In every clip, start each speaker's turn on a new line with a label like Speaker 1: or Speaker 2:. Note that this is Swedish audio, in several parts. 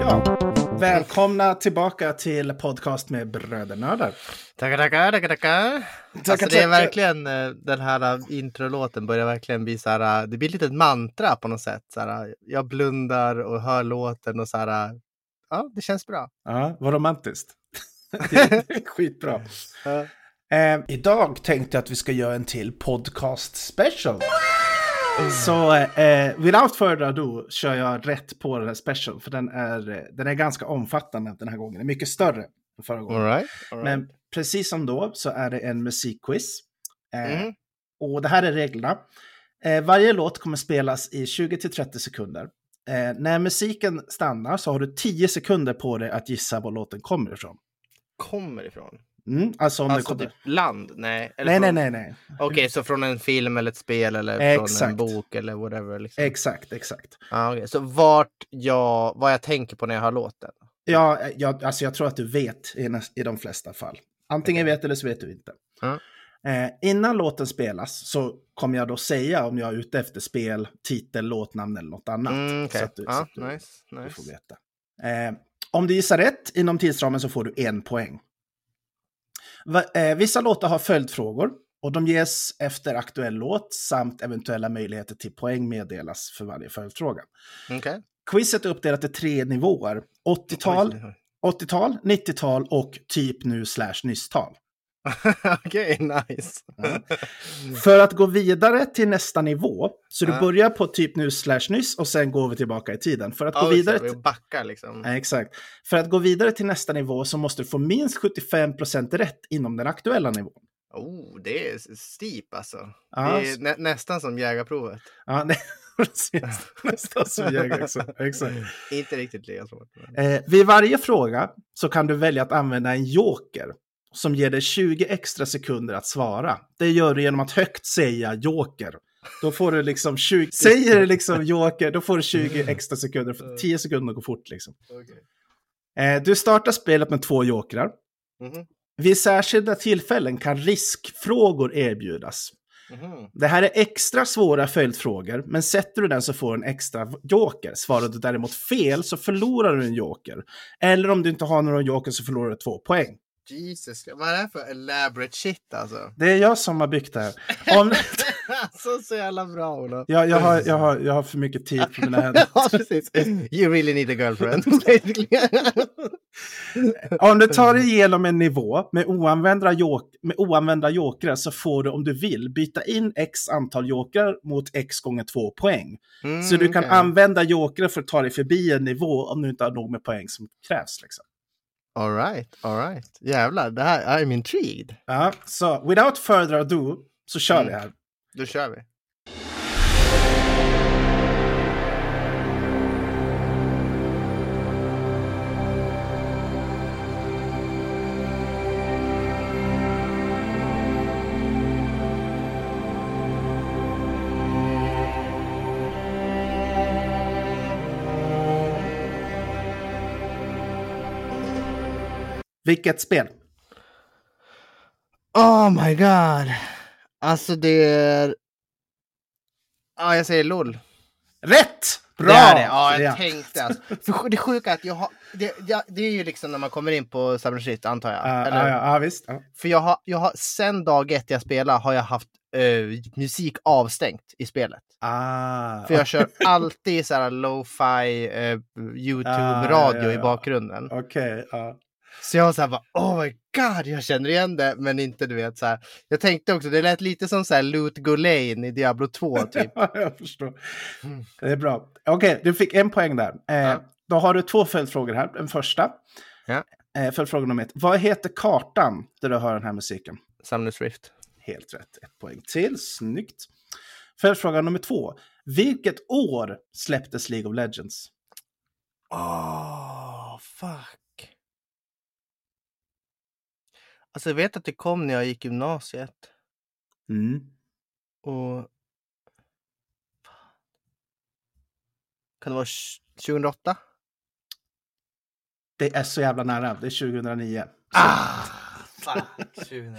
Speaker 1: Ja, välkomna tillbaka till podcast med brödernördar.
Speaker 2: Tackar, tackar, tackar, tackar. Alltså, det är
Speaker 1: tackar.
Speaker 2: verkligen eh, den här eh, introlåten börjar verkligen bli så här. eh, Det blir ett litet mantra på något sätt. Så här, eh, jag blundar och hör låten och så här. eh, Ja, det känns bra.
Speaker 1: Ja, vad romantiskt. Det är Skitbra.
Speaker 2: Ja.
Speaker 1: Eh, idag tänkte jag att vi ska göra en till podcast special. Så eh, without further ado kör jag rätt på den här special. För den är, eh, den är ganska omfattande den här gången. Den är mycket större än förra gången.
Speaker 2: All right. All right.
Speaker 1: Men precis som då så är det en musikquiz. Eh,
Speaker 2: Mm.
Speaker 1: Och det här är reglerna. Eh, varje låt kommer spelas i 20-30 sekunder. Eh, när musiken stannar så har du 10 sekunder på dig att gissa var låten kommer ifrån.
Speaker 2: Kommer ifrån?
Speaker 1: Mm, alltså om
Speaker 2: Alltså
Speaker 1: det kommer...
Speaker 2: typ land? Nej. eller
Speaker 1: Nej, nej,
Speaker 2: från-
Speaker 1: nej, nej.
Speaker 2: Okej, så från en film eller ett spel eller från
Speaker 1: Exakt.
Speaker 2: en bok eller whatever. Liksom.
Speaker 1: Exakt, exakt.
Speaker 2: Ah, okej. Så vart jag, vad jag tänker på när jag hör låten?
Speaker 1: Ja, eh, jag, alltså jag tror att du vet i, näs- i de flesta fall. Antingen vet eller så vet du inte.
Speaker 2: Ja.
Speaker 1: Eh, innan låten spelas så kommer jag då säga om jag är ute efter spel, titel, låtnamn eller något annat.
Speaker 2: Mm, okej.
Speaker 1: Så att du, så
Speaker 2: ja,
Speaker 1: att du,
Speaker 2: nice,
Speaker 1: du
Speaker 2: nice.
Speaker 1: får veta. Eh, om du gissar rätt inom tidsramen så får du en poäng. Va, eh, vissa låtar har följdfrågor och de ges efter aktuell låt samt eventuella möjligheter till poäng meddelas för varje följdfråga.
Speaker 2: Okej.
Speaker 1: Quizet är uppdelat i tre nivåer. 80-tal, 80-tal, 90-tal och typ nu slash nyss-tal.
Speaker 2: Okej, nice.
Speaker 1: Ja. För att gå vidare till nästa nivå, så du
Speaker 2: Mm. Ja.
Speaker 1: börjar på typ nu slash nyss och sen går vi tillbaka i tiden. För att
Speaker 2: Ja,
Speaker 1: gå
Speaker 2: just det,
Speaker 1: vidare
Speaker 2: Vi backar liksom.
Speaker 1: Ja, exakt. För att gå vidare till nästa nivå så måste du få minst 75 rätt inom den aktuella nivån.
Speaker 2: Oh, det är steep alltså.
Speaker 1: Ja,
Speaker 2: det är
Speaker 1: s-
Speaker 2: nä- nästan som jägarprovet.
Speaker 1: ja, nej, precis. Nästan som jag också. Exakt.
Speaker 2: Inte riktigt lika svårt. men-
Speaker 1: Eh, vid varje fråga så kan du välja att använda en joker som ger dig 20 extra sekunder att svara. Det gör du genom att högt säga joker. Då får du liksom 20, säger du liksom joker, då får du 20 extra sekunder, för 10 sekunder går fort liksom.
Speaker 2: Okej.
Speaker 1: Eh, du startar spelet med två jokrar.
Speaker 2: Mhm,
Speaker 1: Vid särskilda tillfällen kan riskfrågor erbjudas.
Speaker 2: mhm.
Speaker 1: Det här är extra svåra följdfrågor, men sätter du den så får du en extra joker. Svarar du däremot fel så förlorar du en joker. Eller om du inte har någon joker så förlorar du två poäng.
Speaker 2: Jesus, vad är det här för elaborate shit alltså?
Speaker 1: Det är jag som har byggt det här. Om...
Speaker 2: alltså så jävla bra Olof.
Speaker 1: Jag, jag, har, jag, har, jag har för mycket tid på mina händer.
Speaker 2: ja, precis. You really need a girlfriend. basically.
Speaker 1: Om du tar dig igenom en nivå med oanvända, jok- med oanvända jokrar så får du om du vill byta in x antal jokrar mot x gånger två poäng.
Speaker 2: Mm,
Speaker 1: Så du kan
Speaker 2: okej.
Speaker 1: använda jokrar för att ta dig förbi en nivå om du inte har nog med poäng som krävs. Liksom.
Speaker 2: All right, all right. Jävlar, det här, I'm intrigued.
Speaker 1: Ja, så without further ado så kör
Speaker 2: Mm.
Speaker 1: vi här.
Speaker 2: Då kör vi.
Speaker 1: Vilket spel?
Speaker 2: Oh my god. Alltså det är... Ja, jag säger LOL.
Speaker 1: Rätt! Bra!
Speaker 2: Det är det. Ja, jag
Speaker 1: Ja.
Speaker 2: tänkte alltså. För det sjuka är att jag har... Det, jag, det är ju liksom när man kommer in på Summer Shit, antar jag.
Speaker 1: Ja,
Speaker 2: Eller?
Speaker 1: ja, ja, ja, visst. Ja.
Speaker 2: För jag har, jag har, sen dag ett jag spelar har jag haft eh, musik avstängt i spelet.
Speaker 1: Ah,
Speaker 2: För jag kör alltid så här lo-fi, eh,
Speaker 1: Ah,
Speaker 2: YouTube-radio
Speaker 1: ja, ja.
Speaker 2: i bakgrunden.
Speaker 1: Okej, ja.
Speaker 2: Så jag var så här bara, oh my god, jag känner igen det, men inte du vet så här. Jag tänkte också, det lät lite som så här Loot Gulane i Diablo 2 typ.
Speaker 1: Ja, jag förstår.
Speaker 2: Mm.
Speaker 1: Det är bra. Okej, du fick en poäng där. Eh,
Speaker 2: Ja.
Speaker 1: Då har du två följdfrågor här. Den första.
Speaker 2: Ja.
Speaker 1: Eh, följdfråga nummer ett. Vad heter kartan där du hör den här musiken?
Speaker 2: Summoners Rift.
Speaker 1: Helt rätt. Ett poäng till. Snyggt. Följdfråga nummer två. Vilket år släpptes League of Legends?
Speaker 2: Åh, Ah, fuck. Alltså jag vet att det kom när jag gick gymnasiet.
Speaker 1: Mm.
Speaker 2: Och... Kan det vara tj- 2008?
Speaker 1: Det är så jävla nära. Det är 2009.
Speaker 2: Ah! Fuck, 2009.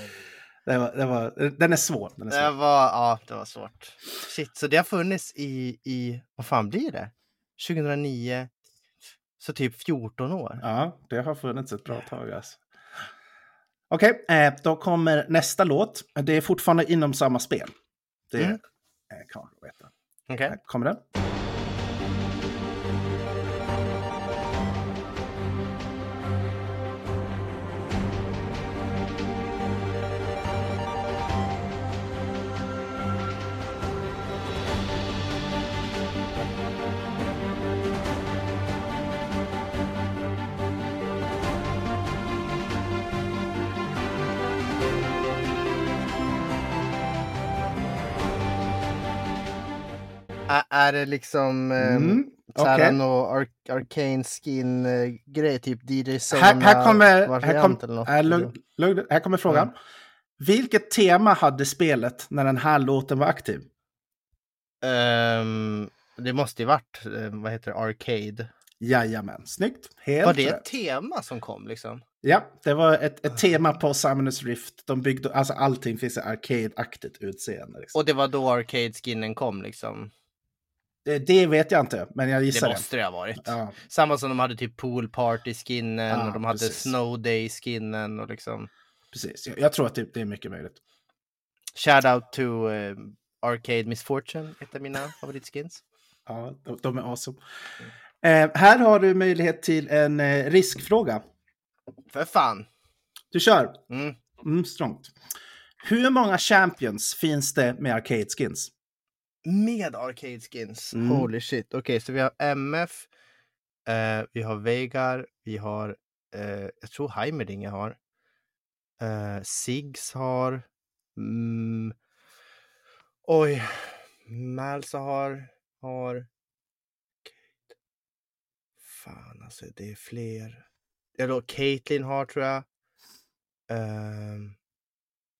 Speaker 1: Det var, det var, den är svår. Den är svår.
Speaker 2: Det var, ja, det var svårt. Shit, så det har funnits i, i vad fan blir det? 2009, så typ 14 år.
Speaker 1: Ja, det har funnits ett bra tag. Alltså. Okej, eh, då kommer nästa låt. Det är fortfarande inom samma spel. Det
Speaker 2: Mm.
Speaker 1: eh, kan man veta.
Speaker 2: Okej.
Speaker 1: Här kommer den.
Speaker 2: Ä- Är det liksom mm.
Speaker 1: Mm.
Speaker 2: såhär
Speaker 1: okej.
Speaker 2: någon ar- arcane skin eh, grej, typ DJ Sona
Speaker 1: Här, här kommer, här
Speaker 2: variant eller
Speaker 1: kom,
Speaker 2: något? Mm.
Speaker 1: här, lugn, lugn, här kommer frågan. Vilket tema hade spelet när den här låten var aktiv?
Speaker 2: Ehm, det måste ju varit, eh, vad heter det, arcade.
Speaker 1: Jajamän, snyggt. Helt
Speaker 2: Var det ett
Speaker 1: rätt.
Speaker 2: tema som kom liksom?
Speaker 1: Ja, det var ett, ett tema på Summoners Rift. De byggde, alltså allting finns i arcade-aktigt utseende. Liksom.
Speaker 2: Och det var då arcade skinen kom liksom?
Speaker 1: Det, det vet jag inte, men jag gissar
Speaker 2: Det
Speaker 1: det.
Speaker 2: måste det ha varit.
Speaker 1: Ja.
Speaker 2: Samma som de hade typ pool party skinnen
Speaker 1: Ja,
Speaker 2: och de hade
Speaker 1: precis.
Speaker 2: snow day skinnen och liksom
Speaker 1: Precis, jag, jag tror att det, det är mycket möjligt.
Speaker 2: shout out to eh, Arcade Misfortune, ett av mina favoritskins.
Speaker 1: Ja, de, de är awesome.
Speaker 2: Mm.
Speaker 1: Eh, här har du möjlighet till en eh, riskfråga.
Speaker 2: För fan!
Speaker 1: Du kör!
Speaker 2: Mm.
Speaker 1: Mm, strångt. Hur många champions finns det med arcade skins?
Speaker 2: Med arcade skins.
Speaker 1: Mm.
Speaker 2: Holy shit. Okej, så vi har MF, eh, vi har Vegar, vi har, eh, jag tror Heimerdinger har, eh, Sigs har, mm, oj, Malsa har, har, Kate. fan alltså det är fler. Ja då, Caitlyn har tror jag. Ehm,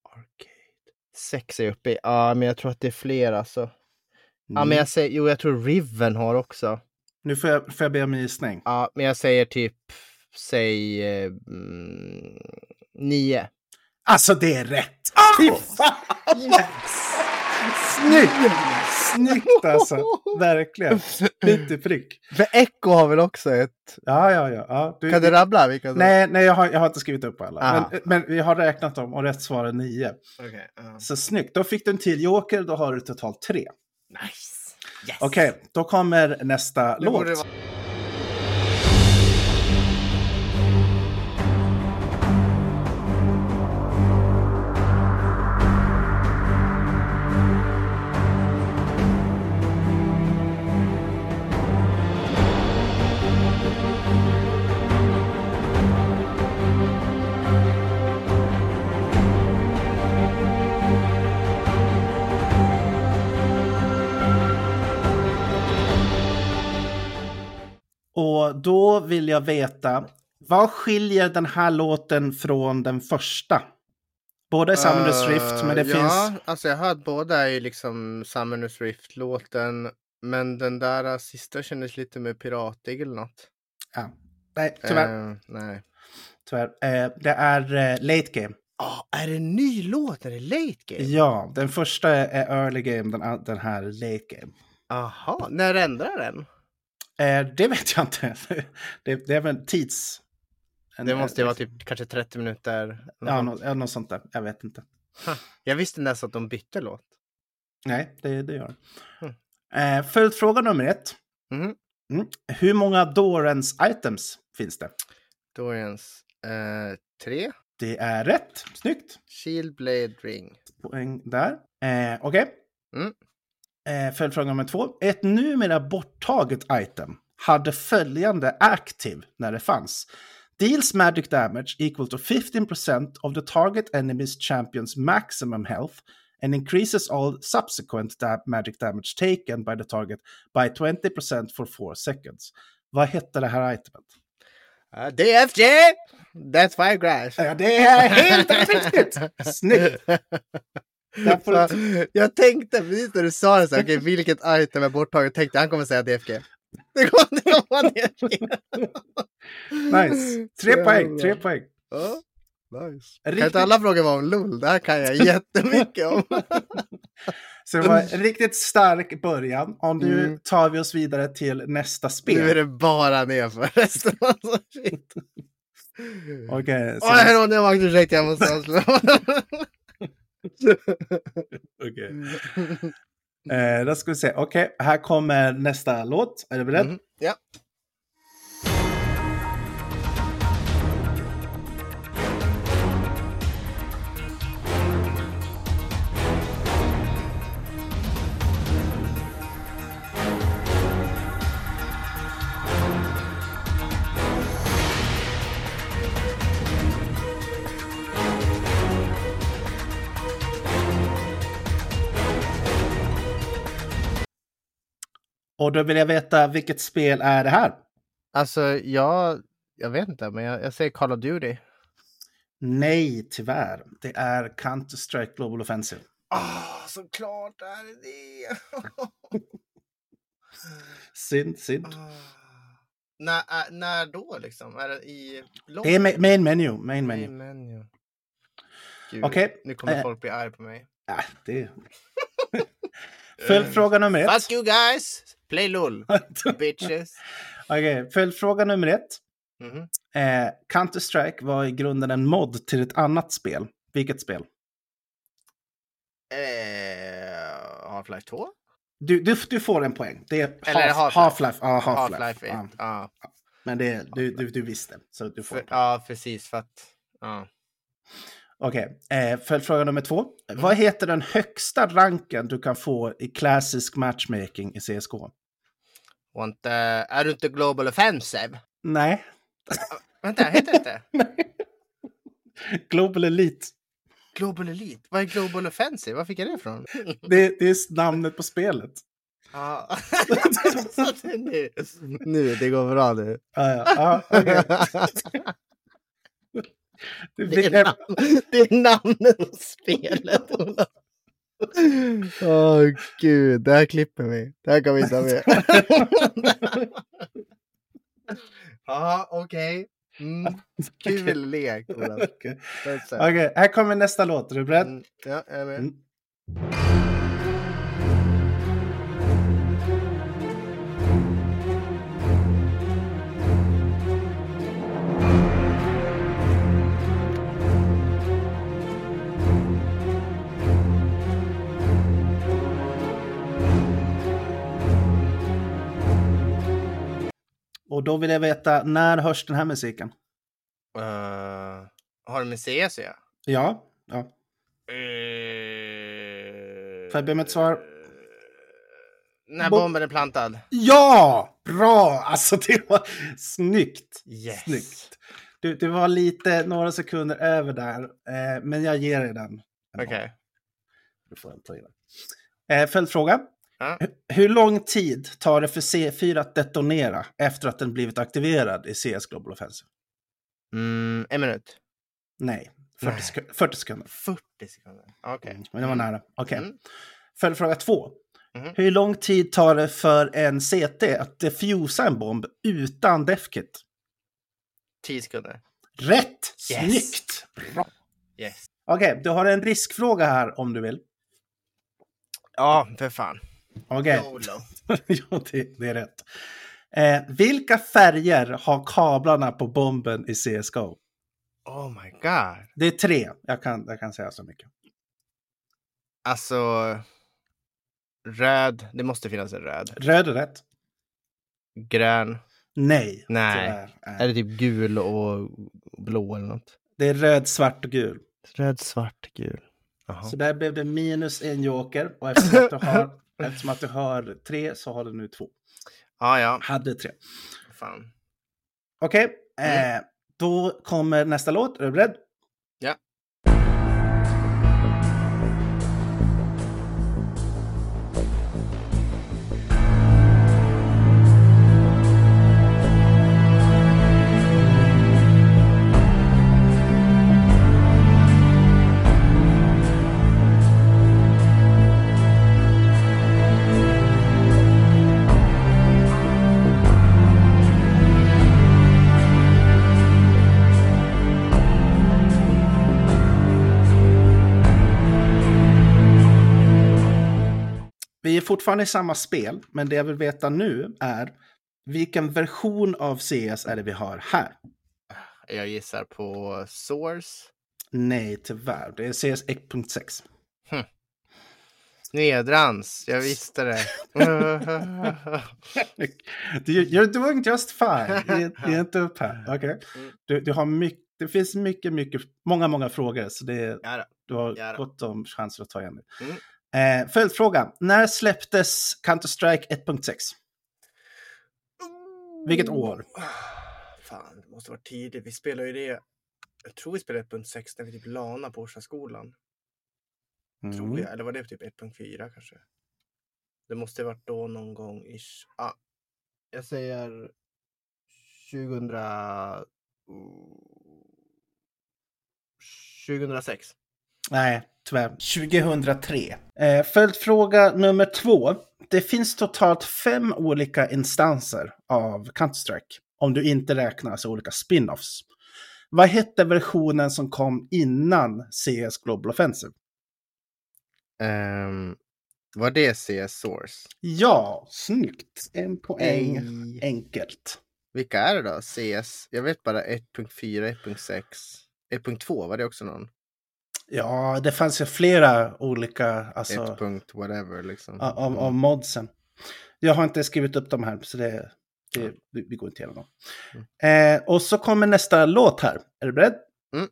Speaker 2: arcade. Sex är jag uppe i. Ja, men jag tror att det är fler alltså. Ja, men jag säger, jo, jag tror Riven har också.
Speaker 1: Mm, Nu får jag, får jag be om en gissning.
Speaker 2: Ja, men jag säger typ, säg eh, mm, nio.
Speaker 1: Alltså, det är rätt! Fy fan! Snyggt! Snyggt alltså! Verkligen. Mitt i prick.
Speaker 2: För Echo har väl också ett?
Speaker 1: Ja, ja, ja. ja du,
Speaker 2: Kan du rabbla vilka som-
Speaker 1: nej, nej jag, har, jag har inte skrivit upp alla.
Speaker 2: Ah.
Speaker 1: Men, men vi har räknat dem och rätt svar är nio.
Speaker 2: Okej, ja.
Speaker 1: Så snyggt. Då fick du en till joker, då har du totalt tre.
Speaker 2: Nice! Yes!
Speaker 1: Okej, då kommer nästa
Speaker 2: Det
Speaker 1: låt.
Speaker 2: borde vara-
Speaker 1: Och då vill jag veta, vad skiljer den här låten från den första? Båda är Summoners
Speaker 2: Eh,
Speaker 1: Rift, men det
Speaker 2: ja,
Speaker 1: finns...
Speaker 2: alltså jag har hört båda är ju liksom Summoners Rift-låten. Men den där eh, sista kändes lite mer piratig eller något.
Speaker 1: Ja. Nej, tyvärr.
Speaker 2: Eh, nej.
Speaker 1: tyvärr. Eh, det är eh, Late Game.
Speaker 2: Ja, Ah, är det en ny låt? Är det Late Game?
Speaker 1: Ja, den första är Early Game, den, an- den här Late Game.
Speaker 2: Aha, när ändrar den?
Speaker 1: Eh, det vet jag inte. det, det är väl en tids... en-
Speaker 2: Det måste
Speaker 1: en-
Speaker 2: ju vara typ kanske 30 minuter. Mm.
Speaker 1: Ja, något, ja, något sånt där. Jag vet inte.
Speaker 2: Jag visste inte ens att de bytte låt.
Speaker 1: Nej, det, det gör den.
Speaker 2: Mm.
Speaker 1: Eh, Följdfråga nummer ett.
Speaker 2: Mhm.
Speaker 1: Mm. Hur många Dorens items finns det?
Speaker 2: Dorians eh, 3,
Speaker 1: Det är rätt. Snyggt.
Speaker 2: Shield Blade Ring.
Speaker 1: Poäng där. Eh, Okej.
Speaker 2: Mm.
Speaker 1: Eh, följdfråga nummer två. Ett numera borttaget item hade följande active när det fanns. Deals magic damage equal to 15% of the target enemy's champion's maximum health and increases all subsequent da- magic damage taken by the target by 20% for 4 seconds. Vad hette det här itemet?
Speaker 2: Uh, DFJ!
Speaker 1: Eh,
Speaker 2: That's five grass.
Speaker 1: Ja, det är helt riktigt! Snyggt! Där får du-
Speaker 2: Så, Ah, jag tänkte precis när du sa det, så här, okej, vilket item är borttaget, tänkte jag, han kommer säga DFG. Det kommer det kommer vara DFG.
Speaker 1: nice. Tre
Speaker 2: Så
Speaker 1: poäng,
Speaker 2: jävla
Speaker 1: tre
Speaker 2: bra.
Speaker 1: poäng.
Speaker 2: Ja, nice. Kan
Speaker 1: Riktigt,
Speaker 2: inte alla frågor vara om LOL? Det här kan jag jättemycket om.
Speaker 1: så det var en riktigt stark början. Och nu
Speaker 2: Mm.
Speaker 1: tar vi oss vidare till nästa
Speaker 2: Nu är
Speaker 1: spel.
Speaker 2: det bara nerför resten. Alltså, shit.
Speaker 1: Okej, så-
Speaker 2: Åh, hallå, nu vaknade ursäkta, jag måste avsluta.
Speaker 1: okej. Eh, då ska vi se. Okej, här kommer nästa låt. Är du beredd?
Speaker 2: Mm, Ja.
Speaker 1: Och då vill jag veta vilket spel är det här?
Speaker 2: Alltså, jag, jag vet inte, men jag, jag säger Call of Duty.
Speaker 1: Nej, tyvärr. Det är Counter-Strike Global Offensive.
Speaker 2: Ah, såklart är det det!
Speaker 1: Synd, synd.
Speaker 2: när, ä- när då liksom? Är det i långt?
Speaker 1: Det är ma- main menu. Main
Speaker 2: menu.
Speaker 1: menu.
Speaker 2: menu. Gud,
Speaker 1: Okej,
Speaker 2: Nu kommer
Speaker 1: eh.
Speaker 2: folk bli arga på mig.
Speaker 1: Ah, det... Följdfråga nummer ett.
Speaker 2: Fuck you guys! Play LOL, bitches!
Speaker 1: Okej, följdfråga nummer ett.
Speaker 2: Mhm.
Speaker 1: Eh, Counter-Strike var i grunden en mod till ett annat spel. Vilket spel?
Speaker 2: Eh, Half-Life 2?
Speaker 1: Du, du, du får en poäng. Det är
Speaker 2: Eller
Speaker 1: Half-
Speaker 2: Half-Life.
Speaker 1: Half-Life. Ja, Half-Life.
Speaker 2: Half-Life 1.
Speaker 1: ja.
Speaker 2: Ja.
Speaker 1: Men det, är- du, du, du visste, så du får en
Speaker 2: För,
Speaker 1: poäng.
Speaker 2: ja, precis. För att... Ja.
Speaker 1: Okej, eh, följdfråga nummer två.
Speaker 2: Mm.
Speaker 1: Vad heter den högsta ranken du kan få i klassisk matchmaking i CSGO?
Speaker 2: Och inte, är du inte global offensive?
Speaker 1: Nej,
Speaker 2: Vänta, heter det inte?
Speaker 1: Global Elite.
Speaker 2: Global Elite? Vad är Global Offensive? Var fick jag det ifrån?
Speaker 1: Det, det är namnet på spelet.
Speaker 2: Ja. Så det är nu. nu, det går bra nu.
Speaker 1: Ja, ja, ja, okej. Du
Speaker 2: Det
Speaker 1: fick
Speaker 2: är,
Speaker 1: en,
Speaker 2: namn, det är namnet på spelet. Ola. Åh gud, det här klipper vi. Det här kan vi inte ha med. Ja, okej. Mm. Kul lek, Ola.
Speaker 1: okej.
Speaker 2: Det är så här.
Speaker 1: Okej, här kommer nästa låt. Är du beredd?
Speaker 2: Mm, Ja, jag är med.
Speaker 1: Mm. Och då vill jag veta, när hörs den här musiken?
Speaker 2: Eh, har du med CS att göra?
Speaker 1: Ja, ja. Får jag be om ett svar?
Speaker 2: Eh, När
Speaker 1: Bo-
Speaker 2: bomben är plantad.
Speaker 1: Ja! Bra! Alltså det var snyggt.
Speaker 2: Yes.
Speaker 1: Snyggt. Du, det var lite, några sekunder över där. Eh, men jag ger dig den.
Speaker 2: Okej.
Speaker 1: Du får en till. Eh, följdfråga.
Speaker 2: Ja.
Speaker 1: Hu- Hur lång tid tar det för C4 att detonera efter att den blivit aktiverad i CS Global Offensive?
Speaker 2: Mm, en minut.
Speaker 1: Nej, 40,
Speaker 2: Nej.
Speaker 1: Sek- 40 sekunder. Mm,
Speaker 2: 40 sekunder. Okej.
Speaker 1: Men det var nära. Okej.
Speaker 2: Mm.
Speaker 1: Följdfråga två.
Speaker 2: Mhm.
Speaker 1: Hur lång tid tar det för en CT att defusa en bomb utan defkit?
Speaker 2: 10 sekunder.
Speaker 1: Rätt!
Speaker 2: Yes.
Speaker 1: Snyggt! Bra.
Speaker 2: Yes.
Speaker 1: Okej, du har en riskfråga här om du vill.
Speaker 2: Ja, för fan.
Speaker 1: Okej,
Speaker 2: YOLO.
Speaker 1: ja, det, det är rätt. Eh, vilka färger har kablarna på bomben i CSGO?
Speaker 2: Oh my god.
Speaker 1: Det är tre, jag kan, jag kan säga så mycket.
Speaker 2: Alltså. Röd. Det måste finnas en röd.
Speaker 1: Röd är rätt.
Speaker 2: Grön.
Speaker 1: Nej.
Speaker 2: Nej.
Speaker 1: tyvärr. Nej.
Speaker 2: Är det typ gul och blå eller något?
Speaker 1: Det är röd, svart och gul.
Speaker 2: Röd, svart, gul. Jaha.
Speaker 1: Så där blev det minus en joker. Och eftersom att, du har, eftersom att du har tre så har du nu två.
Speaker 2: Ja, ja.
Speaker 1: Hade tre.
Speaker 2: Fan.
Speaker 1: Okej,
Speaker 2: Mm.
Speaker 1: eh, då kommer nästa låt. Är du beredd?
Speaker 2: Ja.
Speaker 1: Vi är fortfarande i samma spel, men det jag vill veta nu är vilken version av CS är det vi har här?
Speaker 2: Jag gissar på Source.
Speaker 1: Nej, tyvärr. Det är CS 1.6.
Speaker 2: Nedrans, jag visste det.
Speaker 1: Du- You're doing just fine. Mm. Det det är inte upp här. Okej. Du, du har mycket, det finns mycket, mycket, många, många frågor. Så det,
Speaker 2: ja, då.
Speaker 1: du har
Speaker 2: Ja då.
Speaker 1: gott om chanser att ta igen det.
Speaker 2: Mm.
Speaker 1: Eh, följdfråga. När släpptes Counter-Strike 1.6? Vilket år?
Speaker 2: Fan, det måste vara tidigt. Vi spelar ju det. Jag tror vi spelade 1.6 när vi typ lana på Årstaskolan.
Speaker 1: Mm.
Speaker 2: Tror jag. Eller var det typ 1.4 kanske? Det måste ha varit då någon gång ish. Ah, jag säger 2000... oh, 2006.
Speaker 1: Nej, tyvärr. 2003. Eh, följdfråga nummer två. Det finns totalt fem olika instanser av Counter-Strike. Om du inte räknar alltså olika spin-offs. Vad hette versionen som kom innan CS Global Offensive?
Speaker 2: Um, var det CS Source?
Speaker 1: Ja, snyggt. En poäng. Enkelt.
Speaker 2: Vilka är det då? CS? Jag vet bara 1.4, 1.6. 1.2 var det också någon?
Speaker 1: Ja, det fanns ju flera olika alltså,
Speaker 2: 1. whatever liksom.
Speaker 1: a- av, av modsen. Jag har inte skrivit upp dem här, så det, det, vi vi går inte igenom dem. Eh, och så kommer nästa låt här. Är du beredd?
Speaker 2: Mm.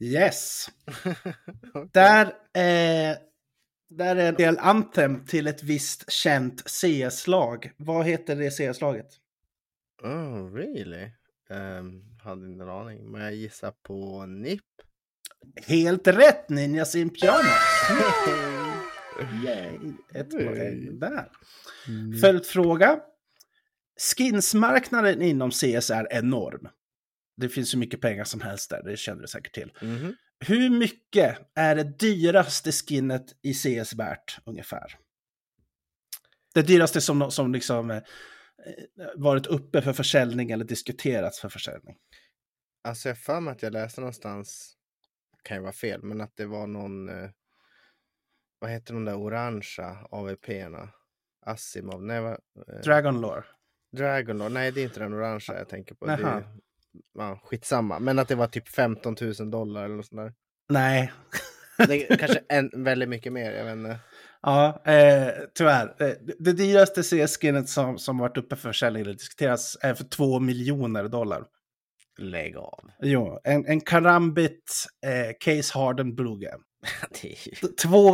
Speaker 1: Yes! Där, eh, där är en del anthem till ett visst känt CS-lag. Vad heter det CS-laget?
Speaker 2: Oh, really? Um, hade ingen aning. Men jag gissar på NIP.
Speaker 1: Helt rätt! Ninjas in Pyjamas! Yay! Ett poäng där.
Speaker 2: Mm.
Speaker 1: Följdfråga. Skinsmarknaden inom CS är enorm. Det finns hur mycket pengar som helst där, det känner du säkert till.
Speaker 2: Mhm.
Speaker 1: Hur mycket är det dyraste skinnet i CS värt ungefär? Det dyraste som, som liksom eh, varit uppe för försäljning eller diskuterats för försäljning.
Speaker 2: Alltså jag har för mig att jag läste någonstans, kan ju vara fel, men att det var någon, eh, vad heter de där orangea AVP-erna? Asimov? Nej, vad? eh,
Speaker 1: Dragon Lore.
Speaker 2: Dragon Lord. Nej, det är inte den orangea jag tänker på. Det
Speaker 1: Nähä.
Speaker 2: är, ja, skitsamma, men att det var typ 15 000 dollar eller något sånt där.
Speaker 1: Nej,
Speaker 2: Det är kanske en, väldigt mycket mer, jag vet inte.
Speaker 1: ja, eh, tyvärr. Eh, Det dyraste CS-skinnet som, som varit uppe för försäljning eller diskuteras är för 2 miljoner dollar.
Speaker 2: Lägg av.
Speaker 1: Jo, en, en karambit eh, Case Harden Blue Game.
Speaker 2: Det är ju-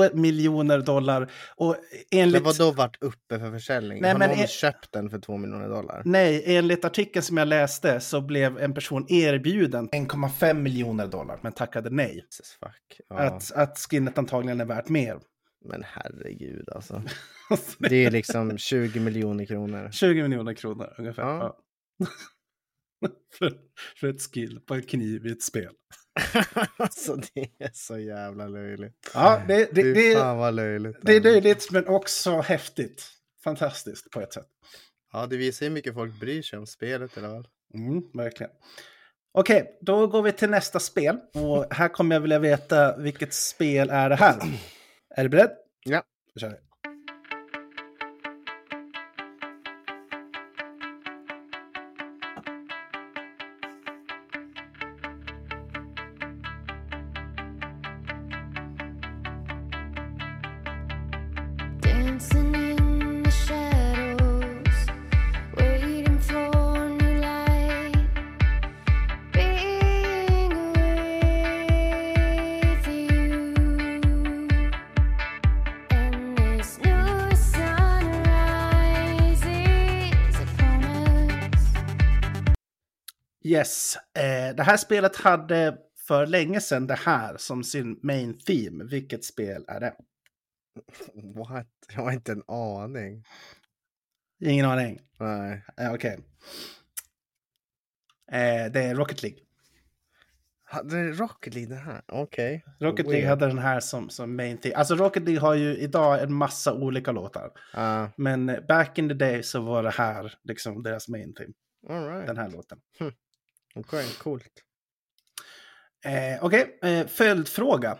Speaker 1: 2 miljoner dollar och enligt...
Speaker 2: Men vadå varit uppe för försäljning?
Speaker 1: Nej,
Speaker 2: har
Speaker 1: men
Speaker 2: någon
Speaker 1: är- Mm.
Speaker 2: köpt den för 2 miljoner dollar?
Speaker 1: Nej, enligt artikeln som jag läste så blev en person erbjuden 1,5 miljoner dollar men tackade nej.
Speaker 2: Jesus fuck. Ja,
Speaker 1: Att, att skinnet antagligen är värt mer.
Speaker 2: Men herregud alltså. Det är liksom 20 miljoner kronor.
Speaker 1: 20 miljoner kronor ungefär.
Speaker 2: Ja.
Speaker 1: Ja. för, för ett skill på en kniv i ett spel.
Speaker 2: alltså det är så jävla löjligt.
Speaker 1: Ja, det, det,
Speaker 2: Fy
Speaker 1: det,
Speaker 2: fan vad löjligt.
Speaker 1: det är
Speaker 2: alltså.
Speaker 1: löjligt men också häftigt. Fantastiskt på ett sätt.
Speaker 2: Ja, det visar hur mycket folk bryr sig om spelet eller vad.
Speaker 1: Mm, verkligen. Okej, då går vi till nästa spel. Och här kommer jag vilja veta vilket spel är det här. Är du beredd?
Speaker 2: Ja.
Speaker 1: Då kör vi.
Speaker 3: Dancing in the shadows, waiting for new light. Being with you, and this new sunrise is upon us.
Speaker 1: Yes, eh, det här spelet hade för länge sedan det här som sin main theme. Vilket spel är det?
Speaker 2: What? Jag har inte en aning.
Speaker 1: Ingen aning.
Speaker 2: Nej.
Speaker 1: Eh, Okej. Eh, det är Rocket League.
Speaker 2: Hade Rocket League det här? Okej.
Speaker 1: Rocket League
Speaker 2: Oh, Weird.
Speaker 1: hade den här som, som main thing. Alltså Rocket League har ju idag en massa olika låtar.
Speaker 2: Ah,
Speaker 1: Men eh, back in the day så var det här liksom deras main theme.
Speaker 2: all right.
Speaker 1: Den här låten.
Speaker 2: Okej, coolt.
Speaker 1: Eh, Okej, eh, följdfråga.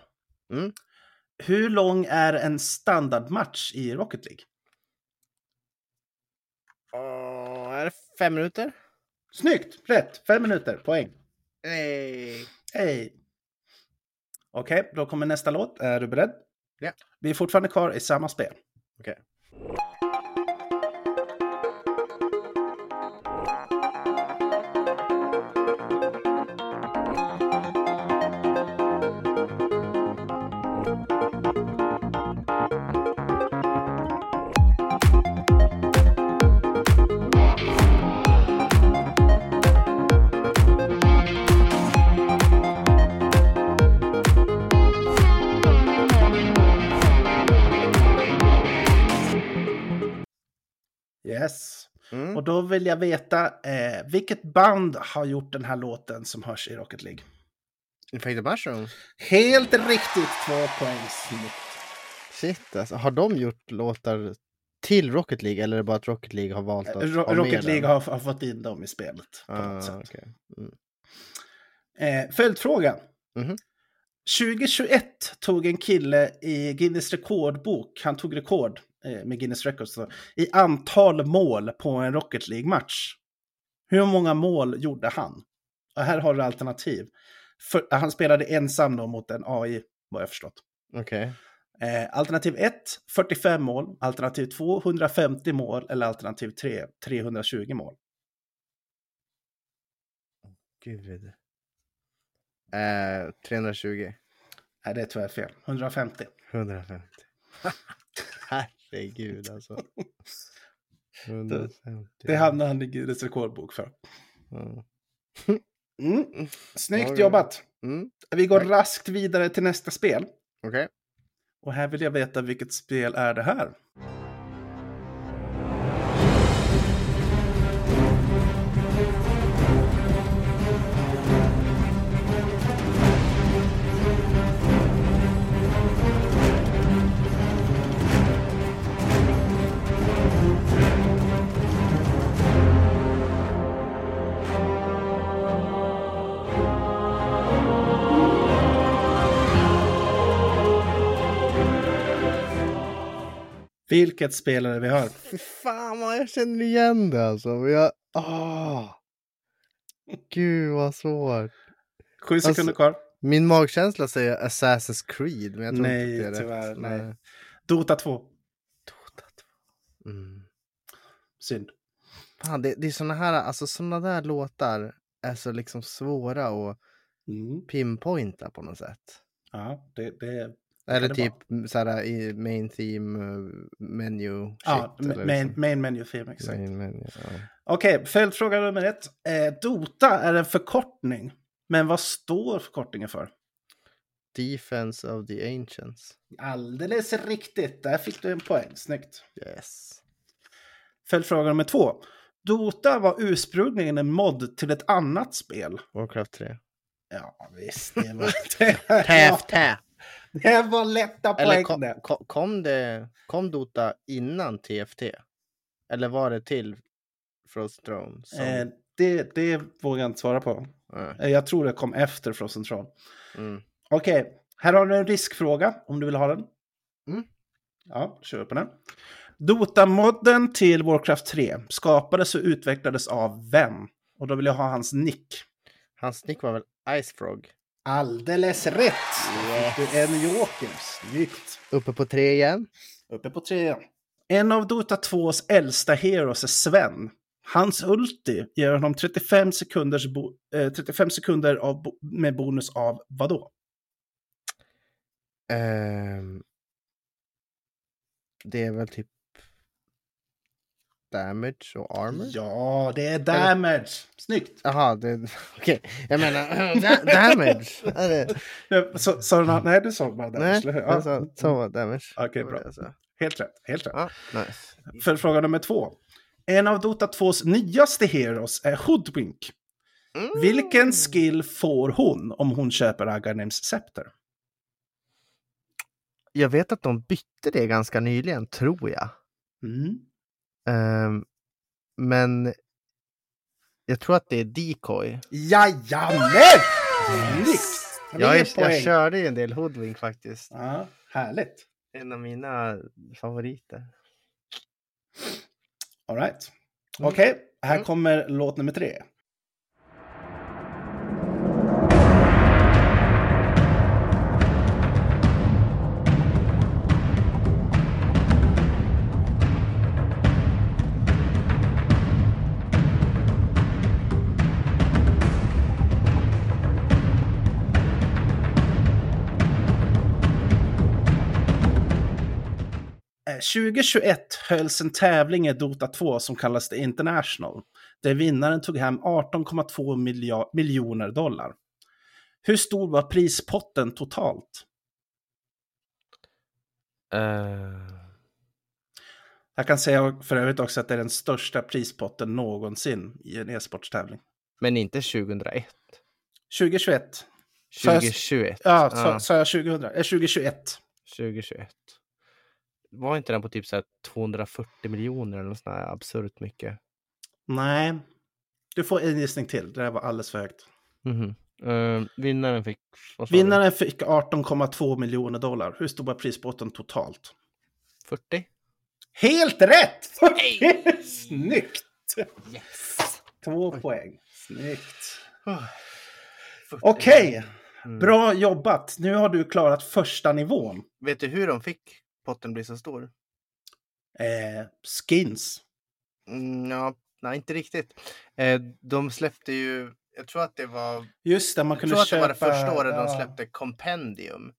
Speaker 2: Mm.
Speaker 1: Hur lång är en standardmatch i Rocket League?
Speaker 2: Åh, är det fem minuter?
Speaker 1: Snyggt! Rätt! Fem minuter, poäng.
Speaker 2: Nej.
Speaker 1: Hej! Okej, då kommer nästa låt. Är du beredd?
Speaker 2: Ja.
Speaker 1: Vi är fortfarande kvar i samma spel.
Speaker 2: Okej.
Speaker 1: Yes.
Speaker 2: Mm.
Speaker 1: Och då vill jag veta, eh, vilket band har gjort den här låten som hörs i Rocket League?
Speaker 2: Infected Mushroom?
Speaker 1: Helt riktigt! Två poäng. Snyggt.
Speaker 2: Shit alltså. Har de gjort låtar till Rocket League eller är det bara att Rocket League har valt att
Speaker 1: Eh, Ro-
Speaker 2: ha med
Speaker 1: Rocket
Speaker 2: den?
Speaker 1: League har, har fått in dem i spelet på
Speaker 2: ah,
Speaker 1: något sätt.
Speaker 2: okej.
Speaker 1: Eh, följdfråga.
Speaker 2: Mhm.
Speaker 1: 2021 tog en kille i Guinness rekordbok, han tog rekord eh, med Guinness Records, då, i antal mål på en Rocket League-match. Hur många mål gjorde han? Och här har du alternativ. För, han spelade ensam då mot en AI, vad jag förstått.
Speaker 2: Okej.
Speaker 1: Eh, alternativ 1, 45 mål. Alternativ 2, 150 mål. Eller alternativ 3, 320 mål.
Speaker 2: Gud. Eh, 320.
Speaker 1: Nej, det är tyvärr fel. 150.
Speaker 2: 150. Herregud alltså. 150.
Speaker 1: Det hamnade han i Guinness rekordbok för.
Speaker 2: Mm.
Speaker 1: Mm. Snyggt
Speaker 2: Oj, oj.
Speaker 1: jobbat!
Speaker 2: Mm.
Speaker 1: Vi går
Speaker 2: Tack.
Speaker 1: raskt vidare till nästa spel.
Speaker 2: Okej.
Speaker 1: Och här vill jag veta vilket spel är det här? Vilket spel är det vi har?
Speaker 2: Fy fan vad jag känner igen det alltså. Men jag... Ah. Gud vad svårt.
Speaker 1: Sju sekunder kvar.
Speaker 2: Min magkänsla säger Assassin's Creed. Men jag tror
Speaker 1: Nej,
Speaker 2: inte att det är
Speaker 1: tyvärr,
Speaker 2: rätt.
Speaker 1: nej. Dota 2.
Speaker 2: Mm.
Speaker 1: Synd.
Speaker 2: Fan, det, det är såna här, alltså såna där låtar är så liksom svåra att
Speaker 1: Mm.
Speaker 2: pinpointa på något sätt.
Speaker 1: Ja, det, det...
Speaker 2: Eller
Speaker 1: det
Speaker 2: typ så här i main theme eh, menu. Shit,
Speaker 1: Ja,
Speaker 2: eller
Speaker 1: main,
Speaker 2: liksom.
Speaker 1: main menu film, exakt.
Speaker 2: main menu. Ja.
Speaker 1: Okej, följdfråga nummer ett. Eh, Dota är en förkortning. Men vad står förkortningen för?
Speaker 2: Defense of the Ancients.
Speaker 1: Alldeles riktigt, där fick du en poäng. Snyggt.
Speaker 2: Yes.
Speaker 1: Följdfråga nummer två. Dota var ursprungligen en mod till ett annat spel.
Speaker 2: Warcraft 3.
Speaker 1: Ja, visst. Det var, det,
Speaker 2: Taff, taff.
Speaker 1: det var lätta
Speaker 2: Eller
Speaker 1: poäng
Speaker 2: kom,
Speaker 1: det.
Speaker 2: kom, kom, det, kom Dota innan TFT? Eller var det till Frost Throne? Som,
Speaker 1: Eh, det. Det vågar jag inte svara på.
Speaker 2: eh,
Speaker 1: Eh, Jag tror det kom efter Frozen Throne.
Speaker 2: mm.
Speaker 1: Okej, här har du en riskfråga om du vill ha den.
Speaker 2: Mm.
Speaker 1: Ja, då kör vi på den. Dota-modden till Warcraft 3 skapades och utvecklades av vem? Och då vill jag ha hans nick.
Speaker 2: Hans nick var väl Ice Frog?
Speaker 1: Alldeles rätt!
Speaker 2: Yes.
Speaker 1: Du är en joker. Snyggt!
Speaker 2: Uppe på tre igen.
Speaker 1: Uppe på trean. En av Dota 2s äldsta heroes är Sven. Hans ulti ger honom 35, sekunders bo- eh, 35 sekunder av bo- med bonus av vadå?
Speaker 2: Ehm, det är väl typ damage och armor?
Speaker 1: Ja, det är damage! Snyggt!
Speaker 2: Jaha, det... okej. Jag menar, da- damage! Är det-
Speaker 1: Ja, Så, sa du något? Nej, du sa bara damage,
Speaker 2: Nej,
Speaker 1: eller hur?
Speaker 2: jag
Speaker 1: Ja.
Speaker 2: sa, sa damage.
Speaker 1: Okej,
Speaker 2: Det var
Speaker 1: bra.
Speaker 2: det jag sa.
Speaker 1: Helt rätt. Helt rätt.
Speaker 2: Ja, nice.
Speaker 1: För fråga nummer två. En av Dota 2s nyaste heroes är Hoodwink.
Speaker 2: Mm.
Speaker 1: Vilken skill får hon om hon köper Aghanims scepter?
Speaker 2: Jag vet att de bytte det ganska nyligen, tror jag.
Speaker 1: Mm.
Speaker 2: Ehm, men jag tror att det är decoy.
Speaker 1: Jajamän! Snyggt! Han
Speaker 2: Jag,
Speaker 1: ger
Speaker 2: är,
Speaker 1: poäng.
Speaker 2: jag körde ju en del Hoodwink faktiskt.
Speaker 1: Ja, härligt.
Speaker 2: En av mina favoriter.
Speaker 1: All right.
Speaker 2: Mm.
Speaker 1: Okej, här
Speaker 2: Mm.
Speaker 1: kommer låt nummer tre. Eh, 2021 hölls en tävling i Dota 2 som kallas The International, där vinnaren tog hem 18,2 milja- miljoner dollar. Hur stor var prispotten totalt?
Speaker 2: Eh,
Speaker 1: Jag kan säga för övrigt också att det är den största prispotten någonsin i en e-sportstävling.
Speaker 2: men inte 2001.
Speaker 1: 2021. Så jag-
Speaker 2: 2021.
Speaker 1: Ja, sa-
Speaker 2: Ja,
Speaker 1: sa jag 2000? Eh, 2021.
Speaker 2: 2021. Var inte den på typ så här 240 miljoner eller något sånt där absurt mycket?
Speaker 1: Nej. Du får en gissning till, det där var alldeles för högt.
Speaker 2: Mhm. Ehm, vinnaren fick... vad sa du?
Speaker 1: Vinnaren fick 18,2 miljoner dollar. Hur stor var prispotten totalt?
Speaker 2: 40?
Speaker 1: Helt rätt! Snyggt!
Speaker 2: Yes!
Speaker 1: Två poäng. Snyggt.
Speaker 2: 40.
Speaker 1: Okej,
Speaker 2: Mm.
Speaker 1: bra jobbat. Nu har du klarat första nivån.
Speaker 2: Vet du hur de fick potten bli så stor?
Speaker 1: Eh, skins.
Speaker 2: Mm, ja, nej, inte riktigt. Eh, de släppte ju... Jag tror att det var
Speaker 1: Just det, man
Speaker 2: Jag
Speaker 1: kunde
Speaker 2: tror att det
Speaker 1: köpa...
Speaker 2: var det första året
Speaker 1: ja.
Speaker 2: de släppte Compendium.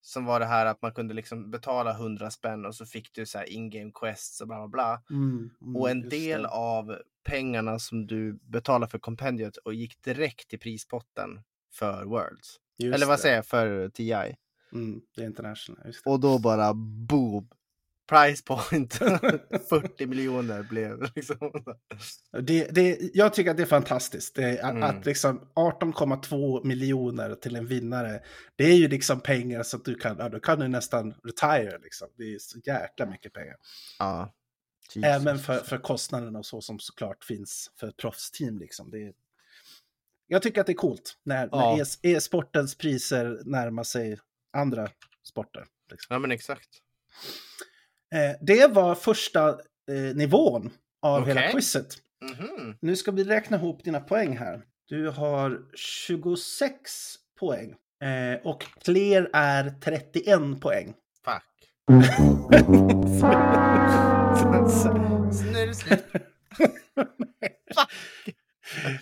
Speaker 2: Som var det här att man kunde liksom betala 100 spänn och så fick du så här in-game quests och bla bla bla.
Speaker 1: Mm, mm,
Speaker 2: och en
Speaker 1: just
Speaker 2: del
Speaker 1: det.
Speaker 2: av pengarna som du betalade för Compendiet och gick direkt till prispotten för Worlds.
Speaker 1: Just
Speaker 2: Eller vad
Speaker 1: det.
Speaker 2: säger jag, för TI.
Speaker 1: Mm, det är international. Just det.
Speaker 2: Och då bara boom! Price point 40 miljoner blev liksom.
Speaker 1: Det, det, jag tycker att det är fantastiskt. Det, att,
Speaker 2: Mm.
Speaker 1: att liksom 18,2 miljoner till en vinnare, det är ju liksom pengar så att du kan, ja, du kan du nästan retire. Liksom. Det är så jäkla mycket pengar.
Speaker 2: Ja.
Speaker 1: Även
Speaker 2: Jesus.
Speaker 1: Äh, för, för kostnaderna och så som såklart finns för ett proffsteam. Liksom. Det är, jag tycker att det är coolt när,
Speaker 2: Ja.
Speaker 1: när e- e-sportens priser närmar sig andra sporter. Liksom.
Speaker 2: Ja men exakt.
Speaker 1: Eh, det var första eh, nivån av hela
Speaker 2: Okej.
Speaker 1: quizet.
Speaker 2: Mhm.
Speaker 1: Nu ska vi räkna ihop dina poäng här. Du har 26 poäng. Eh, och Clear är 31 poäng.
Speaker 2: Fuck. Snurr, snurr.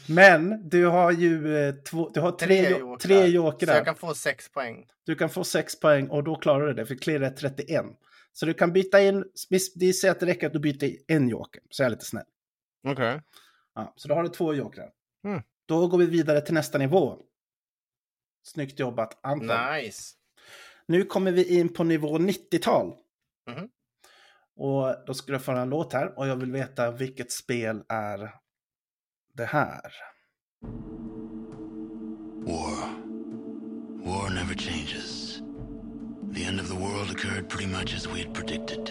Speaker 1: Men du har ju eh, två, du har tre,
Speaker 2: Tre
Speaker 1: jo-
Speaker 2: jokrar.
Speaker 1: tre
Speaker 2: Så
Speaker 1: jokrar.
Speaker 2: jag kan få sex poäng.
Speaker 1: Du kan få 6 poäng och då klarar du det, för Clear är 31. Så du kan byta in, visst, det säger att det räcker att du byter en joker, så jag är lite snäll.
Speaker 2: Okej.
Speaker 1: Ja, så då har du två jokrar.
Speaker 2: Mm.
Speaker 1: Då går vi vidare till nästa nivå. Snyggt jobbat, Anton.
Speaker 2: Nice.
Speaker 1: Nu kommer vi in på nivå 90-tal.
Speaker 2: Mhm.
Speaker 1: Och då ska jag få en låt här och jag vill veta vilket spel är det här?
Speaker 4: War. War never changes. The end of the world occurred pretty much as we had predicted.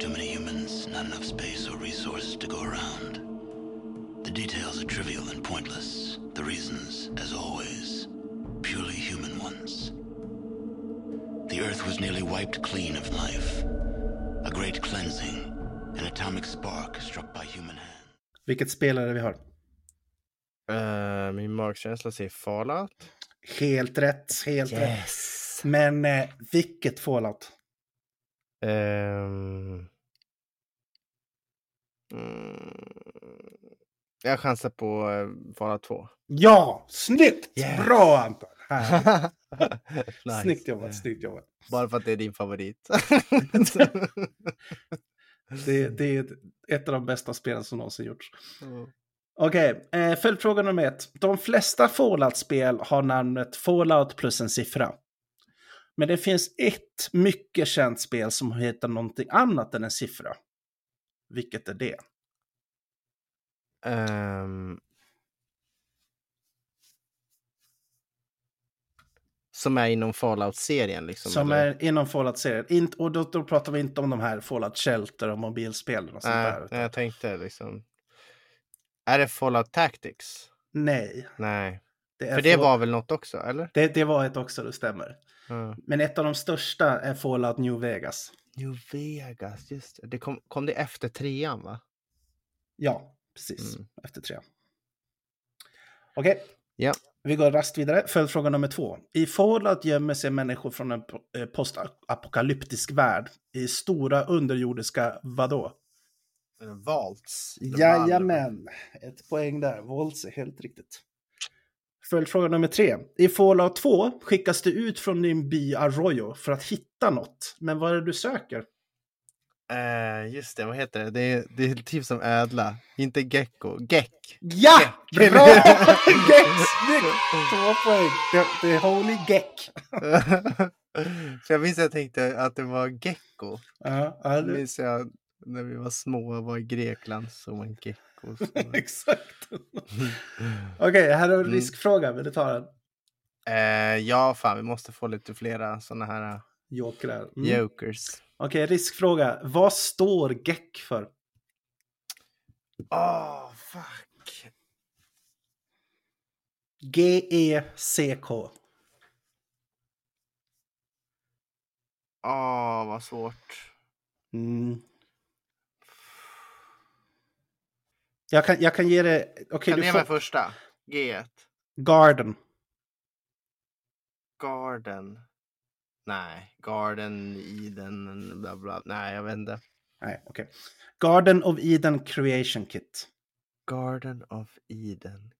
Speaker 4: Too many humans, not enough space or resources to go around. The details are trivial and pointless. The reasons, as always, purely human ones. The Earth was nearly wiped clean of life. A great cleansing, an atomic spark struck by human hand.
Speaker 1: Vilket spel är det vi har?
Speaker 2: Eh, min magkänsla säger Fallout.
Speaker 1: Helt rätt, helt rätt.
Speaker 2: Yes.
Speaker 1: Men eh, vilket Fallout?
Speaker 2: Ehm. Mm. Jag chansar på eh, Fallout 2.
Speaker 1: Ja, snyggt!
Speaker 2: Yes.
Speaker 1: Bra Anton! Härligt.
Speaker 2: Nice.
Speaker 1: Snyggt jobbat, snyggt jobbat.
Speaker 2: Bara för att det är din favorit.
Speaker 1: Det, det är ett av de bästa spelen som någonsin gjorts. Okej, eh, följdfråga nummer ett. De flesta Fallout-spel har namnet Fallout plus en siffra. Men det finns ett mycket känt spel som heter någonting annat än en siffra. Vilket är det?
Speaker 2: Ehm. som är inom Fallout-serien liksom?
Speaker 1: Som
Speaker 2: eller?
Speaker 1: är inom Fallout-serien. Int- Och då, då pratar vi inte om de här Fallout Shelter och mobilspelen och sånt
Speaker 2: Nej,
Speaker 1: där. utan-
Speaker 2: nej, jag tänkte liksom. Är det Fallout Tactics?
Speaker 1: Nej.
Speaker 2: Nej,
Speaker 1: Det är
Speaker 2: för det
Speaker 1: Fallout-
Speaker 2: var väl något också, eller?
Speaker 1: Det, det var ett också, det stämmer.
Speaker 2: Ja.
Speaker 1: Men ett av de största är Fallout New Vegas.
Speaker 2: New Vegas, just det. det kom, kom det efter trean, va?
Speaker 1: Ja, precis.
Speaker 2: Mm.
Speaker 1: Efter tre. Okej.
Speaker 2: Ja.
Speaker 1: Vi går rast vidare. Följdfråga nummer två. I Fallout gömmer sig människor från en po- eh, postapokalyptisk värld i stora underjordiska vadå?
Speaker 2: Eh, Valts.
Speaker 1: Jajamän, ett poäng där. Volts är helt riktigt. Följdfråga nummer tre. I Fallout 2 skickas du ut från din by Arroyo för att hitta något. Men vad är det du söker?
Speaker 2: Eh, just det, vad heter det? Det är, det är typ som ädla, inte gecko. Geck!
Speaker 1: Ja!
Speaker 2: Geck.
Speaker 1: Bra! Geck! Snyggt! Två poäng. The, the Holy Geck.
Speaker 2: För jag minns jag tänkte att det var gecko.
Speaker 1: Ja, ja,
Speaker 2: Det
Speaker 1: det-
Speaker 2: minns jag när vi var små och var i Grekland såg man gecko. Så-
Speaker 1: exakt. Okej, här
Speaker 2: Mm.
Speaker 1: har du en riskfråga. Vill du ta den?
Speaker 2: Eh, ja, fan, vi måste få lite flera sådana här eh,
Speaker 1: Jokrar. Mm. Okej,
Speaker 2: jokers.
Speaker 1: riskfråga. Vad står Geck för?
Speaker 2: Åh, fuck!
Speaker 1: E G-E-C-K.
Speaker 2: Åh, vad svårt.
Speaker 1: Mm. Jag kan, jag kan ge dig... Okej,
Speaker 2: kan du
Speaker 1: du
Speaker 2: ge
Speaker 1: får...
Speaker 2: mig första? G1.
Speaker 1: Garden.
Speaker 2: Garden. Nej, Garden, Eden, bla bla. Nej, jag vet inte.
Speaker 1: Nej, okej. Garden of Eden Creation Kit.
Speaker 2: Garden of Eden.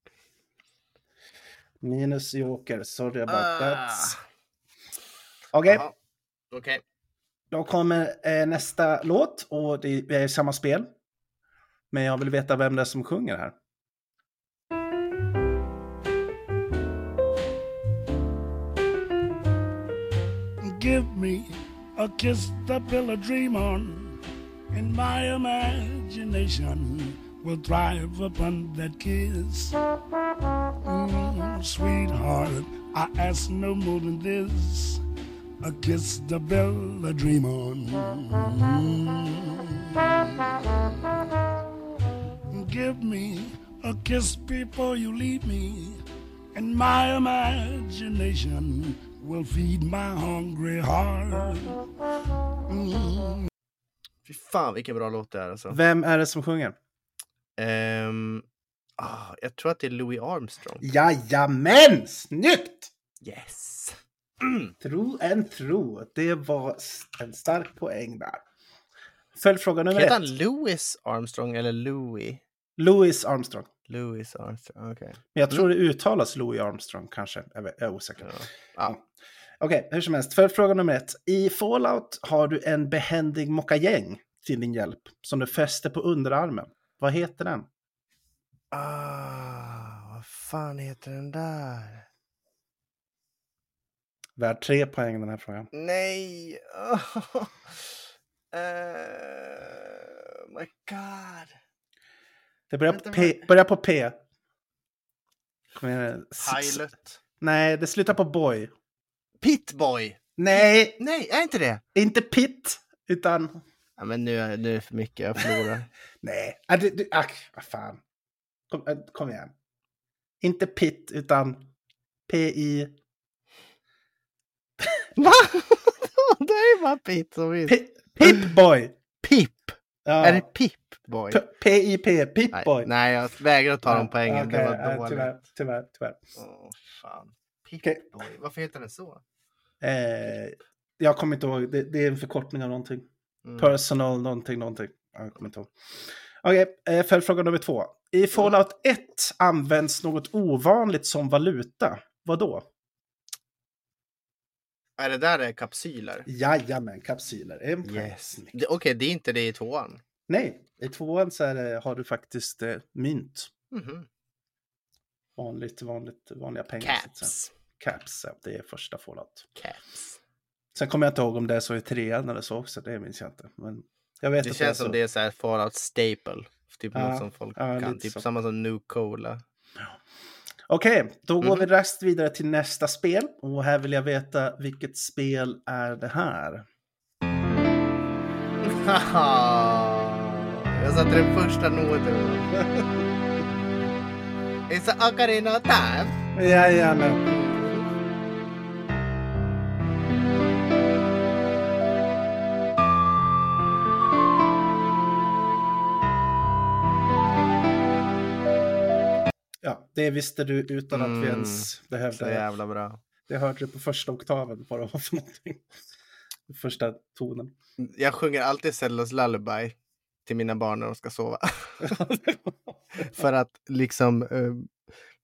Speaker 1: Minus Joker, sorry about that.
Speaker 2: Ah.
Speaker 1: Okej,
Speaker 2: Jaha. Okej.
Speaker 1: då kommer eh, nästa låt och det är samma spel. Men jag vill veta vem det är som sjunger här.
Speaker 5: Give me a kiss to build a dream on, and my imagination will thrive upon that kiss. Mm, sweetheart, I ask no more than this a kiss to build a dream on. Mm. Give me a kiss before you leave me and my imagination will feed my hungry heart.
Speaker 2: Fy fan vilken bra låt det är alltså.
Speaker 1: Vem är det som sjunger?
Speaker 2: Ehm, ah, jag tror att det är Louis Armstrong.
Speaker 1: Jajamän! Snyggt!
Speaker 2: Yes!
Speaker 1: Tro en tro. Det var s- en stark poäng där. Följdfråga nummer
Speaker 2: Heter
Speaker 1: ett.
Speaker 2: han Louis Armstrong eller Louis?
Speaker 1: Louis Armstrong.
Speaker 2: Louis Armstrong, okej.
Speaker 1: Men jag tror det uttalas Louis Armstrong kanske. Jag vet- jag är osäker.
Speaker 2: Ja. Ja.
Speaker 1: Okej, hur som helst. Följdfråga nummer ett. I Fallout har du en behändig mockagäng till din hjälp som du fäster på underarmen. Vad heter den?
Speaker 2: Ah, vad fan heter den där?
Speaker 1: Värd tre poäng den här frågan.
Speaker 2: Nej! Eh, my god!
Speaker 1: Det börjar på
Speaker 2: Vänta,
Speaker 1: P. Börjar på P. Kom igen. S- s-
Speaker 2: Pilot.
Speaker 1: Nej, det slutar på boy.
Speaker 2: Pitboy!
Speaker 1: Nej,
Speaker 2: Nej, är inte det?
Speaker 1: inte pit, utan...
Speaker 2: Ja, men nu, är- nu är det för mycket, jag förlorar.
Speaker 1: Nej, ah, du, du, ack, vad fan. Kom, äh, kom igen. Inte pit, utan P-I...
Speaker 2: Va? det är ju bara Pip som vinner.
Speaker 1: Pi- Pip-boy!
Speaker 2: Pip!
Speaker 1: Ja.
Speaker 2: Är det Pip-boy?
Speaker 1: P- P-I-P,
Speaker 2: Nej,
Speaker 1: Pip-boy.
Speaker 2: nej, jag vägrar att ta de poängen.
Speaker 1: Okej,
Speaker 2: det var
Speaker 1: ja,
Speaker 2: dåligt.
Speaker 1: Tyvärr, tyvärr, tyvärr.
Speaker 2: Åh, fan.
Speaker 1: Okej.
Speaker 2: Pip-boy. Varför heter den så?
Speaker 1: Eh, jag kommer inte ihåg, det, det är en förkortning av någonting.
Speaker 2: Mm.
Speaker 1: Personal någonting, någonting. Ja, Jag kommer inte ihåg. Okej, eh, följdfråga nummer två. I Fallout 1 används något ovanligt som valuta. Vad då?
Speaker 2: Är det där är kapsyler?
Speaker 1: Jajamän, kapsyler. En poäng.
Speaker 2: Yes.
Speaker 1: Snyggt.
Speaker 2: Det- Okej, det är inte det i tvåan.
Speaker 1: Nej, i tvåan så är det, har du faktiskt eh, mynt.
Speaker 2: Mhm.
Speaker 1: Vanligt, vanligt, vanliga pengar. så att säga.
Speaker 2: Caps.
Speaker 1: Caps, ja, det är första Fallout.
Speaker 2: Caps.
Speaker 1: Sen kommer jag inte ihåg om det är så i trean eller så också, det minns jag inte. Men jag vet
Speaker 2: Det
Speaker 1: att
Speaker 2: känns
Speaker 1: så.
Speaker 2: som det är så här Fallout staple. Typ
Speaker 1: Ja,
Speaker 2: något som folk
Speaker 1: ja,
Speaker 2: kan.
Speaker 1: lite
Speaker 2: Typ
Speaker 1: så.
Speaker 2: samma som New Cola.
Speaker 1: Okej, då går
Speaker 2: Mhm.
Speaker 1: vi raskt vidare till nästa spel. Och här vill jag veta vilket spel är det här?
Speaker 2: Jag satte den första noten. It's a ocarina of time.
Speaker 1: Jajamän. Ja, det visste du utan att vi
Speaker 2: Mm,
Speaker 1: ens
Speaker 2: Så
Speaker 1: behövde.
Speaker 2: jävla bra.
Speaker 1: Det hörde du på första oktaven vad det var för någonting. Första tonen.
Speaker 2: Jag sjunger alltid Cellos Lullaby till mina barn när de ska sova. För att liksom, eh,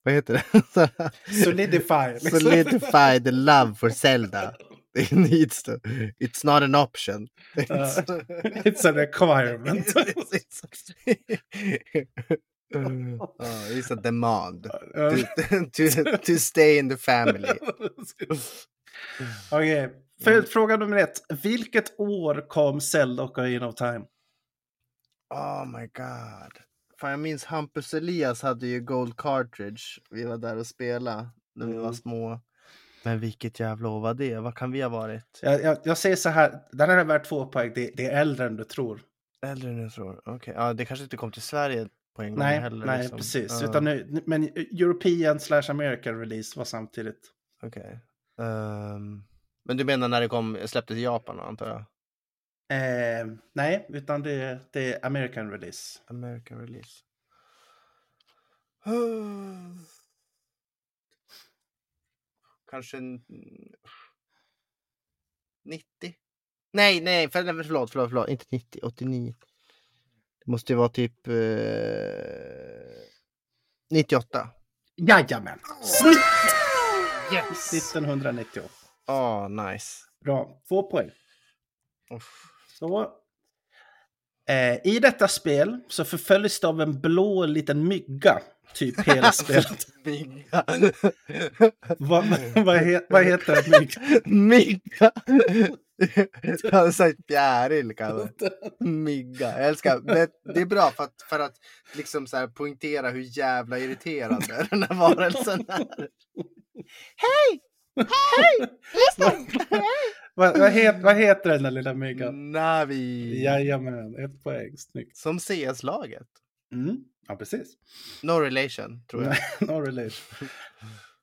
Speaker 2: vad heter det? Så här,
Speaker 1: Solidify. liksom.
Speaker 2: Solidify the love for Zelda. It needs to. It's not an option. It's,
Speaker 1: It's a requirement.
Speaker 2: it's, it's, oh, it's a demand.
Speaker 1: Um,
Speaker 2: to, to, to stay in the family.
Speaker 1: Okej, följdfråga nummer ett. Vilket år kom Zelda och Ocarina of Time?
Speaker 2: Oh my god. Fan, jag minns Hampus Elias hade ju Gold Cartridge. Vi var där och spelade när vi var
Speaker 1: Mm.
Speaker 2: små. Men vilket jävla år var det? Vad kan vi ha varit?
Speaker 1: Jag, jag, jag säger så här, den här är värd två poäng. Det, det är äldre än du tror.
Speaker 2: Mm, Äldre än jag tror. Okej, ja, det kanske inte kom till Sverige på en gång
Speaker 1: nej,
Speaker 2: heller.
Speaker 1: nej
Speaker 2: liksom.
Speaker 1: precis.
Speaker 2: Ja,
Speaker 1: Utan nu, men European slash American release var samtidigt.
Speaker 2: okej. Ehm, men du menar när det kom, släpptes i Japan antar jag?
Speaker 1: Eh, nej, utan det, det är American release.
Speaker 2: American release. Kanske en... 90? Nej, nej, för, nej, förlåt, förlåt, förlåt, inte 90, 89. Det måste ju vara typ eh, 98.
Speaker 1: Jajamän! Snyggt!
Speaker 2: Yes!
Speaker 1: 1998.
Speaker 2: Åh, Ah, nice.
Speaker 1: Bra, två poäng.
Speaker 2: Uff.
Speaker 1: Så. Eh, I detta spel så förföljs du av en blå liten mygga. Typ hela spelet.
Speaker 2: Mygga!
Speaker 1: vad, vad, he, vad heter en mygga?
Speaker 2: Mygga! Jag hade sagt fjäril kanske. Mygga. Jag älskar. Men det är bra för att, för att liksom så här poängtera hur jävla irriterande den här varelsen är.
Speaker 1: vad, vad, het, vad heter den där lilla myggan?
Speaker 2: Navi.
Speaker 1: Jajamän, ett poäng. Snyggt.
Speaker 2: Som CS-laget.
Speaker 1: Mm. Ja, precis.
Speaker 2: No relation, tror jag.
Speaker 1: Nej, no relation.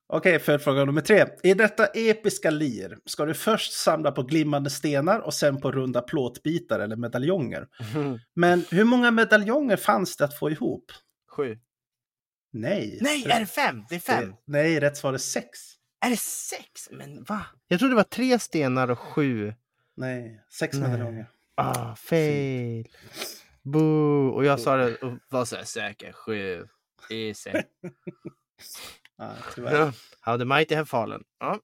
Speaker 1: Okej, följdfråga nummer tre. I detta episka lir ska du först samla på glimmande stenar och sen på runda plåtbitar eller medaljonger. Men hur många medaljonger fanns det att få ihop?
Speaker 2: Sju.
Speaker 1: Nej.
Speaker 2: Nej, är det fem? Det är fem.
Speaker 1: Det- Nej, rätt svar är sex.
Speaker 2: Är det sex? Men va? Jag trodde det var tre stenar och sju.
Speaker 1: Nej, sex
Speaker 2: Nej.
Speaker 1: medaljonger.
Speaker 2: Ah, fail. Boo. Och jag sa det och var så här säker. Sju. Easy.
Speaker 1: Ja, tyvärr.
Speaker 2: Ja. How the mighty have fallen. Ja.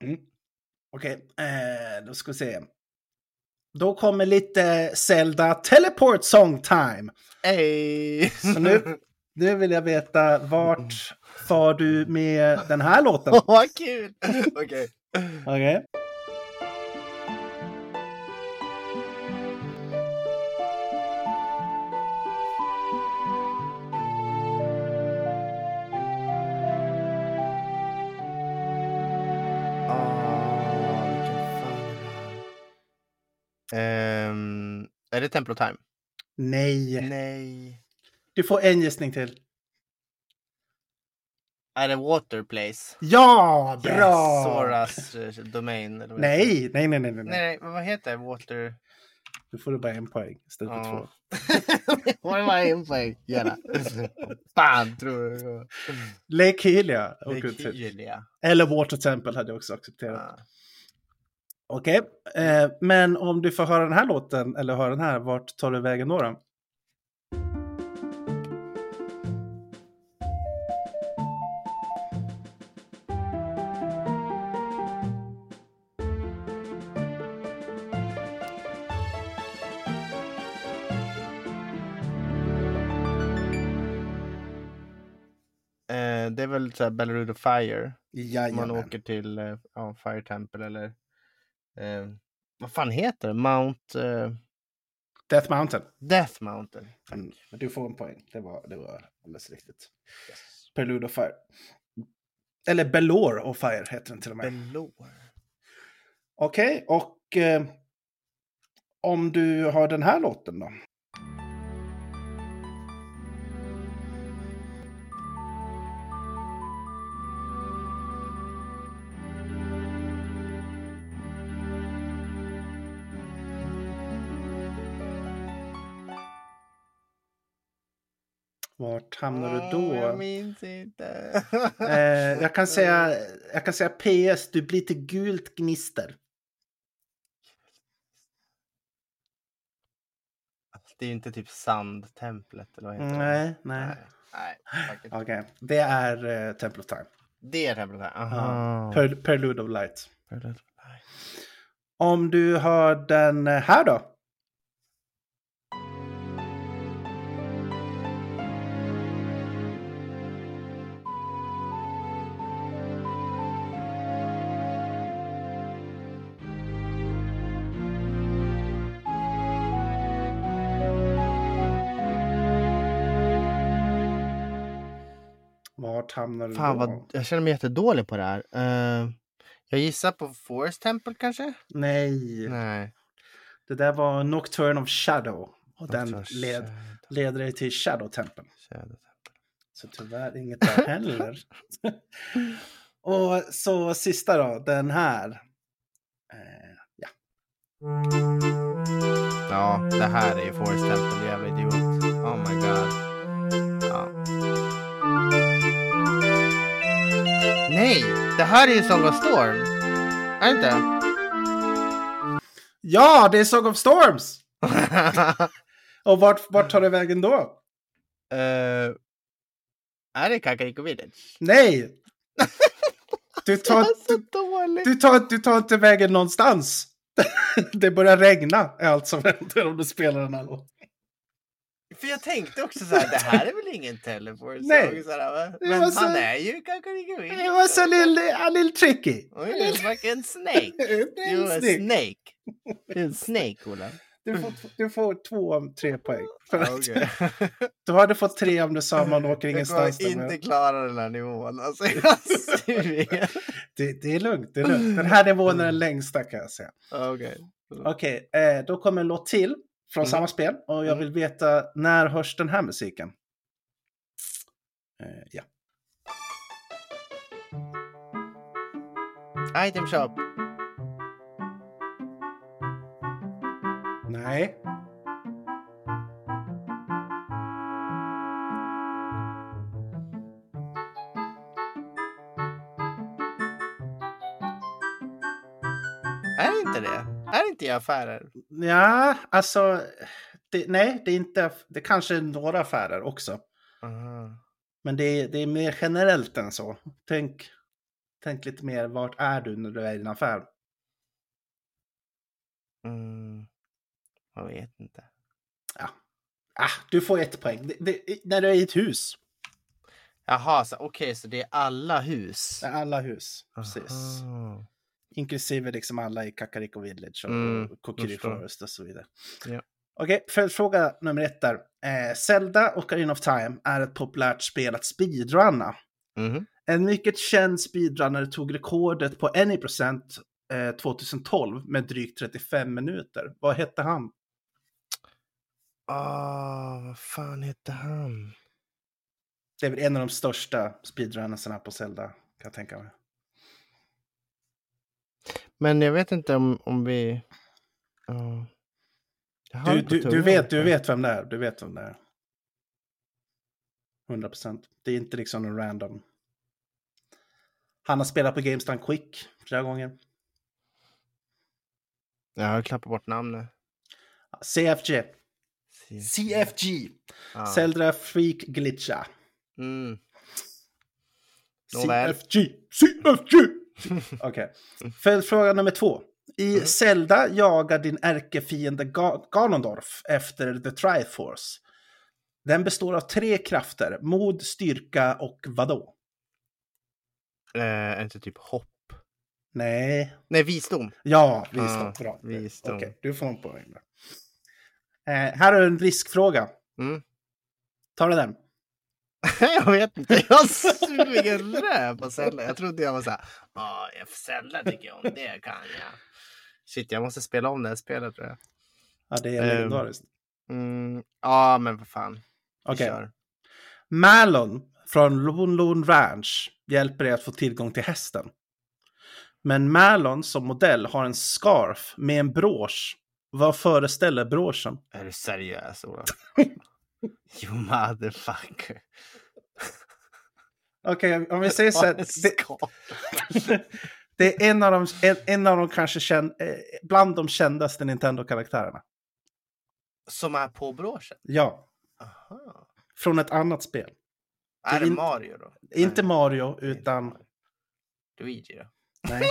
Speaker 1: Okej, eh, då ska vi se. Då kommer lite Zelda Teleport Song Time.
Speaker 2: Ey.
Speaker 1: Så nu, nu vill jag veta vart far du med den här låten?
Speaker 2: Åh, vad kul! Okej.
Speaker 1: Okej.
Speaker 2: Ah, Ehm, är det Temple of Time?
Speaker 1: Nej.
Speaker 2: Nej.
Speaker 1: Du får en gissning till.
Speaker 2: Är det Water Place?
Speaker 1: Ja, bra!
Speaker 2: Yes, Soras eh, domain? Eller vad heter
Speaker 1: Nej, nej, nej, nej, nej,
Speaker 2: det?
Speaker 1: nej.
Speaker 2: Nej, men vad heter det? Water...
Speaker 1: Nu får du bara en poäng istället för
Speaker 2: Ja.
Speaker 1: två.
Speaker 2: Vad var en poäng? Gärna. Fan, tror du?
Speaker 1: Lake Hylia.
Speaker 2: Det
Speaker 1: åker
Speaker 2: är Ah.
Speaker 1: ut till.
Speaker 2: Kylia.
Speaker 1: Eller Water Temple hade jag också accepterat.
Speaker 2: Ja.
Speaker 1: Okej, eh, men om du får höra den här låten eller höra den här, vart tar du vägen då? då?
Speaker 2: Eh, det är väl så här Bellerude Fire.
Speaker 1: Jajamän.
Speaker 2: Man åker till eh, ja, Fire Temple eller eh, vad fan heter det? Mount... Eh,
Speaker 1: Death Mountain.
Speaker 2: Death Mountain. Tack.
Speaker 1: Mm, Men du får en poäng. Det var, det var alldeles riktigt. Prelude of Fire. Eller Belore of Fire heter den till och med.
Speaker 2: Belor.
Speaker 1: Okej, och eh, om du har den här låten då? Vart hamnar du då?
Speaker 2: Åh, Jag minns inte.
Speaker 1: Eh, jag, kan säga, jag kan säga PS, du blir till gult gnister.
Speaker 2: Det är ju inte typ Sandtemplet eller vad heter det?
Speaker 1: Nej, nej.
Speaker 2: Nej. Nej. fuck it.
Speaker 1: Okej, det är eh, Temple of Time.
Speaker 2: Det är templet här.
Speaker 1: Ja.
Speaker 2: Aha.
Speaker 1: Per, Prelude of Light. Om du har den eh, här då? Vart hamnar du
Speaker 2: Fan
Speaker 1: då?
Speaker 2: vad, jag känner mig jättedålig på det här. Eh, jag gissar på Forest Temple kanske?
Speaker 1: Nej.
Speaker 2: Nej.
Speaker 1: Det där var Nocturne of Shadow. Och den
Speaker 2: Doctor
Speaker 1: led,
Speaker 2: Shadow-
Speaker 1: leder dig till Shadow Temple.
Speaker 2: Shadow.
Speaker 1: Så tyvärr inget där heller. Och så sista då, den här. Eh, ja.
Speaker 2: Ja, det här är ju Forest Temple. Jävla idiot. Oh my god. Ja. Nej! Det här är ju Song of Storm. Är det inte?
Speaker 1: ja, det är Song of Storms! Och vart, vart tar det vägen då?
Speaker 2: Eh, är det Kakariko Village?
Speaker 1: Nej! Du tar,
Speaker 2: så
Speaker 1: du,
Speaker 2: dåligt!
Speaker 1: du, tar, du tar inte vägen någonstans. Det börjar regna är allt som händer om du spelar den här låten.
Speaker 2: För jag tänkte också så här, det här är väl ingen teleport
Speaker 1: Nej.
Speaker 2: song? Så här, va?
Speaker 1: Det
Speaker 2: Men
Speaker 1: var så-
Speaker 2: han är ju Kakariko Village.
Speaker 1: It was a little, a little tricky.
Speaker 2: Oh, you're fucking snake!
Speaker 1: Du,
Speaker 2: You're a snake! You're a snake, Ola.
Speaker 1: du, får, du får två av tre poäng. För att
Speaker 2: Okej.
Speaker 1: Du hade fått tre om du sa man åker
Speaker 2: Jag
Speaker 1: ingenstans.
Speaker 2: kommer
Speaker 1: där, men
Speaker 2: inte klara den här nivån. Alltså, jag suger.
Speaker 1: Det, det är lugnt, det är lugnt. Den här nivån
Speaker 2: Mm.
Speaker 1: är den längsta kan jag säga.
Speaker 2: Okej.
Speaker 1: Okej, eh, då kommer en låt till från
Speaker 2: Mm.
Speaker 1: samma spel och jag
Speaker 2: Mm.
Speaker 1: vill veta när hörs den här musiken? Eh, ja.
Speaker 2: Item shop.
Speaker 1: Nej.
Speaker 2: Är det inte det? Är det inte i affärer?
Speaker 1: Ja, alltså. Det, nej, det är inte. Det kanske är några affärer också, men det är, det är mer generellt än så. Tänk, tänk lite mer. Vart är du när du är i en affär?
Speaker 2: Mm. Jag vet inte.
Speaker 1: Ah, du får ett poäng. Det, det, när du är i ett hus.
Speaker 2: Jaha, så- okej, så det är alla hus?
Speaker 1: Ja, Alla hus, precis.
Speaker 2: Aha.
Speaker 1: Inklusive liksom alla i Kakariko Village och
Speaker 2: Mm,
Speaker 1: mm, Kokiri
Speaker 2: förstår.
Speaker 1: Forest och så vidare.
Speaker 2: Ja.
Speaker 1: Okej, följdfråga nummer ett där. Eh, Zelda och Ocarina of Time är ett populärt spel att speedrunna.
Speaker 2: Mhm.
Speaker 1: En mycket känd speedrunnare tog rekordet på Any Percent eh, 2012 med drygt 35 minuter. Vad hette han?
Speaker 2: Ah, vad fan hette han?
Speaker 1: Det är väl en av de största speedrunnersarna på Zelda, kan jag tänka mig.
Speaker 2: Men jag vet inte om, om vi... Ja. Jag har
Speaker 1: Du,
Speaker 2: det på
Speaker 1: du, du,
Speaker 2: tungan
Speaker 1: vet, du
Speaker 2: lite.
Speaker 1: vet vem det är. Du vet vem det är. 100 procent. Det är inte liksom någon random. Han har spelat på GameStand Quick flera gånger.
Speaker 2: Ja, jag har klappat bort namnet.
Speaker 1: CFG. CFG. Zelda Freak Glitcha.
Speaker 2: Mm. Nåväl.
Speaker 1: CFG. CFG. Okej. Följdfråga nummer två. I
Speaker 2: Mm.
Speaker 1: Zelda jagar din ärkefiende Ga- Ganondorf efter The Triforce. Den består av tre krafter. Mod, styrka och vadå?
Speaker 2: Eh, är inte typ hopp?
Speaker 1: Nej,
Speaker 2: Nej, visdom.
Speaker 1: Ja, visdom.
Speaker 2: Ah,
Speaker 1: bra.
Speaker 2: visdom.
Speaker 1: Okej, du får en poäng. där. Eh, här är en riskfråga.
Speaker 2: Mm.
Speaker 1: Tar du den?
Speaker 2: jag vet inte, jag suger röv på Zelda. Jag trodde jag var så här, "Ah, ja, Zelda tycker jag om, det kan jag. Shit, jag måste spela om det här spelet tror jag.
Speaker 1: Ja, det är
Speaker 2: Ehm.
Speaker 1: legendariskt.
Speaker 2: Mm, ja, men vad fan. Vi
Speaker 1: Okej.
Speaker 2: kör.
Speaker 1: Malon från Lone Lone Ranch hjälper er att få tillgång till hästen. Men Malon som modell har en scarf med en brosch. Vad föreställer broschen?
Speaker 2: Är du seriös, Ola? you motherfucker.
Speaker 1: Okej, om vi säger så
Speaker 2: Vad
Speaker 1: här.
Speaker 2: en
Speaker 1: Det,
Speaker 2: skap.
Speaker 1: det är en av de, en, en av de kanske känd, eh, bland de kändaste Nintendo-karaktärerna.
Speaker 2: Som är på broschen?
Speaker 1: Ja,
Speaker 2: Aha.
Speaker 1: från ett annat spel.
Speaker 2: Är det
Speaker 1: in-
Speaker 2: Mario då?
Speaker 1: Inte
Speaker 2: Nej,
Speaker 1: Mario,
Speaker 2: det är inte
Speaker 1: utan...
Speaker 2: Mario. Luigi då?
Speaker 1: Nej.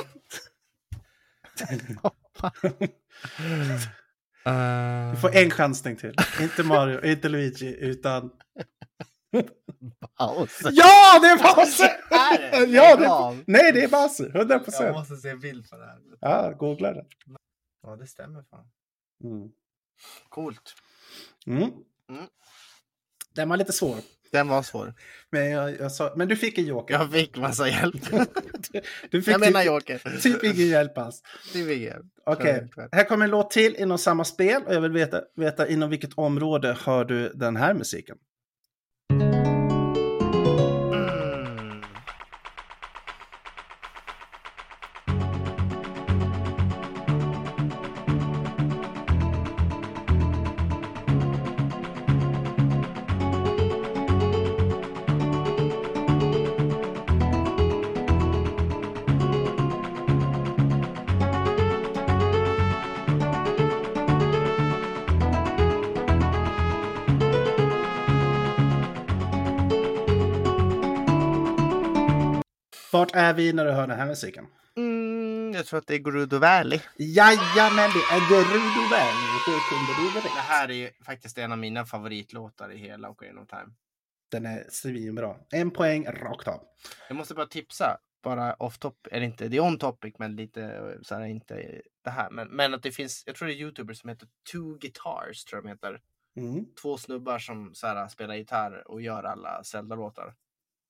Speaker 1: Du får en chansning till. Inte Mario, inte Luigi, utan...
Speaker 2: paus.
Speaker 1: Ja, det är Bowser!
Speaker 2: Är det?
Speaker 1: Ja, det
Speaker 2: Reklam?
Speaker 1: Nej, det är Bowser. 100
Speaker 2: Jag
Speaker 1: procent.
Speaker 2: måste se en bild på det här.
Speaker 1: Ja, googla det.
Speaker 2: Ja, det stämmer fan.
Speaker 1: Mm.
Speaker 2: Coolt.
Speaker 1: Mm.
Speaker 2: Mm.
Speaker 1: Den var lite svår.
Speaker 2: Den var svår.
Speaker 1: Men, jag, jag sa, men du fick en joker.
Speaker 2: Jag fick massa hjälp.
Speaker 1: Du fick
Speaker 2: jag menar
Speaker 1: typ,
Speaker 2: Joker.
Speaker 1: typ ingen hjälp alls.
Speaker 2: Det fick hjälp.
Speaker 1: Okej, här kommer en låt till inom samma spel och jag vill veta, veta inom vilket område hör du den här musiken?
Speaker 2: Mm.
Speaker 1: Vart är vi när du hör den här musiken?
Speaker 2: Mm, jag tror att det är Gerudo Valley.
Speaker 1: Jajamän, det är Gerudo Valley. Hur kunde du
Speaker 2: Det
Speaker 1: det?
Speaker 2: här är ju faktiskt en av mina favoritlåtar i hela Ocarina of Time.
Speaker 1: Den är svinbra. En poäng rakt av.
Speaker 2: Jag måste bara tipsa, bara off topic, eller inte, det är on topic men lite eh, så här inte det här. Men, men att det finns, jag tror det är youtubers som heter Two Guitars, tror jag de heter.
Speaker 1: Mm.
Speaker 2: Två snubbar som så här, spelar gitarr och gör alla Zelda-låtar.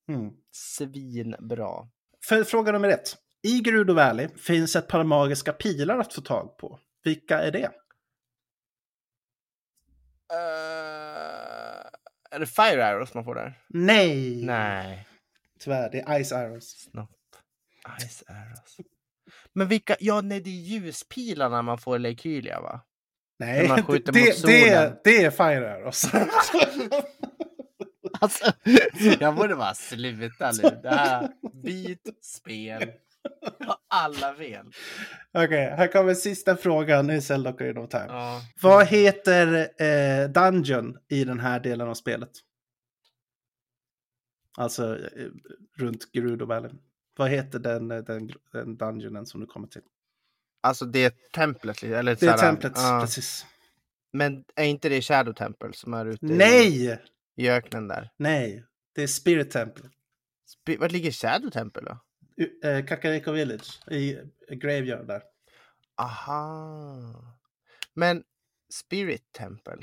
Speaker 1: Mm.
Speaker 2: Svinbra.
Speaker 1: För fråga nummer ett. I Gerudo Valley finns ett par magiska pilar att få tag på. Vilka är det?
Speaker 2: Eh, är det Fire Arrows man får där?
Speaker 1: Nej!
Speaker 2: Nej.
Speaker 1: Tyvärr, det är Ice Arrows.
Speaker 2: Snopp. Ice Arrows. Men vilka, ja nej det är ljuspilarna man får i Lekylia va?
Speaker 1: Nej,
Speaker 2: När man skjuter
Speaker 1: det,
Speaker 2: mot solen.
Speaker 1: det, det är Fire Arrows.
Speaker 2: Alltså, jag borde bara sluta nu. Det här, byt spel. Har Alla fel.
Speaker 1: Okej, här kommer sista frågan i Zelda Ocarina of Time.
Speaker 2: Ja.
Speaker 1: Vad heter eh, Dungeon i den här delen av spelet? Alltså eh, runt Gerudo Valley. Vad heter den, eh, den, den dungeonen som du kommer till?
Speaker 2: Alltså det är templet, eller
Speaker 1: Det är
Speaker 2: så här,
Speaker 1: templet,
Speaker 2: ja.
Speaker 1: precis.
Speaker 2: Men är inte det Shadow Temple som är ute i-
Speaker 1: Nej!
Speaker 2: i öknen där?
Speaker 1: Nej, det är Spirit Temple.
Speaker 2: Sp- Var ligger Shadow Temple då?
Speaker 1: U- eh, Kakariko Village i Graveyard där.
Speaker 2: Aha. Men Spirit Temple?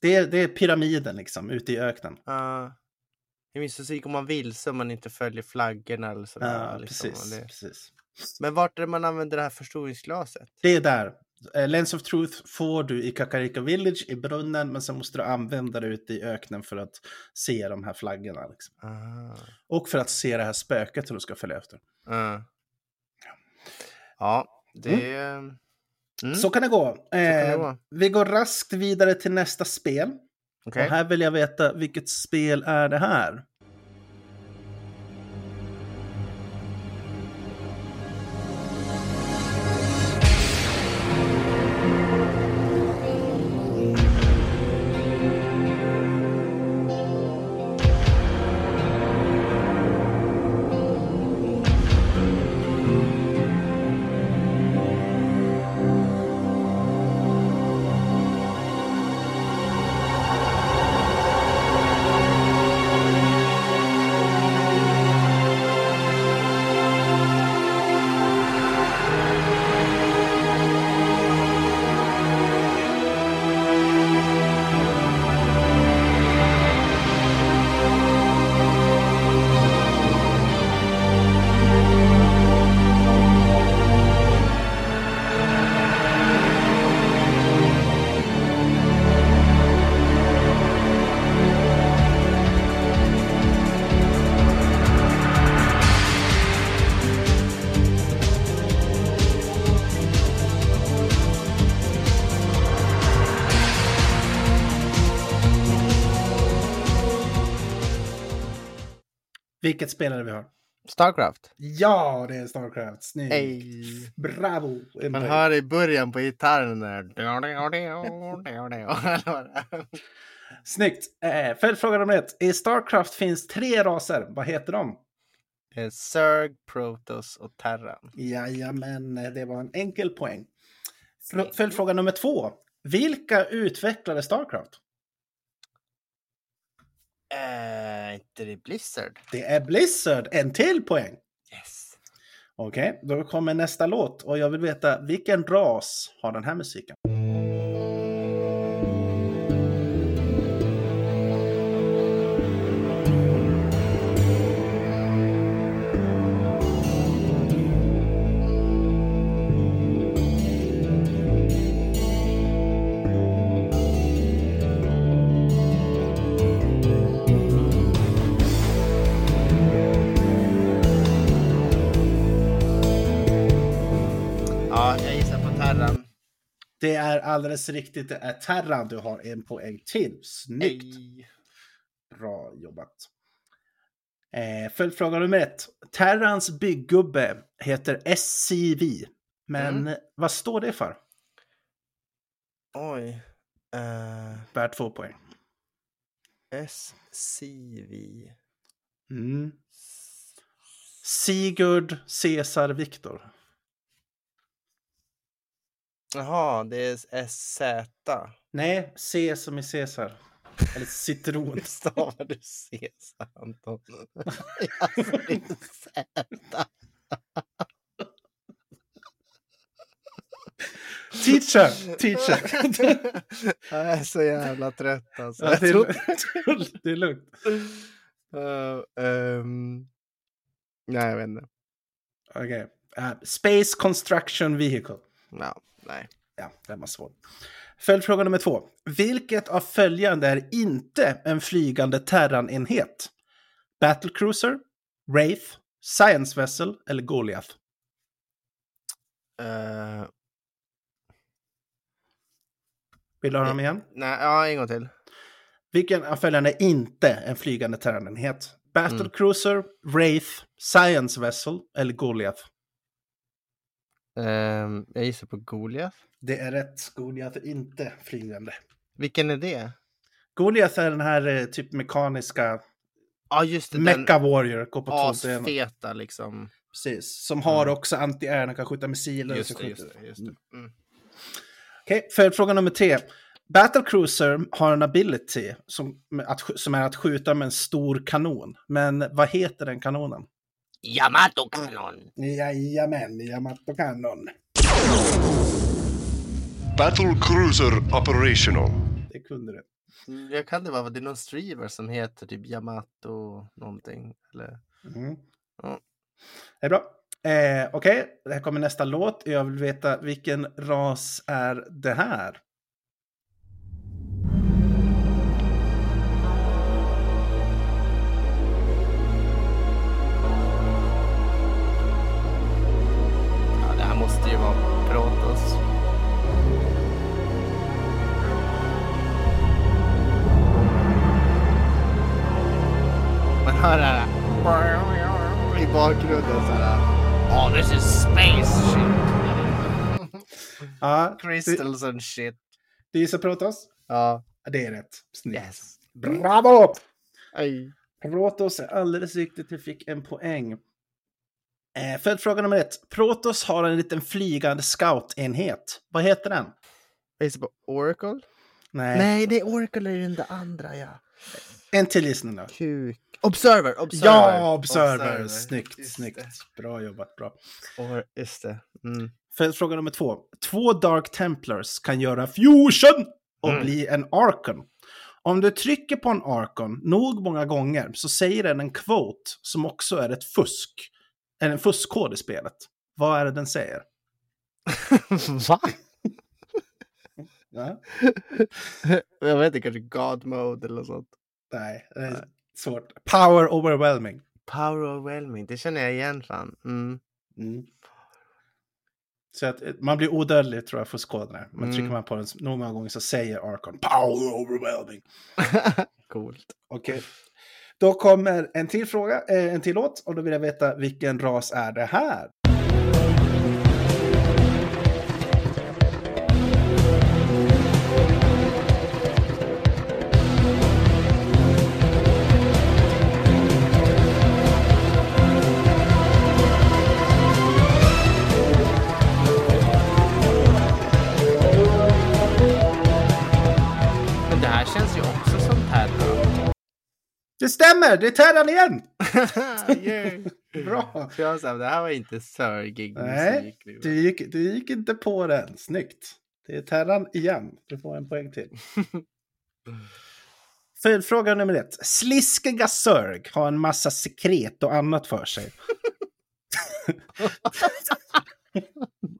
Speaker 1: Det är, det är pyramiden liksom, ute i öknen.
Speaker 2: Uh, det finns musik om man vill så man inte följer flaggorna eller sådär.
Speaker 1: Ja,
Speaker 2: liksom,
Speaker 1: precis,
Speaker 2: och det-
Speaker 1: precis.
Speaker 2: Men vart är det man använder det här förstoringsglaset?
Speaker 1: Det är där. Eh, Lens of Truth får du i Kakariko Village i brunnen, men sen måste du använda det ute i öknen för att se de här flaggorna. Liksom.
Speaker 2: Aha.
Speaker 1: Och för att se det här spöket som du ska följa efter.
Speaker 2: Ja. Ja, det... Mm.
Speaker 1: Så kan det gå.
Speaker 2: det
Speaker 1: Eh,
Speaker 2: gå.
Speaker 1: Vi går raskt vidare till nästa spel.
Speaker 2: Okej.
Speaker 1: Och här vill jag veta, vilket spel är det här? Vilket spelare vi har.
Speaker 2: Starcraft.
Speaker 1: Ja, det är Starcraft. Snyggt.
Speaker 2: Ey.
Speaker 1: Bravo! En
Speaker 2: Man
Speaker 1: poäng.
Speaker 2: hör i början på gitarren där.
Speaker 1: Snyggt! Eh, följdfråga nummer ett. I Starcraft finns tre raser. Vad heter de?
Speaker 2: Eh, Zerg, Protoss och Terran.
Speaker 1: Jajamän, det var en enkel poäng. Fl- Följdfråga nummer två. Vilka utvecklade Starcraft?
Speaker 2: Äh, inte det Blizzard?
Speaker 1: Det är Blizzard. En till poäng!
Speaker 2: Yes.
Speaker 1: Okej, då kommer nästa låt och jag vill veta vilken ras har den här musiken?
Speaker 2: Ja, jag gissar på Terran.
Speaker 1: Det är alldeles riktigt, det är Terran. Du har en poäng till. Snyggt!
Speaker 2: Ey.
Speaker 1: Bra jobbat. Eh, följdfråga nummer ett. Terrans byggubbe heter SCV. Men vad står det för?
Speaker 2: Oj. Eh,
Speaker 1: Värt två poäng.
Speaker 2: SCV.
Speaker 1: Mm. Sigurd Cesar Viktor.
Speaker 2: Jaha, det är SZ.
Speaker 1: Nej, C som i Cesar. Eller citron.
Speaker 2: Hur stavar du Cesar, Anton? Alltså, det är Z.
Speaker 1: teacher! Teacher!
Speaker 2: Jag är så jävla trött alltså.
Speaker 1: Ja,
Speaker 2: Jag
Speaker 1: det, är,
Speaker 2: trodde-
Speaker 1: lugnt. det är lugnt.
Speaker 2: Eh, ehm, nej, jag vet inte.
Speaker 1: Okej. Eh, Space Construction Vehicle.
Speaker 2: Ja, nej.
Speaker 1: Ja, den var svår. Följdfråga nummer två. Vilket av följande är inte en flygande Terran-enhet? Battlecruiser, Wraith, Science Vessel eller Goliath?
Speaker 2: Eh,
Speaker 1: Vill du höra dem igen?
Speaker 2: nej, ja, en gång till.
Speaker 1: Vilken av följande är inte en flygande Terran-enhet? Battlecruiser, Wraith, Science Vessel eller Goliath?
Speaker 2: Ehm, jag gissar på Goliath.
Speaker 1: Det är rätt. Goliath är inte flygande.
Speaker 2: Vilken är det?
Speaker 1: Goliath är den här eh, typ mekaniska
Speaker 2: Ja, just det. Den
Speaker 1: Mecha Warrior. Går på två ben.
Speaker 2: asfeta liksom.
Speaker 1: Precis. Som har också anti-air, den kan skjuta missiler. och så
Speaker 2: Just det,
Speaker 1: skjuter
Speaker 2: just det. Just det. Mm.
Speaker 1: Okej, följdfråga nummer tre. Battlecruiser har en ability som, med att, sk- som är att skjuta med en stor kanon. Men vad heter den kanonen?
Speaker 2: Yamato-kanon!
Speaker 1: Jajamän, Yamato-kanon.
Speaker 6: Battle cruiser operational.
Speaker 1: Det kunde du.
Speaker 2: Jag kan det vara, det är någon streamer som heter typ Yamato någonting. Eller?
Speaker 1: Mm.
Speaker 2: Ja.
Speaker 1: Det är bra. Eh, Okej, här kommer nästa låt. Jag vill veta vilken ras är det här?
Speaker 2: Ja, det här måste ju vara Protoss. Man hör det här i bakgrunden så här. Oh, this is space shit.
Speaker 1: Ja, det,
Speaker 2: Crystals and shit.
Speaker 1: det gissar Protoss?
Speaker 2: Ja,
Speaker 1: Ja, Det är rätt. Snyggt.
Speaker 2: yes.
Speaker 1: Bravo!
Speaker 2: Aj.
Speaker 1: Protos är alldeles riktigt, du fick en poäng. Eh, följdfråga nummer ett. Protos har en liten flygande scoutenhet. Vad heter den?
Speaker 2: Jag gissar på Oracle.
Speaker 1: Nej.
Speaker 2: Nej, det är Oracle är den där andra ja.
Speaker 1: En till gissning då.
Speaker 2: Kuk. Observer, observer.
Speaker 1: Ja, observer. Snyggt,
Speaker 2: Just
Speaker 1: snyggt.
Speaker 2: det.
Speaker 1: Bra jobbat, bra.
Speaker 2: Or, just det. Mm.
Speaker 1: Följdfråga nummer två. Två Dark Templars kan göra fusion och
Speaker 2: Mm.
Speaker 1: bli en Archon. Om du trycker på en Archon nog många gånger så säger den en quote som också är ett fusk. Eller en fuskkod i spelet. Vad är det den säger?
Speaker 2: Va?
Speaker 1: Ja.
Speaker 2: Jag vet inte, kanske God mode eller något sånt.
Speaker 1: Nej, det är svårt. Power overwhelming.
Speaker 2: Power overwhelming, det känner jag igen fan. Mm.
Speaker 1: Så att eh, man blir odödlig tror jag för skådare. Men
Speaker 2: Mm.
Speaker 1: trycker man på den så- nog många gånger så säger Arkon Power overwhelming.
Speaker 2: Coolt.
Speaker 1: Okej. Då kommer en till fråga, eh, en till låt och då vill jag veta vilken ras är det här?
Speaker 7: Men det här känns ju också som Terra.
Speaker 1: Det stämmer, det är Terran igen!
Speaker 2: Yay.
Speaker 1: Bra!
Speaker 2: Så jag sa, det här var inte sörgig
Speaker 1: Nej, typ-
Speaker 2: musik. nu.
Speaker 1: Du gick, du gick inte på den, snyggt. Det är Terran igen, du får en poäng till. Följdfråga nummer ett. Sliskiga sörg har en massa sekret och annat för sig.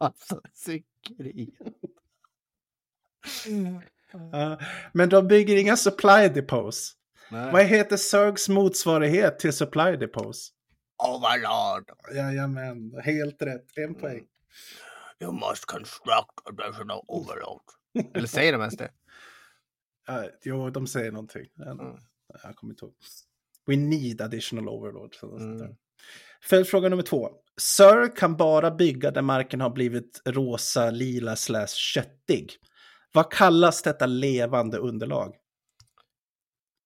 Speaker 2: Massa psykeri.
Speaker 1: Ja, men de bygger inga supply depots. Vad heter Sörgs motsvarighet till supply depots?
Speaker 2: Overlord,
Speaker 1: Jajamän, helt rätt. En poäng.
Speaker 2: you must construct additional overlord. Eller säger de ens det?
Speaker 1: Uh, jo, de säger någonting. Men,
Speaker 2: Mm.
Speaker 1: Jag kommer inte ihåg. We need additional overlord. Mm.
Speaker 2: Mm.
Speaker 1: Följdfråga nummer två. Sir kan bara bygga där marken har blivit rosa, lila slash köttig. Vad kallas detta levande underlag?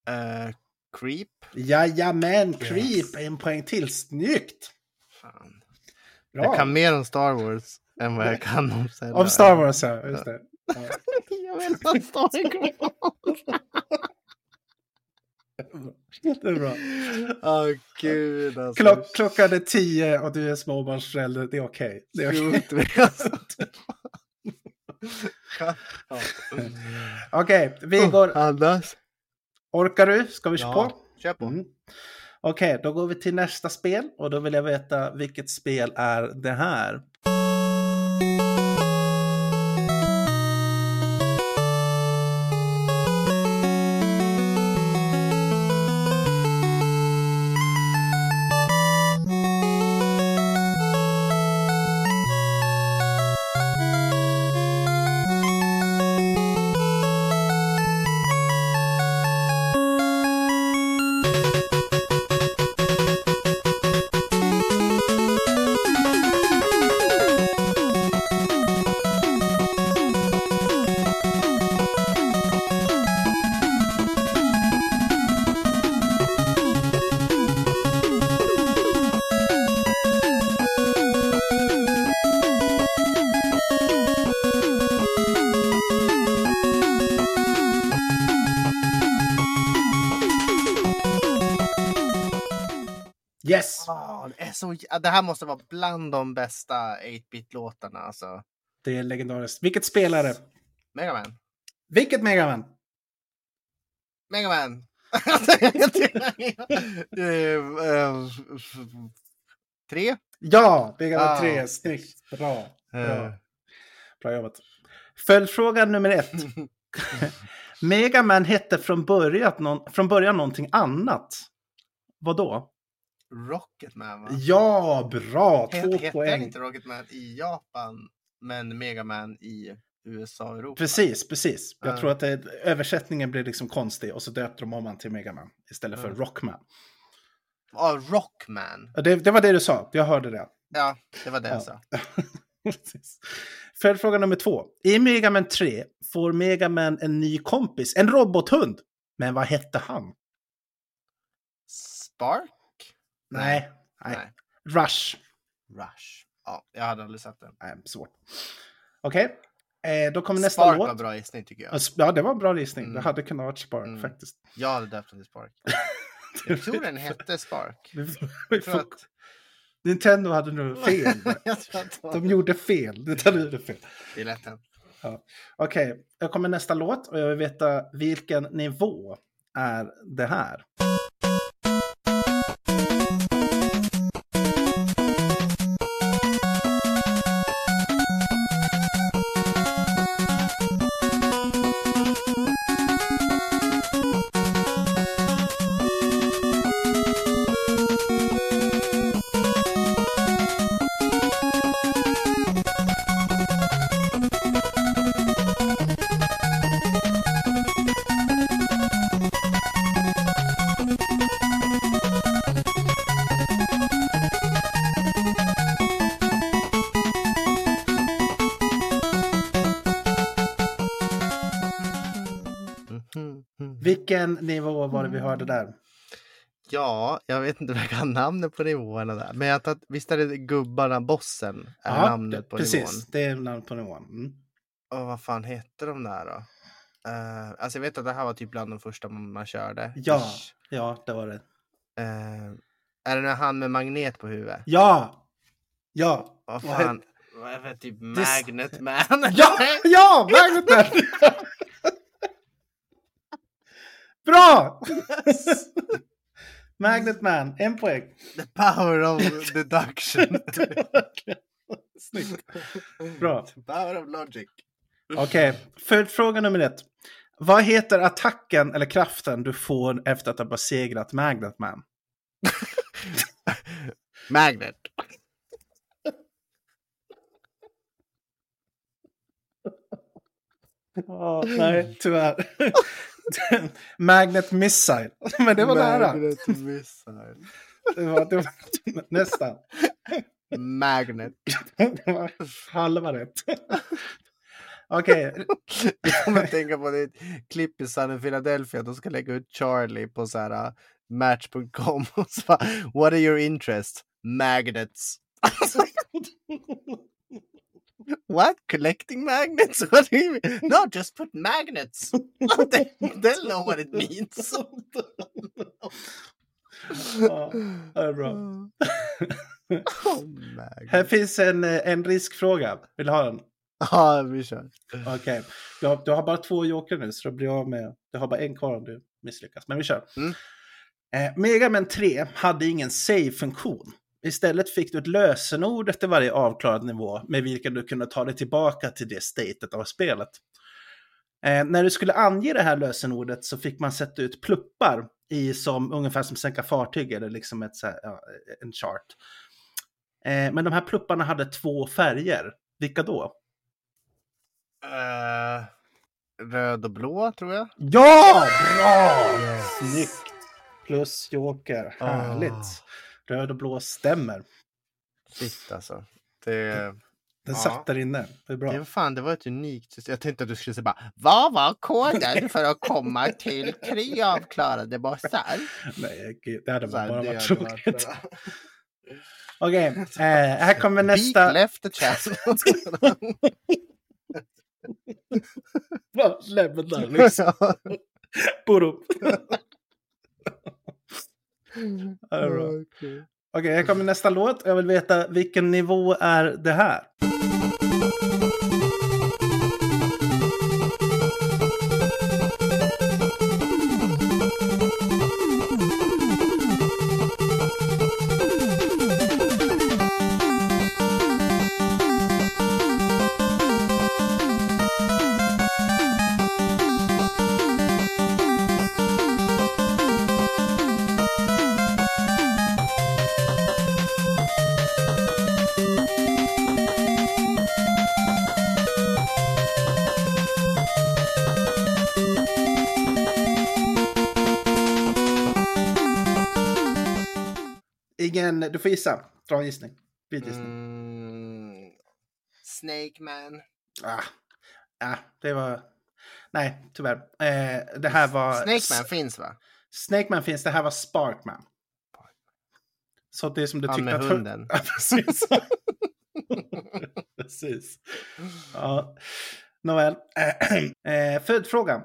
Speaker 2: Eh, creep?
Speaker 1: Jajamän, creep! En poäng till. Snyggt!
Speaker 2: Fan.
Speaker 1: Bra.
Speaker 2: Jag kan mer om Star Wars än vad jag kan om Zelda.
Speaker 1: Om Star Wars, ja. Just det. Ja.
Speaker 2: jag vill ha Star Wars.
Speaker 1: Det är bra.
Speaker 2: Åh gud alltså.
Speaker 1: Klock, klockan är tio och du är småbarnsförälder. Det är okej. Det är okej.
Speaker 2: Shoot me, alltså. Ja.
Speaker 1: Okej, vi går.
Speaker 2: Andas.
Speaker 1: Orkar du? Ska vi köra på?
Speaker 2: Ja, kör på.
Speaker 1: Mm. Okej, då går vi till nästa spel och då vill jag veta vilket spel är det här? Yes!
Speaker 2: Ah, det, är så, jä- det här måste vara bland de bästa 8-bit-låtarna alltså.
Speaker 1: Det är legendariskt. Vilket spel är det?
Speaker 2: Mega Man.
Speaker 1: Vilket Megaman?
Speaker 2: Mega Man. Eh, eh, Tre?
Speaker 1: Ja, Megaman
Speaker 2: Ah.
Speaker 1: 3. Snyggt. Bra. Bra,
Speaker 2: Eh.
Speaker 1: Bra jobbat. Följdfråga nummer ett. Megaman hette från början, någon, från början någonting annat. Vad då?
Speaker 2: Rocket Man va?
Speaker 1: Ja, bra! Två
Speaker 2: Het- Hette han
Speaker 1: poäng.
Speaker 2: inte Rocket Man i Japan men Mega Man i USA och Europa?
Speaker 1: Precis, precis. Jag
Speaker 2: Ja.
Speaker 1: tror att det, översättningen blev liksom konstig och så döpte de om han till Megaman istället för
Speaker 2: Ja.
Speaker 1: Rockman.
Speaker 2: Ja, Rockman.
Speaker 1: Och Det, det var det du sa, jag hörde det.
Speaker 2: Ja, det var det
Speaker 1: Ja.
Speaker 2: jag sa.
Speaker 1: Precis. Följdfråga nummer två. I Megaman 3 får Megaman en ny kompis, en robothund. Men vad hette han?
Speaker 2: Spark?
Speaker 1: Nej. Nej.
Speaker 2: Nej.
Speaker 1: Rush.
Speaker 2: Rush. Ja, jag hade aldrig sett den.
Speaker 1: Nej, svårt. Okej, eh, då kommer nästa
Speaker 2: Spark
Speaker 1: låt. Alltså-
Speaker 2: var bra gissning tycker jag.
Speaker 1: Ja, sp- Ja, det var en bra gissning. Det
Speaker 2: Mm.
Speaker 1: hade kunnat vara Spark
Speaker 2: Mm.
Speaker 1: faktiskt.
Speaker 2: Jag hade döpt den till Spark. Jag tror den hette Spark.
Speaker 1: Vi får- vi
Speaker 2: Jag tror
Speaker 1: får-
Speaker 2: att...
Speaker 1: Nintendo hade nog fel.
Speaker 2: jag tror att det var-
Speaker 1: De gjorde fel. Nintendo gjorde fel.
Speaker 2: Det är lätt hänt.
Speaker 1: Okej, jag kommer nästa låt och jag vill veta vilken nivå är det här?
Speaker 2: Hmm.
Speaker 1: Vilken nivå var det vi hörde
Speaker 2: Mm.
Speaker 1: där?
Speaker 2: Ja, jag vet inte om jag kan namnet på nivåerna där. Men jag tar, visst är det gubbarna, bossen, är
Speaker 1: Ja,
Speaker 2: namnet på
Speaker 1: precis,
Speaker 2: nivån.
Speaker 1: det är namnet på nivån. Mm.
Speaker 2: Och vad fan hette de där då? Eh, alltså jag vet att det här var typ bland de första man, man körde.
Speaker 1: Ja,
Speaker 2: Ish.
Speaker 1: ja, det var det.
Speaker 2: Eh, är det när han med magnet på huvudet?
Speaker 1: Ja! Ja!
Speaker 2: Vad
Speaker 1: Vad het-
Speaker 2: fan? Vad är det för typ
Speaker 1: Det-
Speaker 2: Magnet Man?
Speaker 1: Ja! Ja! Magnet Man! Bra! Magnet Man, en poäng.
Speaker 2: The power of deduction.
Speaker 1: Snyggt. Bra.
Speaker 2: The power of logic. Mm.
Speaker 1: Okej, följdfråga nummer ett. Vad heter attacken eller kraften du får efter att ha besegrat Magnet Man?
Speaker 2: Magnet.
Speaker 1: Ja, nej, tyvärr. Magnet Missile. Men det var nära.
Speaker 2: Magnet missile.
Speaker 1: Det var, det var, nästan.
Speaker 2: Magnet.
Speaker 1: Det var halva rätt. Okej,
Speaker 2: Jag kommer att tänka på det klipp i Sunny Philadelphia. De ska lägga ut Charlie på så här uh, match.com. Och så bara, What are your interests? Magnets. What? Collecting magnets? What do you mean? No, just put magnets. they, they'll know what it means.
Speaker 1: ja, det är bra.
Speaker 2: Oh, magnets.
Speaker 1: Här finns en, eh, en riskfråga. Vill du ha den?
Speaker 2: Ja, vi kör.
Speaker 1: Okej. Du, har- du har bara två joker nu, så då blir jag med. Du har bara en kvar om du misslyckas. Men vi kör.
Speaker 2: Mm.
Speaker 1: Eh, Mega Man 3 hade ingen save-funktion. Istället fick du ett lösenord efter varje avklarad nivå med vilken du kunde ta dig tillbaka till det statet av spelet. Eh, när du skulle ange det här lösenordet så fick man sätta ut pluppar i som, ungefär som sänka fartyg eller liksom ett, så här, ja, en chart. Eh, men de här plupparna hade två färger. Vilka då?
Speaker 2: Eh, röd och blå, tror jag.
Speaker 1: Ja! Bra! Snyggt! Plus joker.
Speaker 2: Ah.
Speaker 1: Härligt. Röd och blå stämmer.
Speaker 2: Shit, alltså. Det...
Speaker 1: Den
Speaker 2: Ja.
Speaker 1: satt där inne. Det är bra.
Speaker 2: Det, fan, det var ett unikt system. Jag tänkte att du skulle säga bara Vad var koden för att komma till tre avklarade bossar?
Speaker 1: Nej, gud, det hade
Speaker 2: Så här,
Speaker 1: bara
Speaker 2: det
Speaker 1: varit
Speaker 2: hade varit
Speaker 1: tråkigt.
Speaker 2: bra.
Speaker 1: Okej, eh, här kommer
Speaker 2: Beat
Speaker 1: nästa.
Speaker 2: left the chasm.
Speaker 1: Bara Lämna där, liksom. Borom. Ja, det är bra. Okej, här kommer nästa låt. Jag vill veta vilken nivå är det här? Ingen, du får gissa. Dra en gissning. Vit gissning.
Speaker 2: Mm, Snake man.
Speaker 1: Ah. Ah, det var... Nej, tyvärr. Eh, det här var...
Speaker 2: Snake man finns va?
Speaker 1: Snake Man finns, det här var Sparkman. Så det är som du
Speaker 2: Han
Speaker 1: tyckte
Speaker 2: med
Speaker 1: att...
Speaker 2: hunden.
Speaker 1: Ja, precis. precis. Ja. Nåväl. Eh, Följdfråga.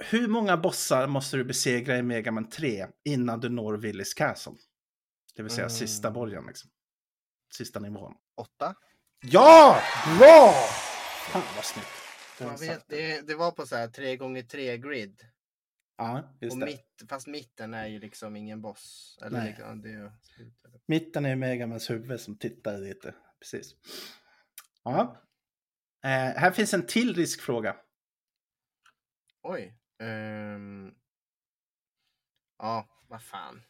Speaker 1: Hur många bossar måste du besegra i Mega Man 3 innan du når Willis Castle? Det vill säga
Speaker 2: Mm.
Speaker 1: sista borgen. Liksom. Sista nivån.
Speaker 2: Åtta?
Speaker 1: Ja! Bra! Fan vad snyggt. Det
Speaker 2: Man
Speaker 1: var
Speaker 2: vet,
Speaker 1: sant.
Speaker 2: det, det var på så här 3 gånger 3 grid.
Speaker 1: Ja, just
Speaker 2: Och
Speaker 1: det.
Speaker 2: mitt, fast mitten är ju liksom ingen boss. Eller
Speaker 1: Nej.
Speaker 2: liksom, det är ju slutet.
Speaker 1: Mitten är Megamans huvud som tittar lite. Precis. Ja. Eh,
Speaker 2: Mm.
Speaker 1: här finns en till riskfråga.
Speaker 2: Oj. ehm. Ja, vad fan.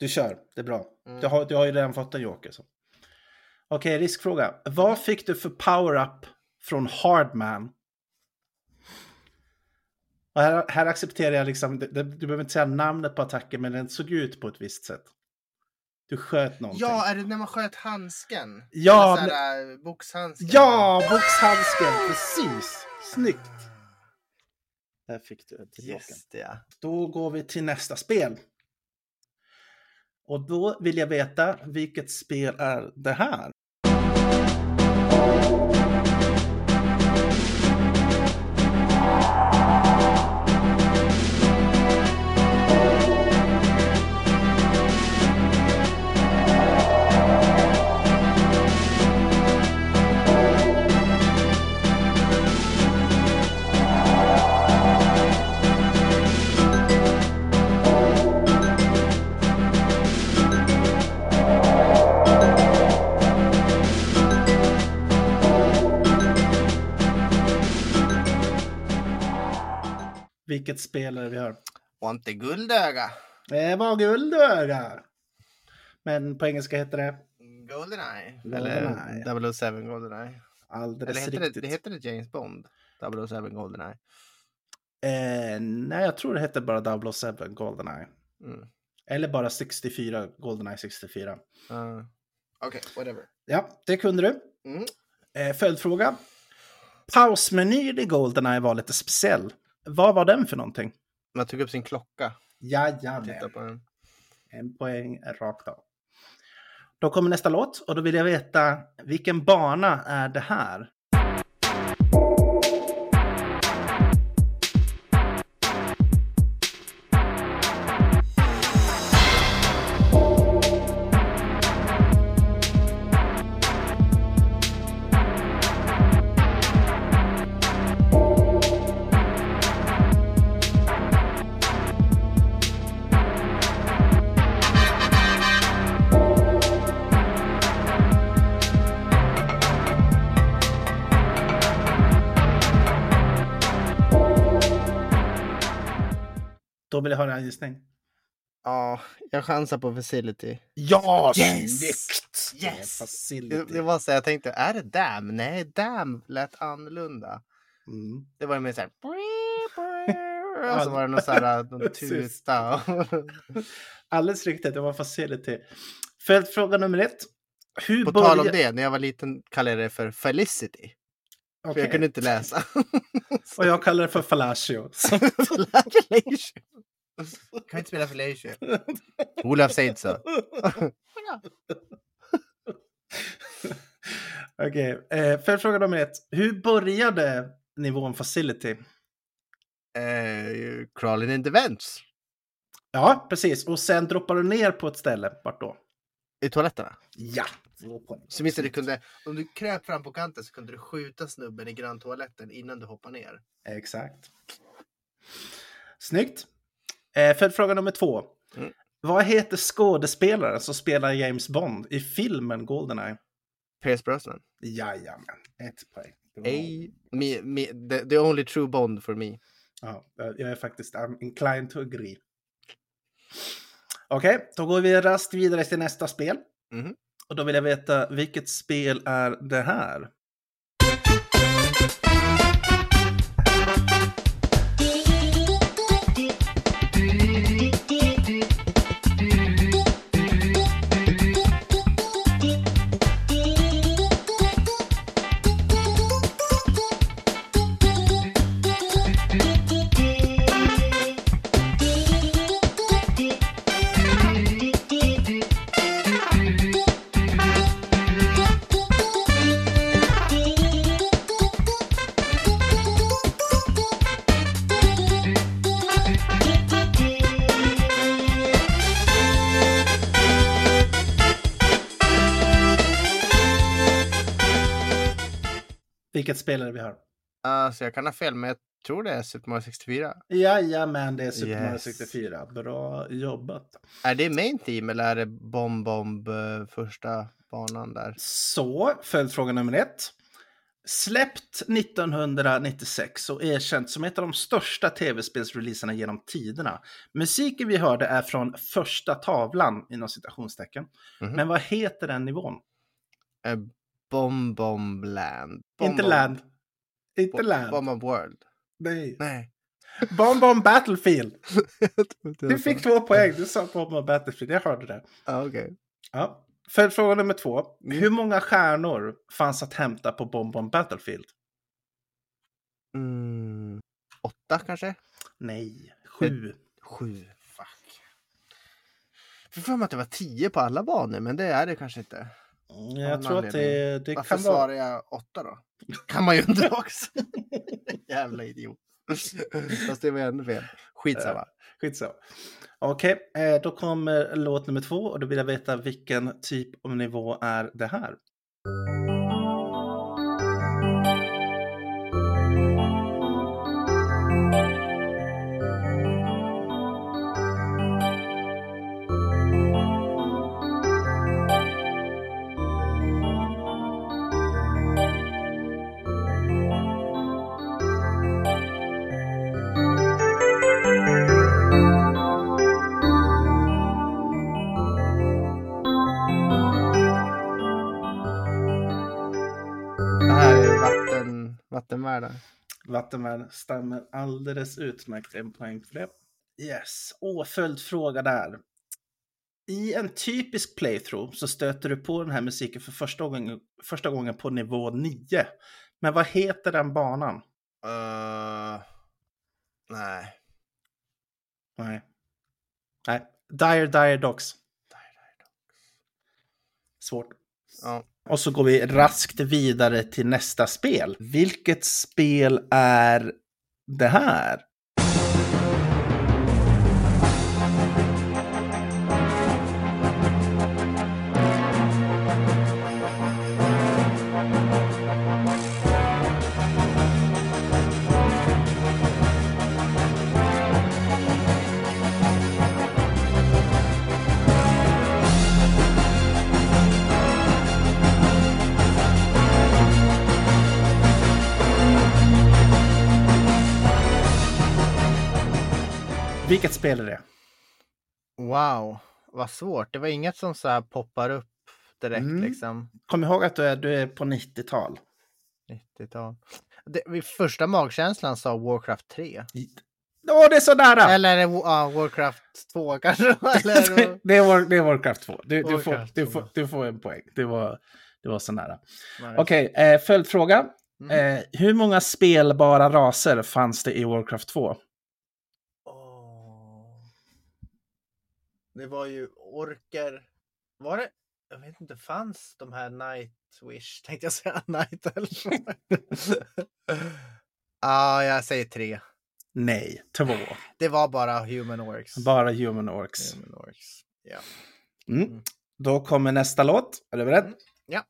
Speaker 1: Du kör, det är bra.
Speaker 2: Mm.
Speaker 1: Du, har, du har ju redan fått en joker. Så. Okej, riskfråga. Vad fick du för power-up från Hardman? Och här, här accepterar jag liksom, det, det, du behöver inte säga namnet på attacken, men den såg ut på ett visst sätt. Du sköt någonting.
Speaker 2: Ja, är det när man sköt handsken?
Speaker 1: Ja,
Speaker 2: Eller så här, eh, Boxhandsken?
Speaker 1: ja boxhandsken, precis. Snyggt.
Speaker 8: Där fick du tillbaka.
Speaker 2: Just det, ja.
Speaker 1: Då går vi till nästa spel. Och då vill jag veta vilket spel är det här? Vilket spel är det vi Eh, har?
Speaker 2: Och inte guldöga.
Speaker 1: Det var Guldöga. Men på engelska heter det
Speaker 2: Goldeneye.
Speaker 1: Goldeneye.
Speaker 2: Eller 007 Goldeneye.
Speaker 1: alldeles
Speaker 2: Eller heter det,
Speaker 1: riktigt.
Speaker 2: det heter det James Bond? 007 Goldeneye.
Speaker 1: Eh, nej, jag tror det hette bara 007 Goldeneye.
Speaker 2: Mm.
Speaker 1: Eller bara 64 Goldeneye 64.
Speaker 2: Uh, Okej, whatever.
Speaker 1: Ja, det kunde du.
Speaker 2: Mm.
Speaker 1: Eh, följdfråga. Pausmenyn i Goldeneye var lite speciell. Vad var den för någonting?
Speaker 2: Man tog upp sin klocka. Titta
Speaker 1: Jajamän.
Speaker 2: på den.
Speaker 1: En poäng rakt av. Då kommer nästa låt och då vill jag veta vilken bana är det här? Då vill jag höra en gissning.
Speaker 2: Ja, jag chansar på Facility.
Speaker 1: Ja,
Speaker 2: Yes!
Speaker 1: snyggt!
Speaker 2: Yes! Det,
Speaker 1: Facility.
Speaker 2: det var så jag tänkte, är det Damn? Nej, Damn lät annorlunda.
Speaker 1: Mm.
Speaker 2: Det var ju mer så här... Och så var det någon så här, någon tuta.
Speaker 1: Alldeles riktigt, det var Facility. Följdfråga nummer ett. Hur
Speaker 2: På tal om
Speaker 1: börjar-
Speaker 2: det, när jag var liten kallade jag det för Felicity. För
Speaker 1: Okej.
Speaker 2: jag kunde inte läsa.
Speaker 1: Och jag kallar det för Fallacio. Så-
Speaker 2: Så lät Felatio. Kan inte spela Felatio. Olof säger inte så.
Speaker 1: Okej, eh, följdfråga nummer ett. Hur började nivån Facility?
Speaker 2: Eh, crawling in the vents.
Speaker 1: Ja, precis. Och sen droppar du ner på ett ställe. Vart då?
Speaker 2: I toaletterna.
Speaker 1: Ja.
Speaker 2: Så minns jag, du kunde, om du kröp fram på kanten så kunde du skjuta snubben i granntoaletten innan du hoppade ner.
Speaker 1: Exakt. Snyggt. Eh, följdfråga nummer två.
Speaker 2: Mm.
Speaker 1: Vad heter skådespelaren som spelar James Bond i filmen Goldeneye?
Speaker 2: Pierce Brosnan.
Speaker 1: Jajamän, ett poäng. Bra.
Speaker 2: Hey, me, me, the, the only true Bond for me.
Speaker 1: Ja, eh, jag är faktiskt I'm inclined to agree. Okej, då går vi rast vidare till nästa spel.
Speaker 2: Mhm.
Speaker 1: Och då vill jag veta vilket spel är det här? Vilket spel är det vi har?
Speaker 2: Uh, så jag kan ha fel, men jag tror det är Super Mario 64.
Speaker 1: Jajamän, det är Super Mario
Speaker 2: Yes.
Speaker 1: 64. Bra jobbat.
Speaker 2: Är det main team eller är det Bomb Bomb eh, första banan där?
Speaker 1: Så, följdfråga nummer ett. Släppt 1996 och erkänt som ett av de största tv-spelsreleaserna genom tiderna. Musiken vi hörde är från första tavlan, inom citationstecken.
Speaker 2: Mhm.
Speaker 1: Men vad heter den nivån?
Speaker 2: Eh, Bomb Bomb Land. Bomb
Speaker 1: Inte
Speaker 2: Bomb-
Speaker 1: Land. Inte
Speaker 2: Bo-
Speaker 1: Land.
Speaker 2: Bomb Bomb World.
Speaker 1: Nej.
Speaker 2: Nej.
Speaker 1: Bomb Bomb Battlefield. Du
Speaker 2: du
Speaker 1: fick två poäng. Du sa Bomb Bomb Battlefield. Jag hörde det. Mm.
Speaker 2: Ah, Okej.
Speaker 1: Ja. Följdfråga nummer två. Hur många stjärnor fanns att hämta på Bomb Bomb Battlefield?
Speaker 2: Mm, åtta kanske?
Speaker 1: Nej, sju.
Speaker 2: Sju, fuck. Jag för mig att det var tio på alla banor, men det är det kanske inte.
Speaker 1: Mm,
Speaker 2: någon
Speaker 1: Jag tror att det,
Speaker 2: anledning.
Speaker 1: det
Speaker 2: Varför
Speaker 1: kan vara...
Speaker 2: svarar jag åtta då? kan man ju undra också. Jävla idiot. Fast det var ändå fel.
Speaker 1: Eh.
Speaker 2: Skitsamma.
Speaker 1: Skitsamma. Okej, eh, då kommer låt nummer två och då vill jag veta vilken typ av nivå är det här?
Speaker 2: Det här är vatten, vattenvärlden.
Speaker 1: Vattenvärn stämmer alldeles utmärkt. En poäng för det. Yes. Åh, följdfråga där. I en typisk playthrough så stöter du på den här musiken för första gången, första gången på nivå 9. Men vad heter den banan?
Speaker 2: Uh, nej.
Speaker 1: Nej. Nej. Dire Dire Dogs. Svårt.
Speaker 2: Ja.
Speaker 1: Och så går vi raskt vidare till nästa spel. Vilket spel är det här? Vilket spel är det?
Speaker 2: Wow, vad svårt. Det var inget som så här poppar upp direkt
Speaker 1: Mm.
Speaker 2: liksom.
Speaker 1: Kom ihåg att du är, du är på 90-tal.
Speaker 2: 90-tal. Det, vid första magkänslan sa Warcraft 3.
Speaker 1: Åh, det är så nära!
Speaker 2: Eller är det Wa- ja, Warcraft 2 kanske? Eller, är det-
Speaker 1: det, är War, det är Warcraft 2. Du, du, får,
Speaker 2: Warcraft
Speaker 1: du,
Speaker 2: 2.
Speaker 1: får, du får en poäng. Det var, det var så nära.
Speaker 2: Nej.
Speaker 1: Okej, eh, följdfråga.
Speaker 2: Mm.
Speaker 1: Eh, hur många spelbara raser fanns det i Warcraft 2?
Speaker 2: Åh. Det var ju orker. Var det? Jag vet inte, fanns de här Nightwish? Tänkte jag säga Night Elf? Ja, ah, jag säger tre.
Speaker 1: Nej, två.
Speaker 2: Det var bara Human Orcs.
Speaker 1: Bara Human Orcs.
Speaker 2: Human Orcs. Ja.
Speaker 1: Mm. Då kommer nästa låt. Är du
Speaker 2: Mm.
Speaker 1: beredd?
Speaker 2: ja.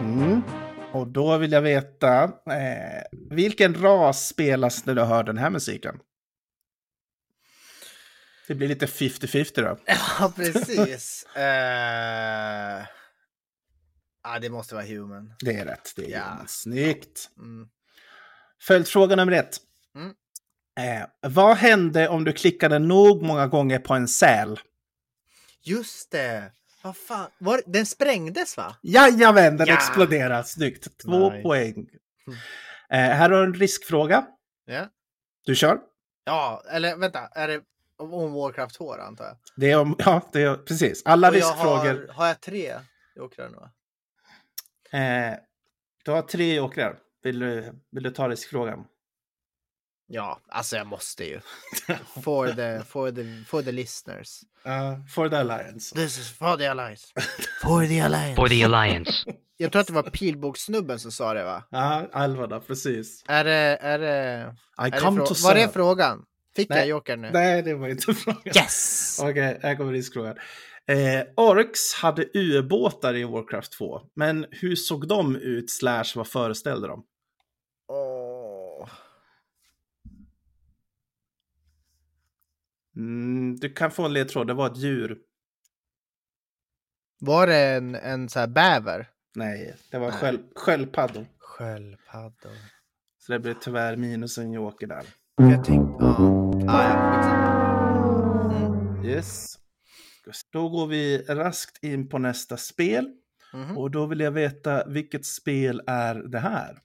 Speaker 1: Mm. Och då vill jag veta, eh, vilken ras spelas när du hör den här musiken? Det blir lite 50-50 då.
Speaker 2: Ja, precis. Eh, ah, det måste vara human.
Speaker 1: Det är rätt. Det är
Speaker 2: Ja.
Speaker 1: ja. Snyggt.
Speaker 2: Mm.
Speaker 1: Följdfråga nummer ett.
Speaker 2: Mm.
Speaker 1: Eh, vad hände om du klickade nog många gånger på en säl?
Speaker 2: Just det! Vad fan? Var, den sprängdes va?
Speaker 1: Jajamän, den
Speaker 2: Ja.
Speaker 1: exploderar. Snyggt. Två
Speaker 2: Nice. Mm.
Speaker 1: poäng. Eh, här har du en riskfråga.
Speaker 2: Ja.
Speaker 1: Du kör.
Speaker 2: Ja, eller vänta, är det om Warcraft 2 då, antar jag?
Speaker 1: Det är om, ja, det är, precis. Alla
Speaker 2: Och jag
Speaker 1: riskfrågor.
Speaker 2: Har, har jag tre åkrar nu? va?
Speaker 1: Eh, du har tre åkrar. Vill du, vill du ta riskfrågan?
Speaker 2: Ja, alltså jag måste ju. For the, for the, for the listeners.
Speaker 1: Uh, for the Alliance.
Speaker 2: This is for the alliance. For the alliance.
Speaker 8: For the Alliance.
Speaker 2: Jag tror att det var pilbågssnubben som sa det va?
Speaker 1: Ja, Alvarna, precis.
Speaker 2: Är det, är det,
Speaker 1: I
Speaker 2: är det
Speaker 1: come
Speaker 2: frå-
Speaker 1: to
Speaker 2: var det
Speaker 1: serve.
Speaker 2: frågan? Fick
Speaker 1: Nej.
Speaker 2: jag jokern nu?
Speaker 1: Nej, det var inte frågan.
Speaker 2: Yes!
Speaker 1: Okej, här kommer riskfrågan. Eh, Orks hade ubåtar i Warcraft 2, men hur såg de ut slash vad föreställde de?
Speaker 2: Åh.
Speaker 1: Mm, du kan få en ledtråd, det var ett djur.
Speaker 2: Var det en, en så här bäver?
Speaker 1: Nej, det var
Speaker 2: Nej.
Speaker 1: sköld, sköldpaddor.
Speaker 2: Sköldpaddor.
Speaker 1: Så det blir tyvärr minus en joker där.
Speaker 2: Jag tänkte... Ja. Ah, ja, skitsamma.
Speaker 1: Yes. Ska se. Då går vi raskt in på nästa spel.
Speaker 2: Mhm.
Speaker 1: Och då vill jag veta vilket spel är det här?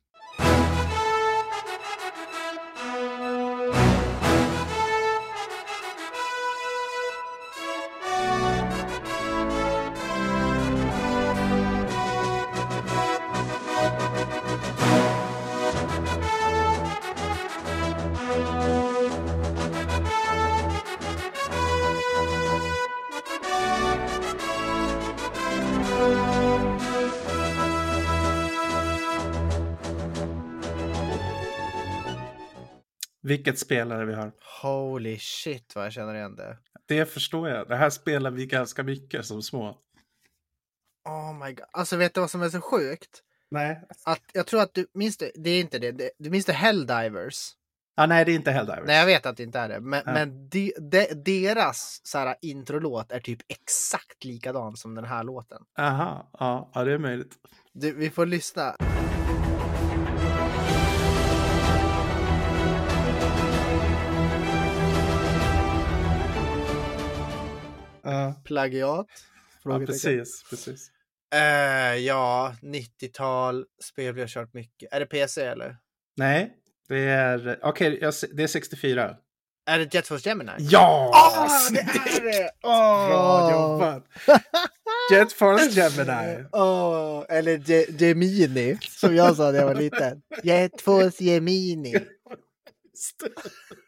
Speaker 1: Vilket spelare vi har.
Speaker 2: Holy shit vad jag känner igen det.
Speaker 1: Det förstår jag. Det här spelar vi ganska mycket som små.
Speaker 2: Oh my god. Alltså vet du vad som är så sjukt?
Speaker 1: Nej.
Speaker 2: Att jag tror att du minns det, det är inte det, det du minns det Helldivers?
Speaker 1: Ah, nej, det är inte Helldivers.
Speaker 2: Nej jag vet att det inte är det, men,
Speaker 1: Ja.
Speaker 2: men de, de, deras så här, introlåt är typ exakt likadan som den här låten.
Speaker 1: Aha, ja, ja, det är möjligt.
Speaker 2: Du, vi får lyssna.
Speaker 1: Ja,
Speaker 2: Plagiat?
Speaker 1: ja
Speaker 2: Frågetecken.
Speaker 1: precis, precis.
Speaker 2: Eh, ja, 90-tal, spel vi har kört mycket. Är det PC eller?
Speaker 1: Nej, det är... Okej, jag se- det är 64.
Speaker 2: Är det Jet Force Gemini?
Speaker 1: Ja!
Speaker 2: Ah, det
Speaker 1: snyggt!
Speaker 2: är det!
Speaker 1: Bra
Speaker 2: Åh!
Speaker 1: jobbat! Jet Force Gemini.
Speaker 2: Åh, eller Ge- Gemini, som jag sa när jag var liten. Jet Force Gemini.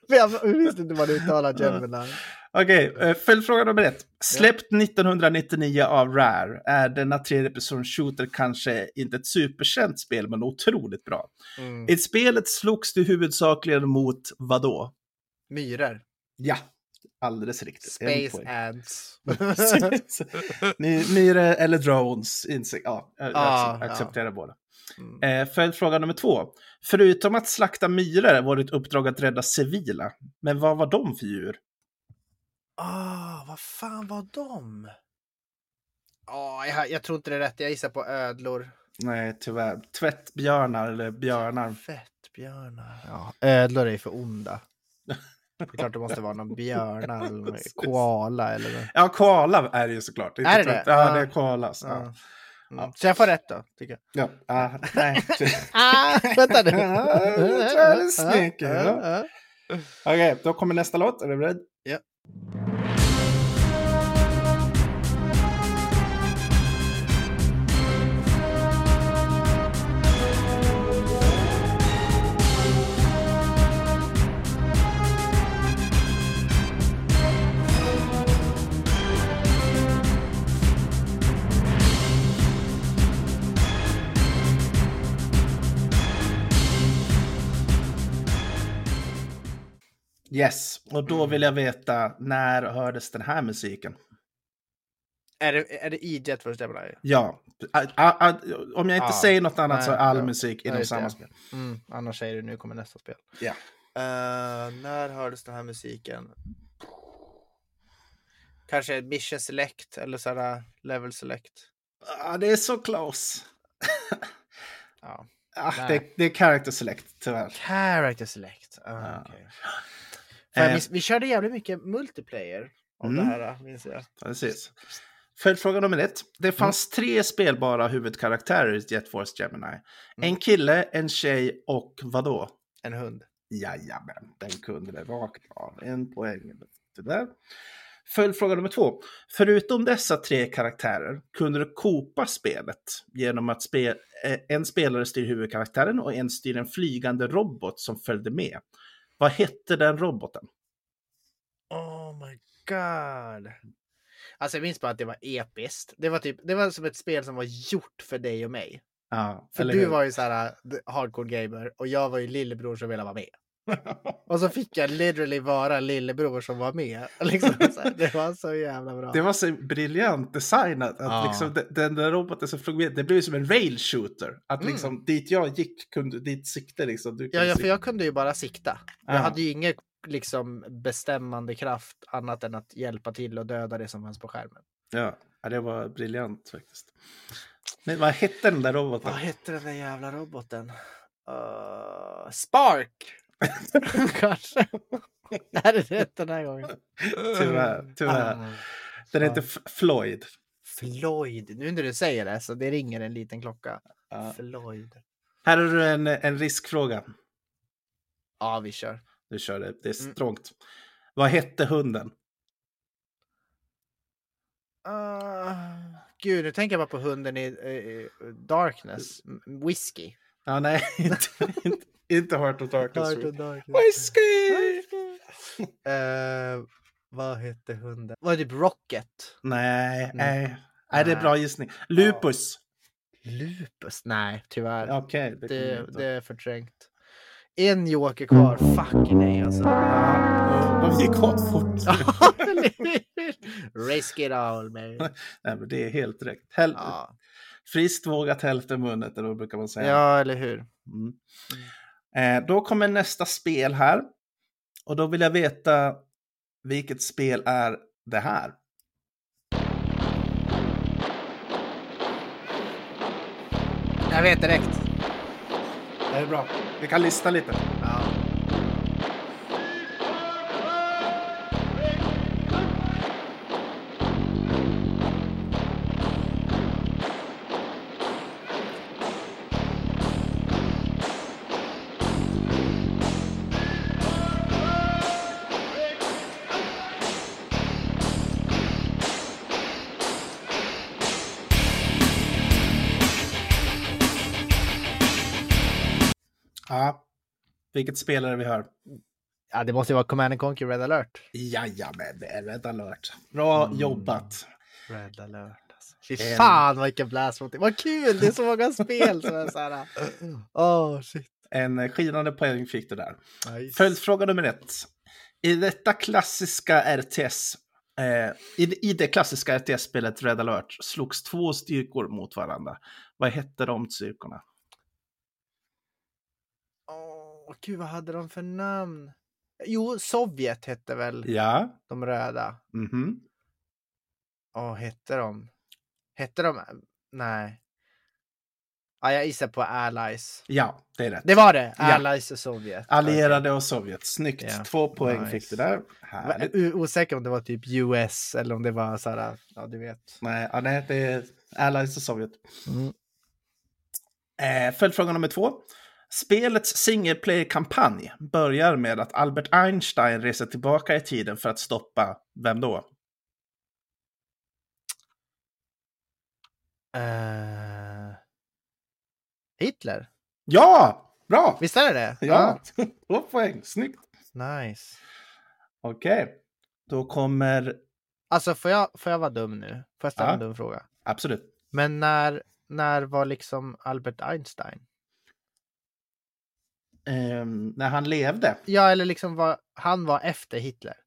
Speaker 2: Men jag visste inte vad du uttalade Gemini.
Speaker 1: Okej, okay, följdfråga nummer ett. Släppt 1999 av Rare är denna tredje person shooter kanske inte ett superkänt spel, men otroligt bra.
Speaker 2: Mm.
Speaker 1: I spelet slogs du huvudsakligen mot vad då?
Speaker 2: Myror.
Speaker 1: Ja, alldeles riktigt. En
Speaker 2: Space
Speaker 1: poäng.
Speaker 2: Ants.
Speaker 1: Precis. Ni- Myre eller drones, insikt. Ja, jag
Speaker 2: Ah, Ja,
Speaker 1: accep- accepterar båda.
Speaker 2: Mm.
Speaker 1: Eh, Följdfråga nummer två. Förutom att slakta myror var ditt uppdrag att rädda civila. Men vad var de för djur?
Speaker 2: Ah, vad fan var de? Ah, jag, jag tror inte det är rätt. Jag gissar på ödlor.
Speaker 1: Nej, tyvärr. Tvättbjörnar eller björnar.
Speaker 2: Fettbjörnar. Ja, ödlor är ju för onda. Det är klart det måste vara någon björnar eller
Speaker 1: Precis.
Speaker 2: koala eller något.
Speaker 1: Ja, koala är det ju såklart. Inte
Speaker 2: Är det
Speaker 1: tvätt.
Speaker 2: det?
Speaker 1: Ja,
Speaker 2: Ja.
Speaker 1: det är koala. så- Ja.
Speaker 2: Ja. Mm. Så jag får rätt då, tycker jag.
Speaker 1: Ja. ah, nej.
Speaker 2: Ah, vänta nu.
Speaker 1: Ja, det tror jag är snyggt,
Speaker 2: Ja,
Speaker 1: ja.
Speaker 2: ja.
Speaker 1: Okej, då kommer nästa låt. Är du beredd?
Speaker 2: Ja.
Speaker 1: Yes, och då vill jag veta när hördes den här musiken?
Speaker 2: Är det, är det E i Jet Force Gemini?
Speaker 1: Ja, Ah, ah, ah, om jag inte
Speaker 2: Ah,
Speaker 1: säger något annat
Speaker 2: nej,
Speaker 1: så är all
Speaker 2: ja.
Speaker 1: musik
Speaker 2: Ja,
Speaker 1: inom
Speaker 2: just det,
Speaker 1: samma
Speaker 2: ja.
Speaker 1: spel.
Speaker 2: Mm, annars säger du nu kommer nästa spel.
Speaker 1: Ja.
Speaker 2: Eh, när hördes den här musiken? Kanske Mission Select eller sådär Level Select.
Speaker 1: Ah, det är så close.
Speaker 2: Ja.
Speaker 1: Ah,
Speaker 2: Nej.
Speaker 1: det, det är character select, tyvärr.
Speaker 2: Character Select. Ah,
Speaker 1: Ja.
Speaker 2: okej. För jag
Speaker 1: Eh.
Speaker 2: minns- vi körde jävligt mycket multiplayer av
Speaker 1: Mm.
Speaker 2: det här eh, minns jag.
Speaker 1: Precis. Mm. Följdfråga nummer ett. Det fanns tre spelbara huvudkaraktärer i Jet Force Gemini. En kille, en tjej och vadå?
Speaker 2: En hund.
Speaker 1: Jajamän, den kunde det rakt av. En poäng. Det där. Följdfråga nummer två. Förutom dessa tre karaktärer kunde du kopa spelet genom att spe eh, en spelare styr huvudkaraktären och en styr en flygande robot som följde med. Vad hette den roboten?
Speaker 2: Oh my god. Alltså jag minns bara att det var episkt. Det var, typ, det var som ett spel som var gjort för dig och mig.
Speaker 1: Ja,
Speaker 2: För
Speaker 1: eller
Speaker 2: du
Speaker 1: hur?
Speaker 2: var ju så här the hardcore gamer och jag var ju lillebror som ville vara med. Och så fick jag literally vara lillebror som var med. Liksom, så här, det var så jävla bra.
Speaker 1: Det var så briljant designat. Att
Speaker 2: Ja.
Speaker 1: liksom, de- den där roboten som flög med, det blev ju som en rail shooter. Att
Speaker 2: Mm.
Speaker 1: liksom, dit jag gick, kunde, dit sikte liksom. Du
Speaker 2: Ja,
Speaker 1: kunde
Speaker 2: ja, för
Speaker 1: sikta.
Speaker 2: jag kunde ju bara sikta.
Speaker 1: Ja.
Speaker 2: Jag hade ju ingen liksom, bestämmande kraft annat än att hjälpa till och döda det som fanns på skärmen.
Speaker 1: Ja. ja, det var briljant faktiskt. Men vad hette den där roboten?
Speaker 2: Vad hette den där jävla roboten? eh, Spark. Kanske. Det här är rätt den här gången.
Speaker 1: Tyvärr. tyvärr.
Speaker 2: Ah,
Speaker 1: Den heter F- Floyd.
Speaker 2: Floyd. Nu när du säger det så det ringer en liten klocka.
Speaker 1: Ja.
Speaker 2: Floyd.
Speaker 1: Här har du en, en riskfråga.
Speaker 2: Ja, vi kör.
Speaker 1: Du kör det, det är
Speaker 2: Mm.
Speaker 1: strångt. Vad hette hunden?
Speaker 2: Ah, gud, nu tänker jag bara på hunden i, eh, i i Darkness. M- Whiskey.
Speaker 1: Ja, nej, inte, inte, inte Heart of Darkness.
Speaker 2: Darkness.
Speaker 1: Whiskey!
Speaker 2: Eh, vad hette hunden? Var det typ Rocket?
Speaker 1: Nej, nej. Nej, det är bra gissning. Lupus.
Speaker 2: Lupus? Nej, tyvärr.
Speaker 1: Okej. det kommer
Speaker 2: det,
Speaker 1: jag inte
Speaker 2: det är förträngt. En joker kvar. Fuck nej alltså.
Speaker 1: ihåg. De gick åt fort.
Speaker 2: Risk it all man.
Speaker 1: Nej, men det är helt rätt. Häl...
Speaker 2: Ja.
Speaker 1: Friskt vågat hälften vunnet, eller vad brukar man säga.
Speaker 2: ja, eller hur?
Speaker 1: Mm. Eh, då kommer nästa spel här. Och då vill jag veta vilket spel är det här?
Speaker 2: Jag vet direkt.
Speaker 1: Det är bra. Vi kan lista lite.
Speaker 2: Ja.
Speaker 1: Ja. Vilket spel är det vi hör?
Speaker 2: ja, det måste ju vara Command and Conquer Red alert.
Speaker 1: Jajamän, det är Red Alert. Mm. Bra jobbat.
Speaker 2: Red alert alltså. Fy
Speaker 1: En-
Speaker 2: fan vilken blast mot det. Vad kul! Det är så många spel som är så här. Åh oh, shit.
Speaker 1: En skinande poäng fick du där.
Speaker 2: Nice.
Speaker 1: Följdfråga nummer ett. I detta klassiska RTS, eh, i, i det klassiska RTS-spelet Red Alert slogs två styrkor mot varandra. Vad hette de styrkorna?
Speaker 2: Åh, gud, vad hade de för namn? Jo, Sovjet hette väl
Speaker 1: Ja.
Speaker 2: de röda.
Speaker 1: Mhm.
Speaker 2: Åh, hette de? Hette de? Nej. Ja, jag gissar på Allies.
Speaker 1: Ja, det är rätt.
Speaker 2: Det var det!
Speaker 1: Ja.
Speaker 2: Allies och Sovjet.
Speaker 1: Allierade och Sovjet. Snyggt.
Speaker 2: Ja.
Speaker 1: Två poäng
Speaker 2: Nice.
Speaker 1: fick du där.
Speaker 2: Okej.
Speaker 1: Härligt.
Speaker 2: O- Osäker om det var typ US eller om det var så här, ja du vet.
Speaker 1: Nej, ja, nej, det är Allies och Sovjet.
Speaker 2: Mm.
Speaker 1: Eh, följdfråga nummer två. Spelets single player-kampanj börjar med att Albert Einstein reser tillbaka i tiden för att stoppa, vem då?
Speaker 2: Eh, Hitler?
Speaker 1: Ja! Bra!
Speaker 2: Visst är det det?
Speaker 1: Ja, två poäng. Snyggt.
Speaker 2: Ja, Nice.
Speaker 1: Okej, då kommer...
Speaker 2: Alltså får jag, får jag vara dum nu? Får jag ställa
Speaker 1: Ja.
Speaker 2: en dum fråga?
Speaker 1: Absolut.
Speaker 2: Men när, när var liksom Albert Einstein?
Speaker 1: Ehm, när han levde.
Speaker 2: Ja, eller liksom var, han var efter Hitler.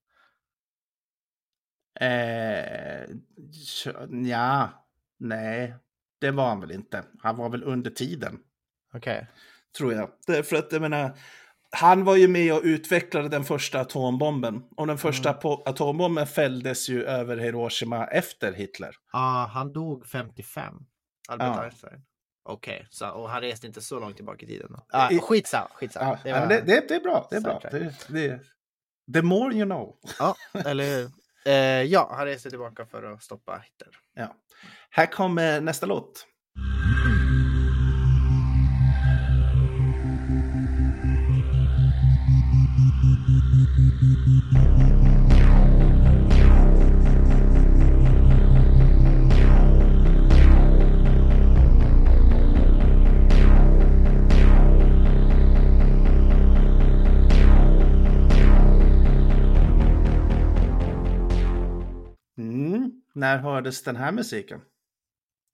Speaker 1: Eh, ja, nej, det var han väl inte. Han var väl under tiden.
Speaker 2: Okej.
Speaker 1: tror jag. Därför att jag menar, han var ju med och utvecklade den första atombomben. Och den första
Speaker 2: Mm.
Speaker 1: po- atombomben fälldes ju över Hiroshima efter Hitler.
Speaker 2: Ja, han dog 55. Albert
Speaker 1: Ja.
Speaker 2: Einstein. Okej, så- och han reste inte så långt tillbaka i tiden. Då.
Speaker 1: I-
Speaker 2: Ah, skitsamma, skitsamma.
Speaker 1: Ja,
Speaker 2: Det
Speaker 1: ja, men
Speaker 2: var-
Speaker 1: det, det, det är bra, det är
Speaker 2: Star
Speaker 1: bra.
Speaker 2: Trek.
Speaker 1: Det, det, the more you know.
Speaker 2: Ja, eller hur? Eh, ja, han reste tillbaka för att stoppa Hitler.
Speaker 1: Ja. Här kommer nästa låt. Mm. När hördes den här musiken?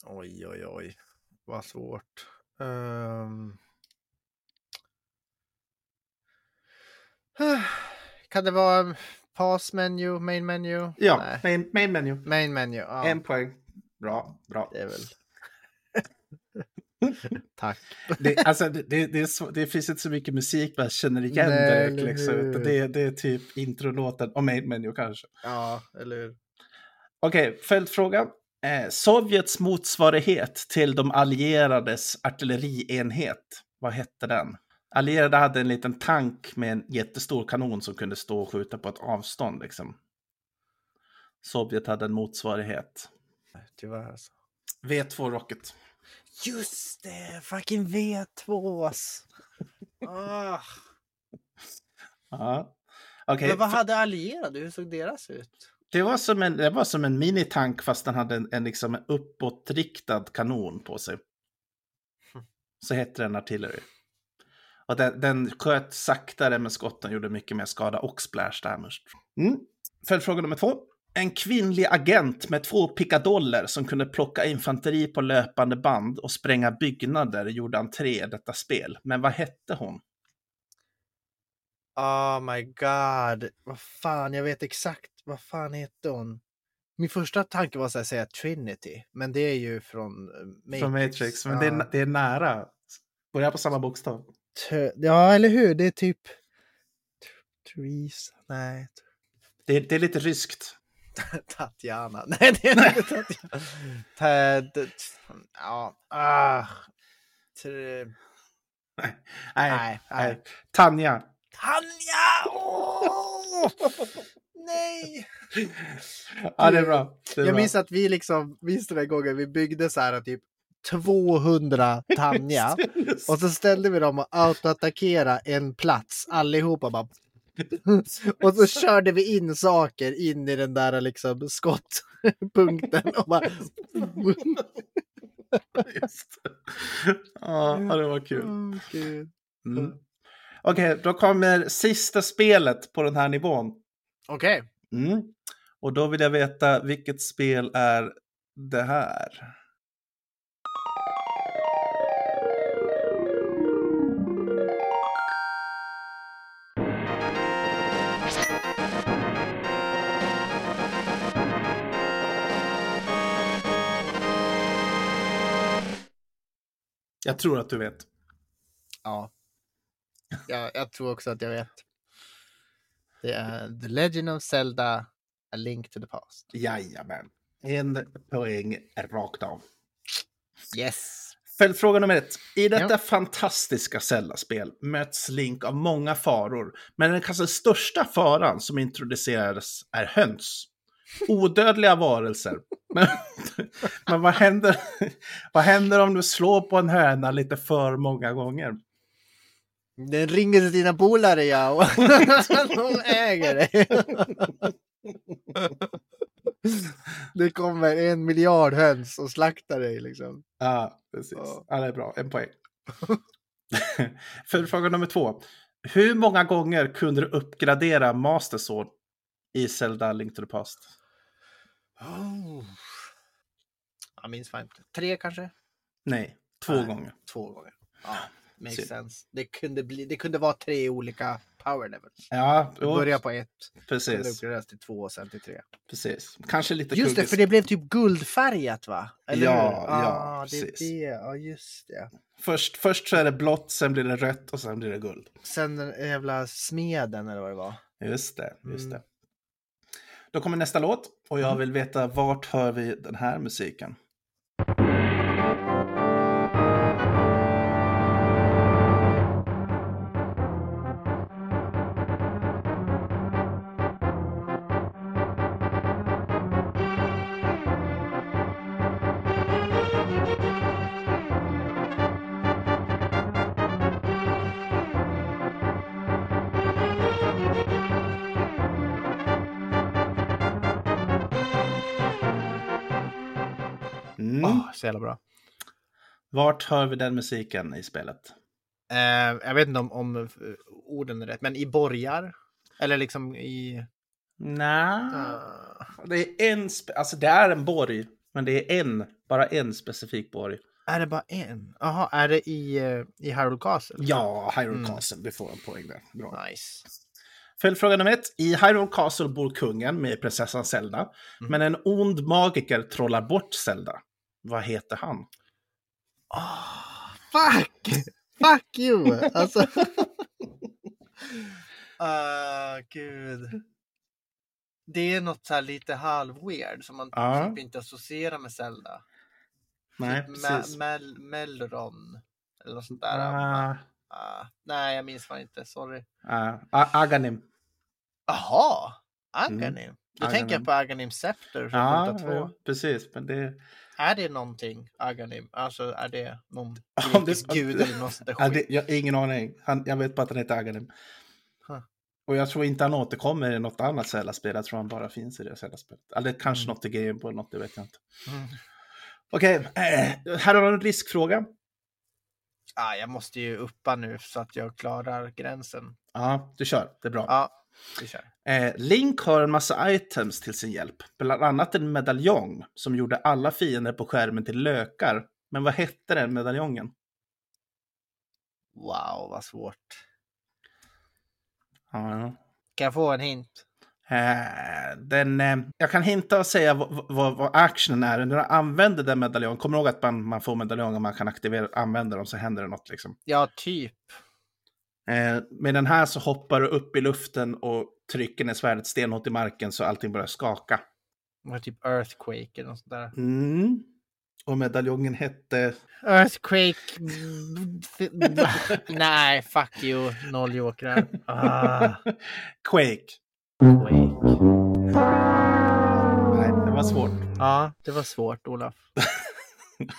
Speaker 2: Oj, oj, oj. Vad svårt. Ehm. Kan det vara pass menu, main menu?
Speaker 1: Ja,
Speaker 2: Nej.
Speaker 1: main, main menu.
Speaker 2: Main menu, ja.
Speaker 1: En poäng. Bra, bra.
Speaker 2: Det är väl... Tack.
Speaker 1: Det, alltså, det, det, det, är svå- det finns inte så mycket musik man känner igen
Speaker 2: Nej,
Speaker 1: direkt.
Speaker 2: eller
Speaker 1: Liksom.
Speaker 2: hur?
Speaker 1: utan Det, det är typ introlåten och main menu kanske.
Speaker 2: Ja, eller hur?
Speaker 1: Okej, följdfråga. Eh, Sovjets motsvarighet till de allierades artillerienhet. vad hette den? Allierade hade en liten tank med en jättestor kanon som kunde stå och skjuta på ett avstånd. Liksom. Sovjet hade en motsvarighet.
Speaker 2: Tyvärr alltså.
Speaker 1: V2 Rocket.
Speaker 2: Just det! Eh, Fucking V2! ass. Ah.
Speaker 1: Ja. Okej,
Speaker 2: Men vad hade allierade? Hur såg deras ut?
Speaker 1: det, var som en, det var som en minitank fast den hade en, en, liksom en uppåtriktad kanon på sig.
Speaker 2: Hm.
Speaker 1: Så hette den Artillery. Och den, den sköt saktare men skotten gjorde mycket mer skada och splash damage. Mm. Följdfråga nummer två. En kvinnlig agent med två pickadoller som kunde plocka infanteri på löpande band och spränga byggnader gjorde entré i detta spel. Men vad hette hon?
Speaker 2: Oh my god. Vad fan, jag vet exakt. Vad fan hette hon? Min första tanke var så här, säga Trinity, men det är ju från eh, Matrix.
Speaker 1: Från Matrix, men
Speaker 2: ja.
Speaker 1: det är, det är nära. Börjar på samma bokstav.
Speaker 2: Tö- ja, eller hur? Det är typ... Theresa? Nej.
Speaker 1: Det är, det är lite ryskt.
Speaker 2: Tatjana. Nej, det är inte Tatjana. Ted... Ja. Ah. Tre...
Speaker 1: Nej,
Speaker 2: Nej, nej.
Speaker 1: Tanja.
Speaker 2: Tanja! Åh! Nej!
Speaker 1: Ja, det är bra. Det är bra.
Speaker 2: Jag minns att vi liksom, minns den där gången vi byggde så här typ 200 Tanja. Och så ställde vi dem och autoattackera en plats allihopa bara. Och så körde vi in saker in i den där liksom skottpunkten. Och bara...
Speaker 1: Just det. Ja, ja, det var kul.
Speaker 2: Åh, Gud.
Speaker 1: Mm. Okej, då kommer sista spelet på den här nivån.
Speaker 2: Okej.
Speaker 1: Mm. Och då vill jag veta vilket spel är det här? Jag tror att du vet.
Speaker 2: Ja. Jag, jag tror också att jag vet. Det är The Legend of Zelda, A Link to the Past.
Speaker 1: Jajamän. En poäng rakt av.
Speaker 2: Yes!
Speaker 1: Följdfråga nummer ett. I detta
Speaker 2: Ja.
Speaker 1: fantastiska Zelda-spel möts Link av många faror, men den kanske största faran som introduceras är höns. Odödliga varelser. Men, men vad, händer, vad händer om du slår på en höna lite för många gånger?
Speaker 2: Den ringer till dina polare ja, och de äger dig. Det kommer en miljard höns och slaktar dig liksom.
Speaker 1: Ja, precis.
Speaker 2: Ja.
Speaker 1: Ja, det är bra. En poäng. Följdfråga nummer två. Hur många gånger kunde du uppgradera Master Sword i Zelda Link to the Past?
Speaker 2: Oh. Jag minns fan inte. Tre kanske?
Speaker 1: Nej, två
Speaker 2: Nej.
Speaker 1: gånger.
Speaker 2: Två gånger. Ja,
Speaker 1: Synd.
Speaker 2: makes sense. Det kunde, bli, det kunde vara tre olika power levels.
Speaker 1: Ja,
Speaker 2: Du
Speaker 1: jo,
Speaker 2: börjar på ett, sen
Speaker 1: precis,
Speaker 2: uppgraderas till två och sen till tre.
Speaker 1: precis. Kanske lite
Speaker 2: Just det, för
Speaker 1: kuggis.
Speaker 2: det blev typ guldfärgat va?
Speaker 1: Ja,
Speaker 2: hur?
Speaker 1: ja,
Speaker 2: ah, det är
Speaker 1: precis.
Speaker 2: det. Ja, just det.
Speaker 1: Först, först så är det blått, sen blir det rött och sen blir det guld.
Speaker 2: Sen den jävla smeden eller vad det var.
Speaker 1: Just det, just
Speaker 2: Mm.
Speaker 1: det. Då kommer nästa låt och jag vill veta vart hör vi den här musiken? Mm.
Speaker 2: Ah, så jävla bra.
Speaker 1: Vart hör vi den musiken i spelet?
Speaker 2: Eh, jag vet inte om, om eh, orden är rätt, men i borgar? Eller liksom i...
Speaker 1: Nej,
Speaker 2: eh,
Speaker 1: det är en, spe- alltså det är en borg, men det är en, bara en specifik borg.
Speaker 2: är det bara en? Jaha, är det i, eh, i Harold Castle?
Speaker 1: Ja, Hyrule
Speaker 2: Mm.
Speaker 1: Castle, du får en poäng där. Bra.
Speaker 2: Nice.
Speaker 1: Följdfråga nummer ett. I Hyrule Castle bor kungen med prinsessan Zelda. Men en ond magiker trollar bort Zelda. Vad heter han?
Speaker 2: Ah, fuck! Fuck you! Alltså... Ah, gud. Det är något så här lite halv-weird som man
Speaker 1: Ja.
Speaker 2: typ inte associerar med Zelda.
Speaker 1: Nej,
Speaker 2: Ma-
Speaker 1: precis.
Speaker 2: Mel- Melron. Eller något sånt där.
Speaker 1: Ah,
Speaker 2: Ah, nej, jag minns fan inte. Sorry.
Speaker 1: ah, A- Aghanim.
Speaker 2: Jaha, Aghanim. Då tänker
Speaker 1: Aghanim.
Speaker 2: jag på Aghanim Scepter från
Speaker 1: Mm. Ja,
Speaker 2: 102.
Speaker 1: ja, Ah, precis. Men det...
Speaker 2: Är det någonting Aghanim? Alltså är det någon
Speaker 1: om det-
Speaker 2: grekisk gud eller något sånt där
Speaker 1: Ja,
Speaker 2: skit?
Speaker 1: det, jag har ingen aning. Han, jag vet bara att han heter Aghanim.
Speaker 2: Huh.
Speaker 1: Och jag tror inte han återkommer i något annat Zelda-spel. Jag tror han bara finns i det Zelda-spelet. Eller kanske något i Game Boy eller något, det vet jag inte.
Speaker 2: Mm.
Speaker 1: Okej, eh, här har du en riskfråga.
Speaker 2: Ah, jag måste ju uppa nu så att jag klarar gränsen.
Speaker 1: Ja, du kör. Det är bra.
Speaker 2: Ja, ah, vi kör.
Speaker 1: Eh, Link har en massa items till sin hjälp. Bland annat en medaljong som gjorde alla fiender på skärmen till lökar. Men vad hette den medaljongen?
Speaker 2: Wow, vad svårt.
Speaker 1: Ja,
Speaker 2: Kan jag få en hint?
Speaker 1: Eh, den, eh, jag kan hinta och säga vad, vad, vad actionen är. När man använder den medaljongen, kom ihåg att man, man får medaljonger man kan aktivera, använda dem så händer det något. Liksom.
Speaker 2: Ja, typ.
Speaker 1: Eh, med den här så hoppar du upp i luften och trycker ner svärdet stenhårt i marken så allting börjar skaka.
Speaker 2: Det var Typ Earthquake eller något sånt där.
Speaker 1: Mm. Och medaljongen hette...
Speaker 2: Earthquake. Nej, fuck you. Noll jokrar. Ah,
Speaker 1: Quake.
Speaker 2: Quake.
Speaker 1: Nej, det var svårt.
Speaker 2: Ja, det var svårt, Olof.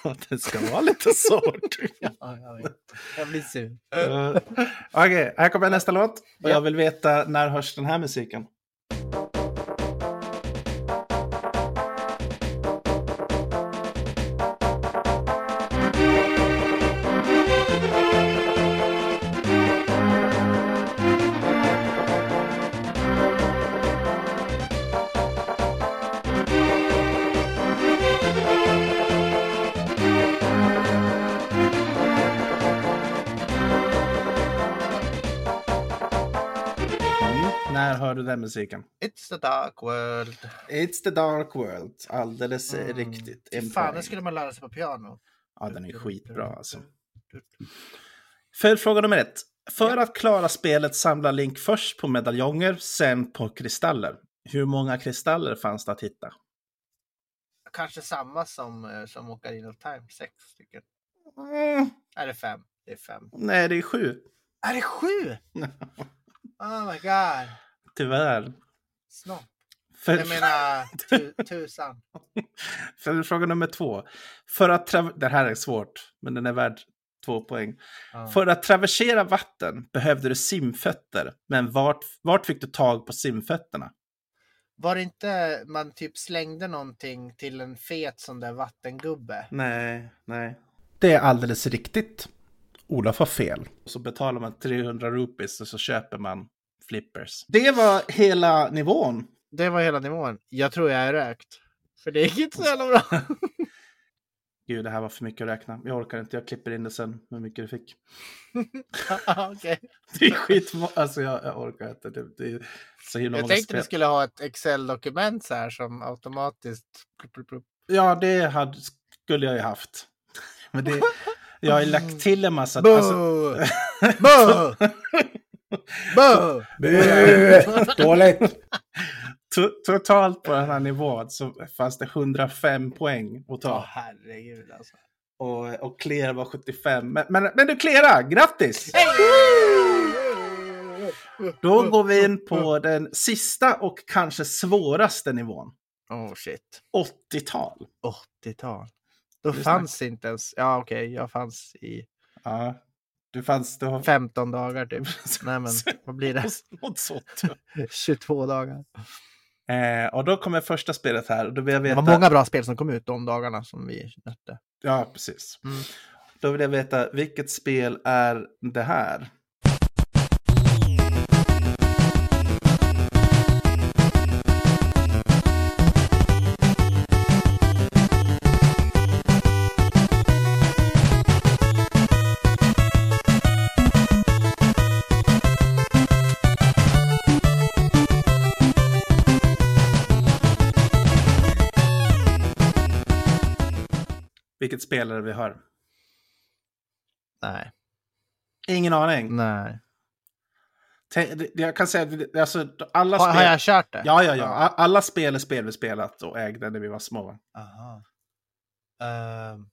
Speaker 1: Ja, det ska vara lite svårt.
Speaker 2: Ja, jag, vet. jag blir sur.
Speaker 1: Eh, Okej, här kommer nästa låt. Och jag vill veta när hörs den här musiken? När hör du den musiken?
Speaker 2: It's the dark world.
Speaker 1: It's the dark world. Alldeles eh, riktigt. En
Speaker 2: Mm. Fan,
Speaker 1: poäng.
Speaker 2: det skulle man lära sig på piano.
Speaker 1: Ja, den är skitbra alltså. Följdfråga nummer ett. För att klara spelet samlar Link först på medaljonger, sen på kristaller. Hur många kristaller fanns det att hitta?
Speaker 2: Kanske samma som, eh, som Ocarina of Time, sex stycken.
Speaker 1: Mm,
Speaker 2: Är det fem? Det är fem.
Speaker 1: nej, det är sju.
Speaker 2: Är det sju? Oh my god.
Speaker 1: Tyvärr.
Speaker 2: Snopp.
Speaker 1: För...
Speaker 2: Jag menar tu, tusan.
Speaker 1: Följdfråga nummer två. För att tra- det här är svårt, men den är värd två poäng.
Speaker 2: Ja.
Speaker 1: För att traversera vatten behövde du simfötter, men vart, vart fick du tag på simfötterna?
Speaker 2: Var det inte man typ slängde någonting till en fet sån där vattengubbe?
Speaker 1: Nej, nej. Det är alldeles riktigt. Olof har fel. Så betalar man 300 rupees och så köper man flippers. Det var hela nivån.
Speaker 2: Det var hela nivån. Jag tror jag är rökt. För det gick inte så jävla bra.
Speaker 1: Gud, det här var för mycket att räkna. Jag orkar inte, jag klipper in det sen, hur mycket du fick.
Speaker 2: Ja, Okej.
Speaker 1: Det är skit... Alltså, jag, jag orkar inte. Det, det är så himla
Speaker 2: Jag
Speaker 1: många
Speaker 2: tänkte
Speaker 1: spel.
Speaker 2: vi skulle ha ett Excel-dokument så här som automatiskt... plup, plup, plup.
Speaker 1: Ja, det hade, skulle jag ju haft. Men det, jag har ju lagt till en massa...
Speaker 2: Mm. Boo!
Speaker 1: alltså-
Speaker 2: Boo! Boo!
Speaker 1: Dåligt! Totalt på den här nivån så fanns det 105 poäng att
Speaker 2: Åh,
Speaker 1: ta.
Speaker 2: herregud alltså.
Speaker 1: Och, och Clear var 75. Men, men, men du Cleara, grattis! Då går vi in på den sista och kanske svåraste nivån.
Speaker 2: Oh shit.
Speaker 1: 80-tal.
Speaker 2: 80-tal. Då
Speaker 1: Det är
Speaker 2: fanns inte ens... Ja okej, jag fanns i
Speaker 1: Ja, du fanns... Du har...
Speaker 2: 15 dagar typ. Nej men vad blir det?
Speaker 1: Något sånt.
Speaker 2: 22 dagar.
Speaker 1: Eh, och då kommer första spelet här. Och då vill jag
Speaker 2: Det
Speaker 1: veta...
Speaker 2: var många bra spel som kom ut de dagarna som vi nötte.
Speaker 1: Ja, precis.
Speaker 2: Mm.
Speaker 1: Då vill jag veta, vilket spel är det här? Vilket spel är det vi hör?
Speaker 2: Nej.
Speaker 1: Ingen aning.
Speaker 2: Nej.
Speaker 1: Tänk, det- jag kan säga, det- alltså alla
Speaker 2: Har,
Speaker 1: spel...
Speaker 2: har jag kört det?
Speaker 1: Ja, ja, ja. A- Alla spel är spel vi spelat och ägde när vi var små.
Speaker 2: Aha. Ehm,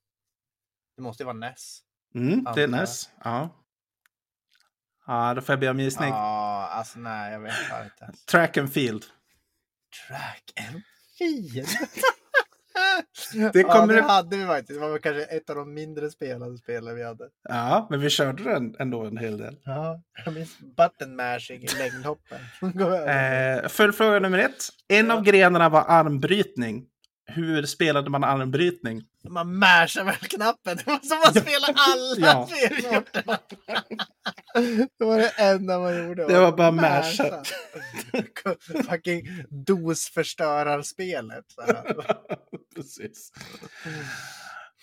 Speaker 2: det måste ju vara NES.
Speaker 1: Mm, det är
Speaker 2: Antar jag.
Speaker 1: NES. Ja. ja, då får jag be om gissning.
Speaker 2: Ja, alltså nej, jag vet fan inte.
Speaker 1: Track and field.
Speaker 2: Track and field.
Speaker 1: Det
Speaker 2: ja,
Speaker 1: kommer
Speaker 2: det
Speaker 1: upp-
Speaker 2: hade vi faktiskt. Det var väl kanske ett av de mindre spelade spelen vi hade.
Speaker 1: Ja, men vi körde den ändå en hel del.
Speaker 2: Ja, jag minns button mashing i längdhoppen. Går över.
Speaker 1: Eh, följdfråga nummer ett. En av grenarna var armbrytning. Hur spelade man armbrytning?
Speaker 2: Man mashar väl knappen. Det var som att spela alla
Speaker 1: Ja.
Speaker 2: spelhjortarna. det var det enda man gjorde.
Speaker 1: Det var bara masha.
Speaker 2: Fucking dosförstörarspelet. så här.
Speaker 1: Precis.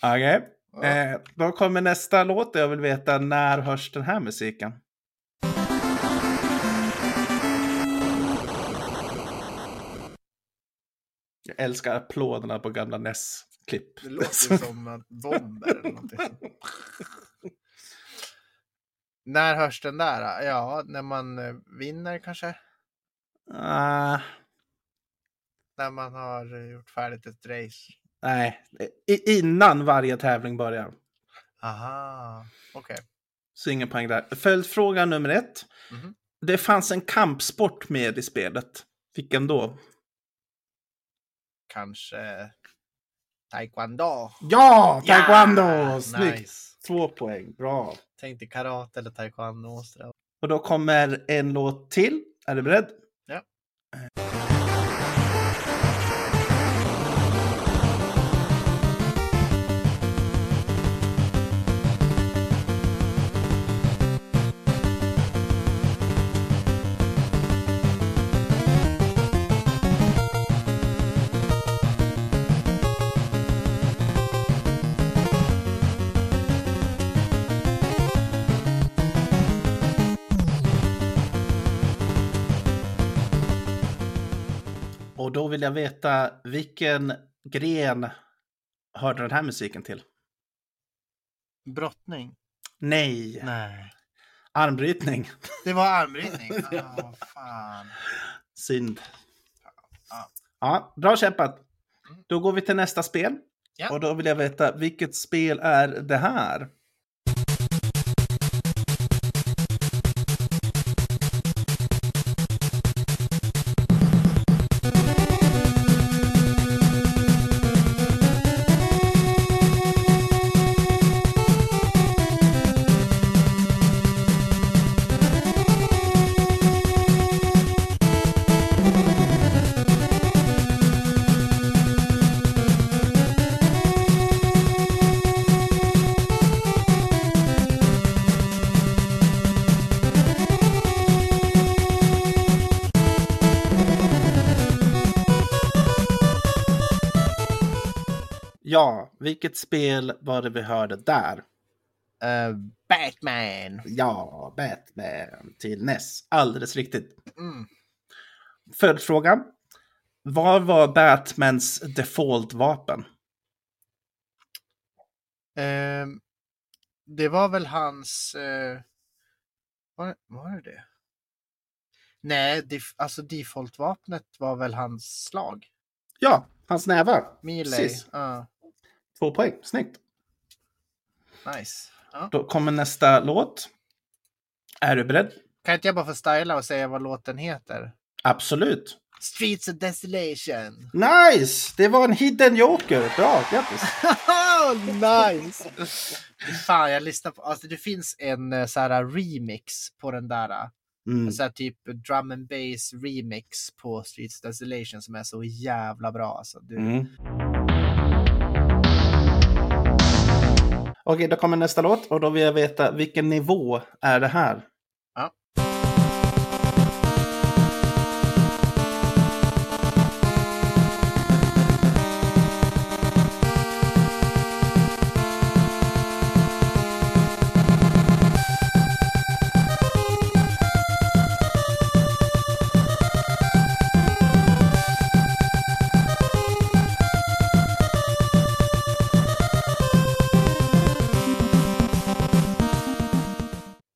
Speaker 1: Okej, eh, då kommer nästa låt. Jag vill veta när hörs den här musiken? Jag älskar applåderna på gamla NES-klipp.
Speaker 2: Det låter ju som att bomber eller någonting. När hörs den där? Ja, när man eh, vinner kanske?
Speaker 1: Ah,
Speaker 2: När man har eh, gjort färdigt ett race?
Speaker 1: nej, I, innan varje tävling börjar.
Speaker 2: Aha, okej.
Speaker 1: Så ingen poäng där. Följdfråga nummer ett.
Speaker 2: Mhm.
Speaker 1: Det fanns en kampsport med i spelet. Vilken då?
Speaker 2: Kanske taekwondo?
Speaker 1: Ja, taekwondo!
Speaker 2: Ja,
Speaker 1: Snyggt!
Speaker 2: Nice.
Speaker 1: Två poäng, bra.
Speaker 2: Tänkte karate eller taekwondo. och sådär.
Speaker 1: Och då kommer en låt till. Är du beredd?
Speaker 2: Ja.
Speaker 1: Och då vill jag veta vilken gren hörde den här musiken till?
Speaker 2: Brottning?
Speaker 1: Nej,
Speaker 2: Nej.
Speaker 1: armbrytning.
Speaker 2: Det var armbrytning? Ah, fan.
Speaker 1: Synd.
Speaker 2: Ja.
Speaker 1: Ja, bra kämpat.
Speaker 2: Mm.
Speaker 1: Då går vi till nästa spel.
Speaker 2: Ja.
Speaker 1: Och då vill jag veta vilket spel är det här? Ja, vilket spel var det vi hörde där?
Speaker 2: Eh, Batman!
Speaker 1: Ja, Batman till NES. Alldeles riktigt.
Speaker 2: Mm.
Speaker 1: Följdfråga. Vad var Batmans default-vapen?
Speaker 2: Ehm, det var väl hans... eh, var, var det det? Nej, def, alltså defaultvapnet var väl hans slag.
Speaker 1: Ja, hans nävar.
Speaker 2: Melee.
Speaker 1: Precis.
Speaker 2: Ja,
Speaker 1: Två poäng. Snyggt.
Speaker 2: nice. Ja.
Speaker 1: Då kommer nästa låt. Är du beredd?
Speaker 2: Kan inte jag bara få styla och säga vad låten heter?
Speaker 1: Absolut.
Speaker 2: Streets of Desolation!
Speaker 1: Nice! Det var en hidden joker. Bra, grattis.
Speaker 2: nice! Fan, jag lyssnar på... Alltså det finns en eh, så här remix på den där. eh,
Speaker 1: Mm.
Speaker 2: Så här, typ drum and bass remix på Streets of Desolation som är så jävla bra. Alltså, du,
Speaker 1: Mm. Okej, då kommer nästa låt och då vill jag veta vilken nivå är det här?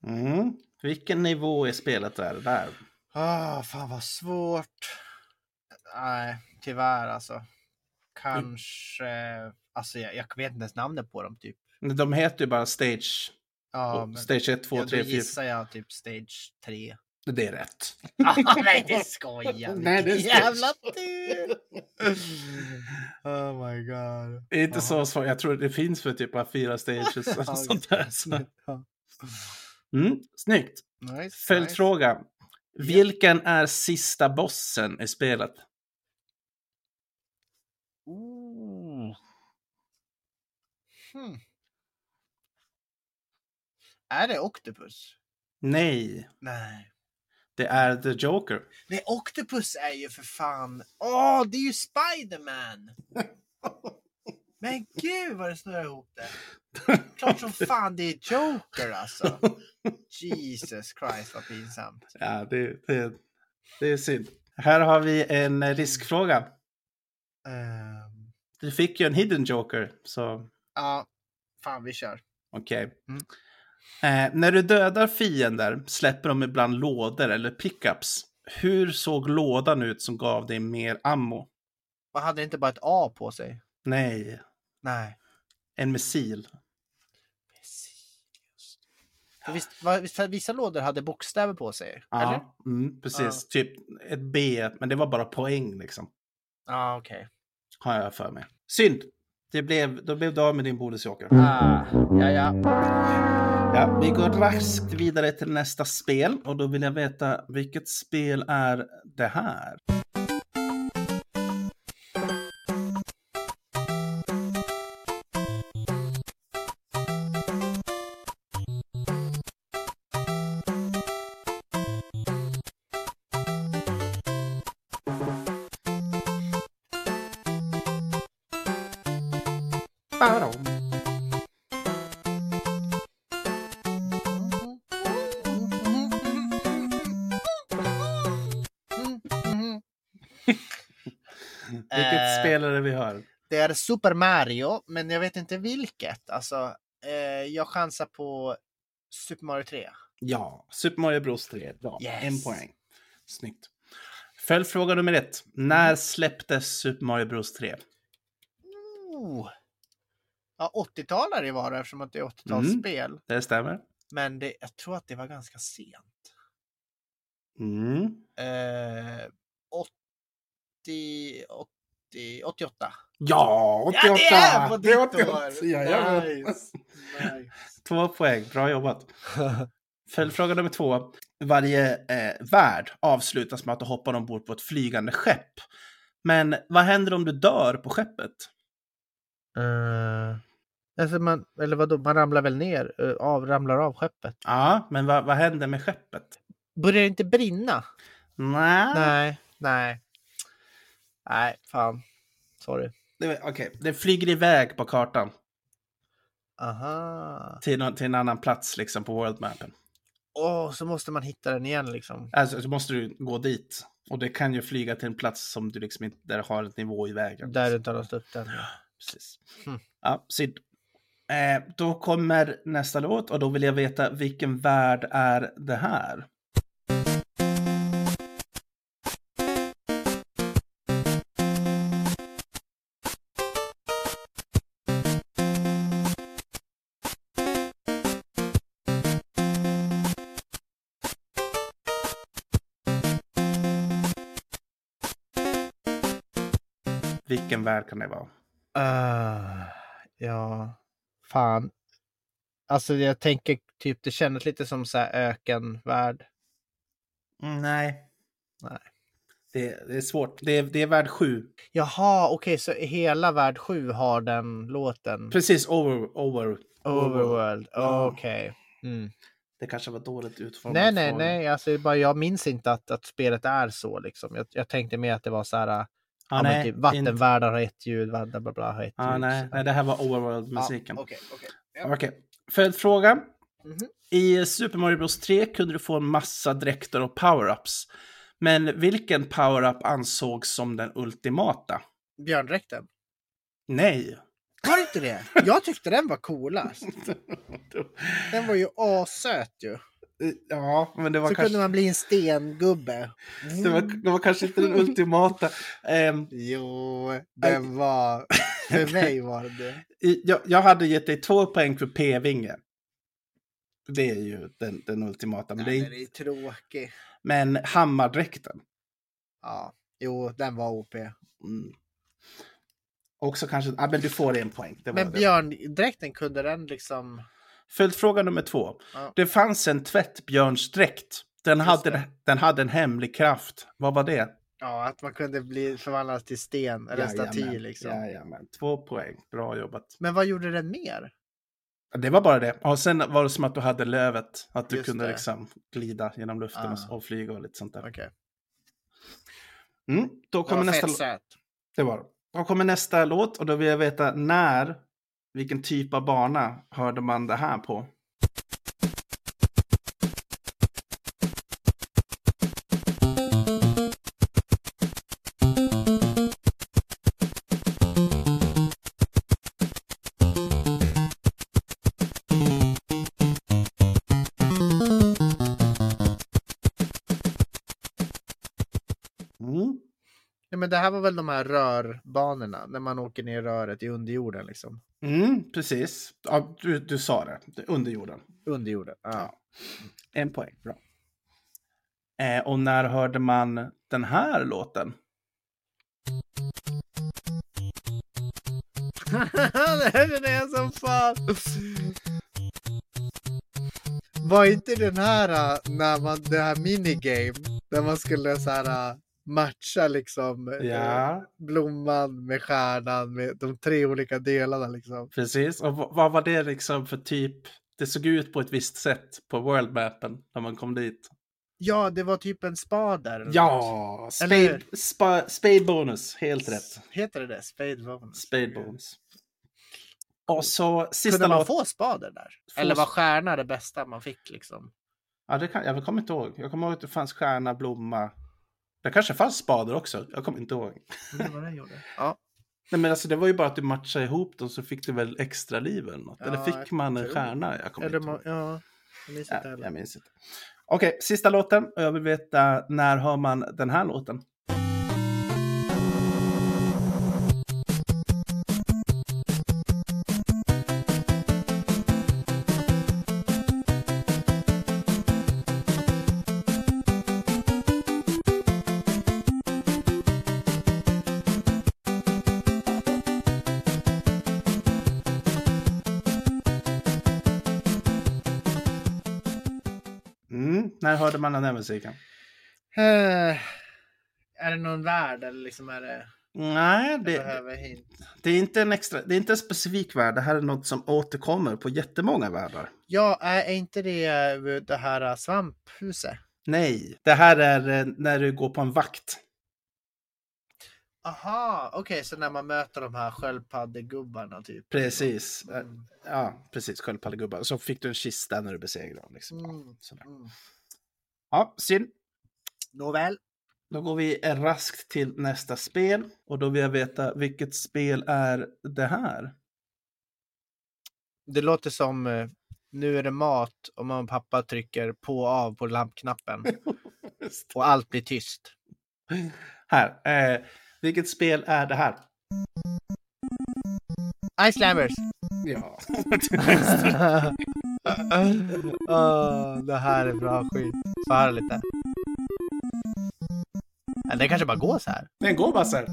Speaker 1: Mm. Vilken nivå i spelet är det där?
Speaker 2: Ah, fan vad svårt. Nej, tyvärr alltså. Kanske. Alltså jag, jag vet inte ens namnet på dem typ.
Speaker 1: De heter ju bara Stage,
Speaker 2: Ja, men,
Speaker 1: stage 1, 2,
Speaker 2: ja, då
Speaker 1: 3, 4.
Speaker 2: gissar jag typ stage 3.
Speaker 1: Det är rätt.
Speaker 2: Ah, nej, det skojar
Speaker 1: Nej, det är stage.
Speaker 2: Jävla tur! oh my god.
Speaker 1: Det är inte
Speaker 2: Jaha.
Speaker 1: så svårt. Jag tror det finns för typ bara fyra stages och sånt där. Så.
Speaker 2: Ja.
Speaker 1: Mm, snyggt.
Speaker 2: Nice,
Speaker 1: Följdfråga. Vilken är sista bossen i spelet?
Speaker 2: Nice. Ooh. Hmm. Är det Octopus?
Speaker 1: Nej,
Speaker 2: Nej.
Speaker 1: det är The Joker.
Speaker 2: Nej, Octopus är ju för fan... Åh, det är ju Spiderman! Men gud vad det snurrar ihop det. Klart som fan det är Joker alltså. Jesus Christ vad pinsamt.
Speaker 1: Ja, det, det, det är synd. Här har vi en eh, riskfråga.
Speaker 2: Ehm,
Speaker 1: Du fick ju en hidden joker, så
Speaker 2: ja, fan vi kör.
Speaker 1: okej.
Speaker 2: Mm.
Speaker 1: Eh, när du dödar fiender släpper de ibland lådor eller pickups. Hur såg lådan ut som gav dig mer ammo?
Speaker 2: Man hade inte bara ett A på sig.
Speaker 1: Nej,
Speaker 2: Nej.
Speaker 1: en missil.
Speaker 2: Precis. För visst, va- visst, för vissa lådor hade bokstäver på sig? Eller?
Speaker 1: Ja, mm, precis. Typ ett B, men det var bara poäng liksom.
Speaker 2: Ja, okej.
Speaker 1: Har jag för mig. Synd! Det blev, då blev du av med din bonusjoker.
Speaker 2: Ah, ja, ja.
Speaker 1: Ja, vi går raskt vidare till nästa spel och då vill jag veta vilket spel är det här?
Speaker 2: Mhm.
Speaker 1: Vilket
Speaker 2: Eh,
Speaker 1: spel är det vi hör?
Speaker 2: Det är Super Mario, men jag vet inte vilket. Alltså, eh, jag chansar på Super Mario 3.
Speaker 1: Ja, Super Mario Bros 3. Bra,
Speaker 2: Yes.
Speaker 1: en poäng. Snyggt. Följdfråga nummer ett. När släpptes Super Mario Bros 3?
Speaker 2: Oh. Mm. Ja, 80-talare var det eftersom att det är 80-talsspel.
Speaker 1: Det stämmer.
Speaker 2: Men det, jag tror att det var ganska sent.
Speaker 1: Mm.
Speaker 2: Eh, 80, 80, 88.
Speaker 1: Ja, 88!
Speaker 2: Ja, det är på
Speaker 1: Det är
Speaker 2: ditt
Speaker 1: 88,
Speaker 2: år!
Speaker 1: jajamän.
Speaker 2: Nice, nice.
Speaker 1: Två poäng, bra jobbat. Följdfråga nummer två. Varje eh, värld avslutas med att du hoppar ombord på ett flygande skepp. Men vad händer om du dör på skeppet?
Speaker 2: Eh, alltså man, eller vadå, man ramlar väl ner, eh, av, ramlar av skeppet.
Speaker 1: Ja, men vad, vad händer med skeppet?
Speaker 2: Börjar det inte brinna?
Speaker 1: Nej.
Speaker 2: Nej, nej. Nej, fan. Sorry.
Speaker 1: Det- Okej, det flyger iväg på kartan
Speaker 2: Aha.
Speaker 1: till, nå- till en annan plats liksom på worldmappen.
Speaker 2: Åh, så måste man hitta den igen liksom.
Speaker 1: Alltså så måste du gå dit. Och det kan ju flyga till en plats som du liksom inte, där det har ett nivå i vägen.
Speaker 2: Där du inte har låst upp den.
Speaker 1: Precis.
Speaker 2: Hmm.
Speaker 1: Ja, synd. Eh, då kommer nästa låt och då vill jag veta vilken värld är det här? Vilken värld kan det vara?
Speaker 2: Ah, ja, fan. Alltså jag tänker typ, det kändes lite som så här ökenvärld.
Speaker 1: Mm, nej.
Speaker 2: Nej.
Speaker 1: Det, det är svårt. Det är, det är värld 7.
Speaker 2: Jaha, okej, så hela värld 7 har den låten?
Speaker 1: Precis, over, over.
Speaker 2: Overworld,
Speaker 1: Ja.
Speaker 2: okej. Mm.
Speaker 1: Det kanske var dåligt utformat.
Speaker 2: Nej, nej,
Speaker 1: från-
Speaker 2: nej, alltså det är bara, jag minns inte att, att spelet är så liksom. Jag, jag tänkte mer att det var så här, ah,
Speaker 1: Ja,
Speaker 2: men
Speaker 1: nej,
Speaker 2: typ,
Speaker 1: inte-
Speaker 2: vattenvärdar har ett ljud, bla bla bla har ett
Speaker 1: Ja,
Speaker 2: ljud.
Speaker 1: nej,
Speaker 2: så.
Speaker 1: nej, det här var overworld-musiken.
Speaker 2: Ja, Okej, okej.
Speaker 1: Okej, följdfråga.
Speaker 2: Mhm.
Speaker 1: I Super Mario Bros 3 kunde du få en massa dräkter och power-ups. Men vilken power-up ansågs som den ultimata?
Speaker 2: Björndräkten.
Speaker 1: Nej.
Speaker 2: Var det inte det? Jag tyckte den var coolast. Den var ju assöt ju.
Speaker 1: Eh, Ja, men det var
Speaker 2: Så
Speaker 1: kanske...
Speaker 2: kunde man bli en stengubbe.
Speaker 1: Det var, det var kanske inte den ultimata. Ehm,
Speaker 2: Jo, den var... För mig var det det
Speaker 1: i- jag, jag hade gett dig två poäng för p-vinge. Det är ju den, den ultimata. Men,
Speaker 2: Nej,
Speaker 1: det
Speaker 2: men
Speaker 1: är,
Speaker 2: det är tråkigt.
Speaker 1: men hammardräkten.
Speaker 2: Ja, jo, den var OP.
Speaker 1: Mm. Också kanske... Ah, men du får en poäng. Det var
Speaker 2: Men
Speaker 1: det.
Speaker 2: björndräkten kunde den liksom...
Speaker 1: Följdfråga nummer två.
Speaker 2: Ja.
Speaker 1: Det fanns en tvättbjörnsdräkt. Den
Speaker 2: Just
Speaker 1: hade,
Speaker 2: det.
Speaker 1: den hade en hemlig kraft. Vad var det?
Speaker 2: Ja, att man kunde bli förvandlad till sten eller staty
Speaker 1: Jajamän,
Speaker 2: liksom.
Speaker 1: Jajamän. Två poäng. Bra jobbat.
Speaker 2: Men vad gjorde den mer?
Speaker 1: Ja, Det var bara det. Och sen var det som att du hade lövet. Att du
Speaker 2: Just
Speaker 1: kunde
Speaker 2: det.
Speaker 1: liksom glida genom luften och-
Speaker 2: Ah.
Speaker 1: och flyga och lite sånt där.
Speaker 2: Okej,
Speaker 1: Mm, då
Speaker 2: det var
Speaker 1: kommer nästa
Speaker 2: fett
Speaker 1: låt.
Speaker 2: söt.
Speaker 1: Det var det. Då kommer nästa låt och då vill jag veta när, vilken typ av bana hörde man det här på? Mm.
Speaker 2: Ja, men det här var väl de här rörbanorna, när man åker ner i röret i underjorden liksom.
Speaker 1: Mm, precis. Ja, du, du sa det. Det är Under jorden.
Speaker 2: Underjorden, ja.
Speaker 1: Ja. En poäng. Bra. Eh, och när hörde man den här låten?
Speaker 2: det här är jag som fan! Var inte den här äh, när man, det här minigame, där man skulle så här äh, matcha liksom eh, blomman med stjärnan med de tre olika delarna liksom.
Speaker 1: precis. Och v- vad var det liksom för typ? Det såg ut på ett visst sätt på worldmappen när man kom dit.
Speaker 2: Ja, det var typ en spade. eller något.
Speaker 1: Ja, spade,
Speaker 2: Eller-
Speaker 1: spa, spade bonus. Helt rätt.
Speaker 2: Heter det det? Spade bonus?
Speaker 1: Spade bonus. Och så sista
Speaker 2: Kunde man
Speaker 1: låt.
Speaker 2: få spader där?
Speaker 1: Få
Speaker 2: Eller var
Speaker 1: sp-
Speaker 2: stjärna det bästa man fick liksom?
Speaker 1: Ja, det kan, jag kommer inte ihåg. Jag kommer ihåg att det fanns stjärna, blomma. Det kanske fanns spader också. Jag kommer inte ihåg.
Speaker 2: Det var det jag gjorde. Ja,
Speaker 1: Nej men alltså det var ju bara att du matchade ihop dem så fick du väl extra liv eller något.
Speaker 2: Ja,
Speaker 1: eller
Speaker 2: jag
Speaker 1: fick man en
Speaker 2: tror.
Speaker 1: stjärna? Jag kommer
Speaker 2: eller
Speaker 1: inte
Speaker 2: man,
Speaker 1: ihåg.
Speaker 2: ja. Jag minns inte
Speaker 1: Ja, jag
Speaker 2: heller.
Speaker 1: minns inte. Okej, sista låten. Och jag vill veta när hör man den här låten? Mm, när hörde man den här musiken?
Speaker 2: Eh, är det någon värld eller liksom är det?
Speaker 1: Nej,
Speaker 2: Jag
Speaker 1: det,
Speaker 2: behöver hint.
Speaker 1: det är inte en extra, det är inte en specifik värld. Det här är något som återkommer på jättemånga världar.
Speaker 2: Ja, är är inte det eh, det här eh, svamphuset?
Speaker 1: Nej, det här är eh, när du går på en vakt.
Speaker 2: Aha, okej, så när man möter de här sköldpaddegubbarna typ.
Speaker 1: Precis. Eh,
Speaker 2: Mm.
Speaker 1: Ja, precis. Sköldpaddegubbar. Så fick du en kista när du besegrade dem. Liksom. Ja,
Speaker 2: Mm.
Speaker 1: sådär.
Speaker 2: Mm.
Speaker 1: ja, synd.
Speaker 2: Nåväl.
Speaker 1: Då går vi eh, raskt till nästa spel och då vill jag veta vilket spel är det här?
Speaker 2: Det låter som eh, nu är det mat och mamma och pappa trycker på och av på lampknappen och allt blir tyst.
Speaker 1: här. Eh, vilket spel är det här?
Speaker 2: Ice Lammers!
Speaker 1: Ja.
Speaker 2: Åh, Ah, det här är bra skit. Så här lite. Ja, Det kanske bara går så här.
Speaker 1: Den går bara så här.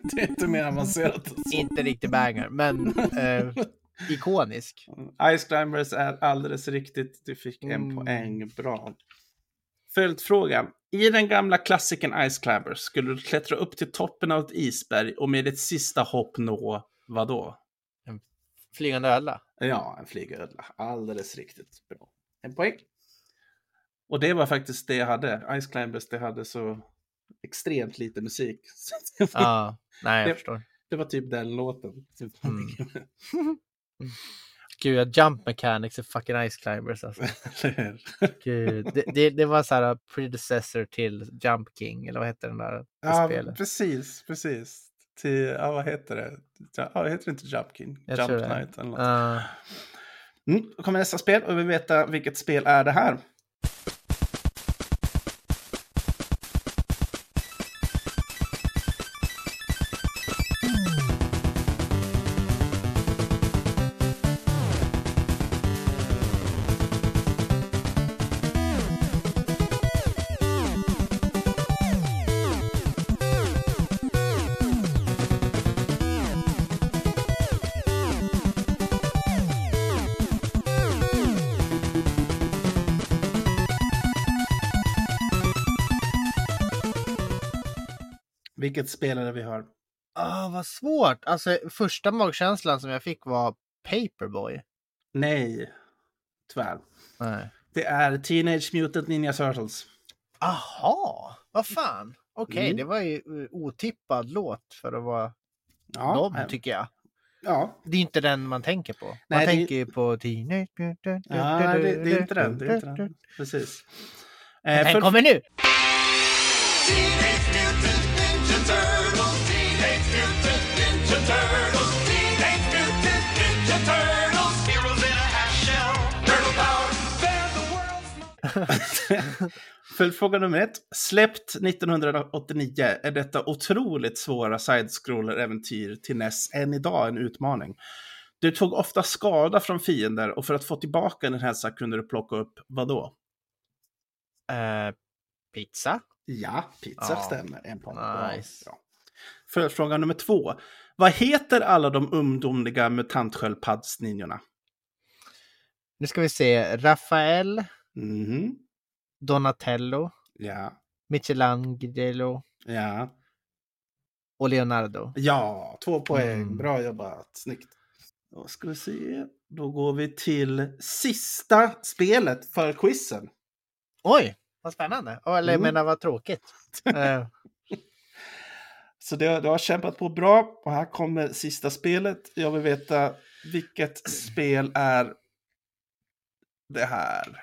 Speaker 1: det är inte mer avancerat. än så.
Speaker 2: Inte riktigt banger, men eh, ikonisk.
Speaker 1: Ice Climbers är alldeles riktigt. Du fick en
Speaker 2: Mm.
Speaker 1: poäng. Bra. Följdfråga. I den gamla klassiken Ice Climbers skulle du klättra upp till toppen av ett isberg och med ditt sista hopp nå vad då?
Speaker 2: Flygande ödla.
Speaker 1: Ja, en flygödla. Alldeles riktigt bra. En poäng. Och det var faktiskt det jag hade. Ice Climbers, det hade så extremt lite musik. Så det, var,
Speaker 2: Ja, nej, jag
Speaker 1: Det-
Speaker 2: förstår.
Speaker 1: det var typ den låten.
Speaker 2: Mm. Gud, jag jump mechanics är fucking ice climbers alltså.
Speaker 1: Eller hur?
Speaker 2: Gud, det, det, det var så här uh, predecessor till Jump King, eller vad hette den där?
Speaker 1: ja,
Speaker 2: spelet.
Speaker 1: precis, precis. Till, ja, vad heter det? Ja, det heter inte Jump King?
Speaker 2: Jag
Speaker 1: Jump
Speaker 2: tror det.
Speaker 1: Knight eller något.
Speaker 2: Ah.
Speaker 1: Mm, då kommer nästa spel och vi vill veta vilket spel är det här. Vilket spelare vi har.
Speaker 2: Ah, vad svårt! Alltså, första magkänslan som jag fick var Paperboy.
Speaker 1: Nej, tyvärr.
Speaker 2: Nej.
Speaker 1: Det är Teenage Mutant Ninja Turtles.
Speaker 2: Aha, vad fan! Okej,
Speaker 1: Mm.
Speaker 2: det var ju eh, otippad låt för att vara
Speaker 1: Ja,
Speaker 2: dem,
Speaker 1: eh,
Speaker 2: tycker jag.
Speaker 1: ja.
Speaker 2: Det är inte den man tänker på. Man
Speaker 1: Nej, det-
Speaker 2: tänker ju på Teenage Mutant.
Speaker 1: ja nej, det, det är inte den. Det är inte den. Precis. Eh,
Speaker 2: Den
Speaker 1: för-
Speaker 2: kommer nu!
Speaker 1: Följdfråga nummer ett. Släppt 1989 är detta otroligt svåra side-scroller-äventyr till näst än idag en utmaning. Du tog ofta skada från fiender och för att få tillbaka din hälsa kunde du plocka upp vad då?
Speaker 2: Eh, pizza?
Speaker 1: Ja, pizza
Speaker 2: Ja.
Speaker 1: stämmer. En poäng. Bra,
Speaker 2: Nice.
Speaker 1: bra. Följdfråga nummer två. Vad heter alla de ungdomliga mutantsköldpaddsninjorna?
Speaker 2: Nu ska vi se. Rafael,
Speaker 1: Mhm.
Speaker 2: Donatello,
Speaker 1: Ja,
Speaker 2: Michelangelo
Speaker 1: ja.
Speaker 2: och Leonardo.
Speaker 1: Ja, två poäng.
Speaker 2: Mm.
Speaker 1: Bra jobbat. Snyggt. Då ska vi se. Då går vi till sista spelet för quizen.
Speaker 2: Oj, vad spännande! Oh, Eller jag
Speaker 1: Mm.
Speaker 2: menar vad tråkigt. Eh,
Speaker 1: Så du, du har kämpat på bra. Och här kommer sista spelet. Jag vill veta vilket spel är det här?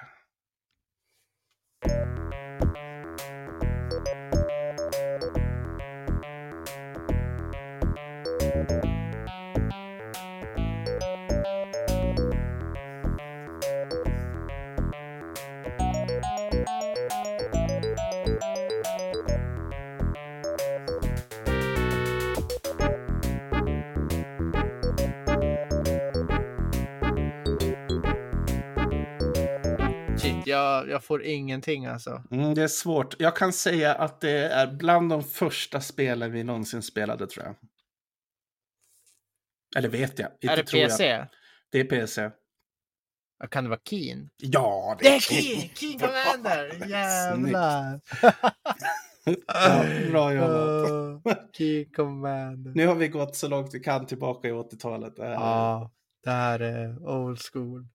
Speaker 2: shit, jag, jag får ingenting alltså.
Speaker 1: Mm, det är svårt. Jag kan säga att det är bland de första spelen vi någonsin spelade tror jag. Eller vet jag. Inte
Speaker 2: är det
Speaker 1: tror jag.
Speaker 2: PC? Jag.
Speaker 1: Det är PC.
Speaker 2: Kan det vara Keen?
Speaker 1: Ja, det
Speaker 2: Det är
Speaker 1: är
Speaker 2: Keen! Keen Commander! Jävlar!
Speaker 1: Ja, bra jobbat.
Speaker 2: Åh, Keen Commander.
Speaker 1: Eh, Nu har vi gått så långt vi kan tillbaka i 80-talet. Eh,
Speaker 2: Ja, det här är old school.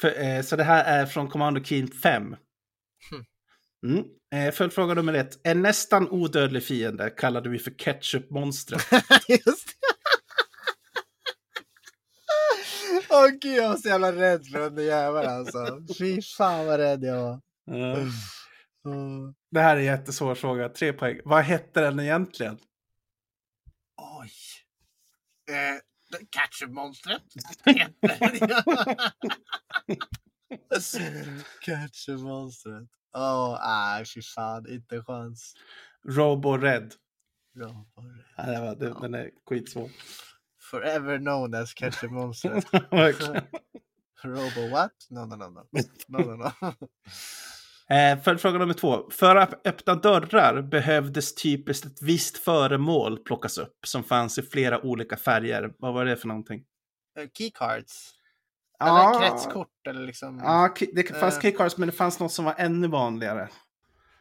Speaker 1: För, eh, så det här är från Commando Keen 5.
Speaker 2: Hmm.
Speaker 1: Mm. Eh, följdfråga nummer ett. En nästan odödlig fiende kallade vi för ketchupmonstret.
Speaker 2: Just det. Åh gud, jag var så jävla rädd för den där jäveln alltså. Fy fan vad rädd jag var.
Speaker 1: Eh,
Speaker 2: Åh.
Speaker 1: det här är en jättesvår fråga. Tre poäng. Vad hette den egentligen?
Speaker 2: Oj. Eh, Catcher-monstret Catcher-monstret. Åh, nej fy fan, inte en chans.
Speaker 1: Robo Red.
Speaker 2: Bra var det.
Speaker 1: Ja, det var, det, Den är skitsvår.
Speaker 2: Forever known as Catcher-monstret.
Speaker 1: Verkligen.
Speaker 2: Robo what? No, no, no, no. no, no, no.
Speaker 1: Eh, Följdfråga nummer två. För att öppna dörrar behövdes typiskt ett visst föremål plockas upp som fanns i flera olika färger. Vad var det för någonting?
Speaker 2: Eh, Keycards.
Speaker 1: Ja.
Speaker 2: Eller kretskort eller liksom.
Speaker 1: Ja, ki- det fanns
Speaker 2: Eh.
Speaker 1: keycards men det fanns något som var ännu vanligare.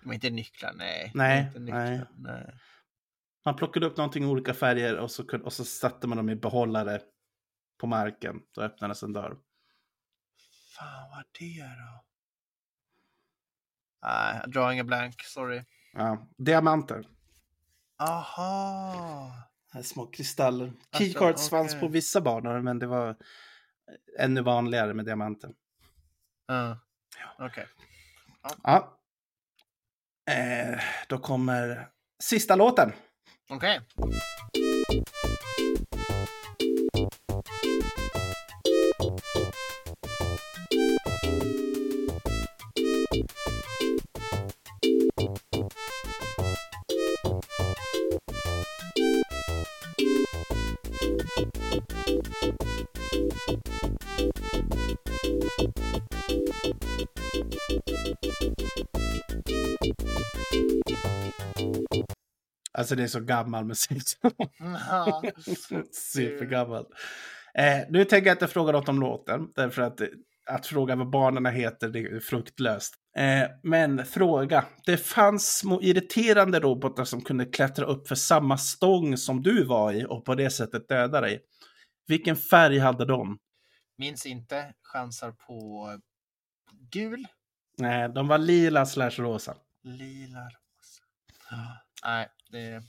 Speaker 2: Men inte nycklar, nej.
Speaker 1: Nej,
Speaker 2: Inte nycklar,
Speaker 1: nej.
Speaker 2: nej.
Speaker 1: Man plockade upp någonting i olika färger och så, kun- och så satte man dem i behållare på marken. Då öppnades en dörr.
Speaker 2: Fan, vad det då? Nej, jag drar ingen blank, sorry.
Speaker 1: Ja, diamanter.
Speaker 2: Aha!
Speaker 1: Här Små kristaller.
Speaker 2: Alltså,
Speaker 1: Keycards fanns
Speaker 2: okej.
Speaker 1: på vissa banor men det var ännu vanligare med diamanter.
Speaker 2: Ja. Okej.
Speaker 1: Ja. Eh, då kommer sista låten.
Speaker 2: Okej.
Speaker 1: Alltså det är så gammal musik.
Speaker 2: Ja.
Speaker 1: Supergammal. Eh, nu tänker jag inte fråga något om låten, därför att eh, att fråga vad barnen heter det är fruktlöst. Eh, men fråga. Det fanns små irriterande robotar som kunde klättra upp för samma stång som du var i och på det sättet döda dig. Vilken färg hade de?
Speaker 2: Minns inte, chansar på gul,
Speaker 1: Nej, de var lila slash rosa.
Speaker 2: lila, rosa. Nej, det...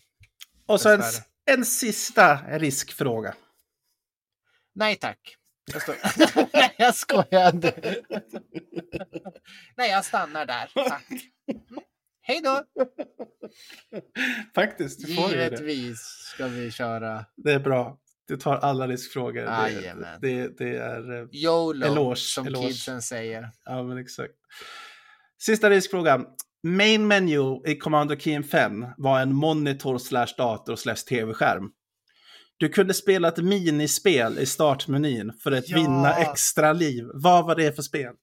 Speaker 1: Och så en,
Speaker 2: Dessvärre.
Speaker 1: en sista riskfråga.
Speaker 2: Nej tack. Jag, står... Nej, jag skojade. Nej, jag stannar där. Tack. Mm. Hej då!
Speaker 1: Faktiskt, du får ju det.
Speaker 2: Givetvis ska vi köra
Speaker 1: Det är bra. Du tar alla riskfrågor. Det,
Speaker 2: Jajamän.
Speaker 1: det, det är... eh,
Speaker 2: YOLO,
Speaker 1: Eloge,
Speaker 2: som
Speaker 1: eloge.
Speaker 2: kidsen säger.
Speaker 1: Ja, men exakt. Sista riskfrågan. Main menu i Commander Keen 5 var en monitor slash dator slash tv-skärm. Du kunde spela ett minispel i startmenyn för att
Speaker 2: Ja. Mm,
Speaker 1: vinna extra liv. Vad var det för spel?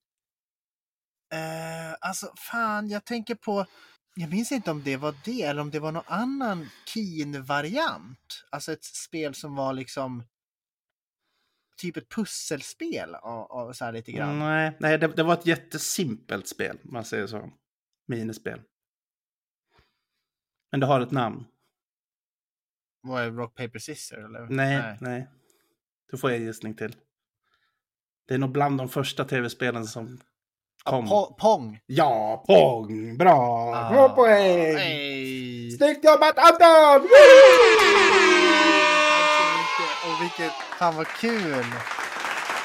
Speaker 2: Eh, alltså, fan, jag tänker på... Jag minns inte om det var det eller om det var någon annan Keen-variant. Alltså ett spel som var liksom typ ett pusselspel av, av så här lite grann.
Speaker 1: Nej, nej det, det var ett jättesimpelt spel, om man säger så. Minispel. Men det har ett namn.
Speaker 2: Var det Rock, Paper, Scissor eller?
Speaker 1: Nej, nej. Du får jag en gissning till. Det är nog bland de första tv-spelen som kom.
Speaker 2: Po- Pong!
Speaker 1: Ja, pong! Bra! Bra poäng!
Speaker 2: Hej!
Speaker 1: Snyggt jobbat Anton!
Speaker 2: Tack så mycket! Och vilket... Fan vad kul!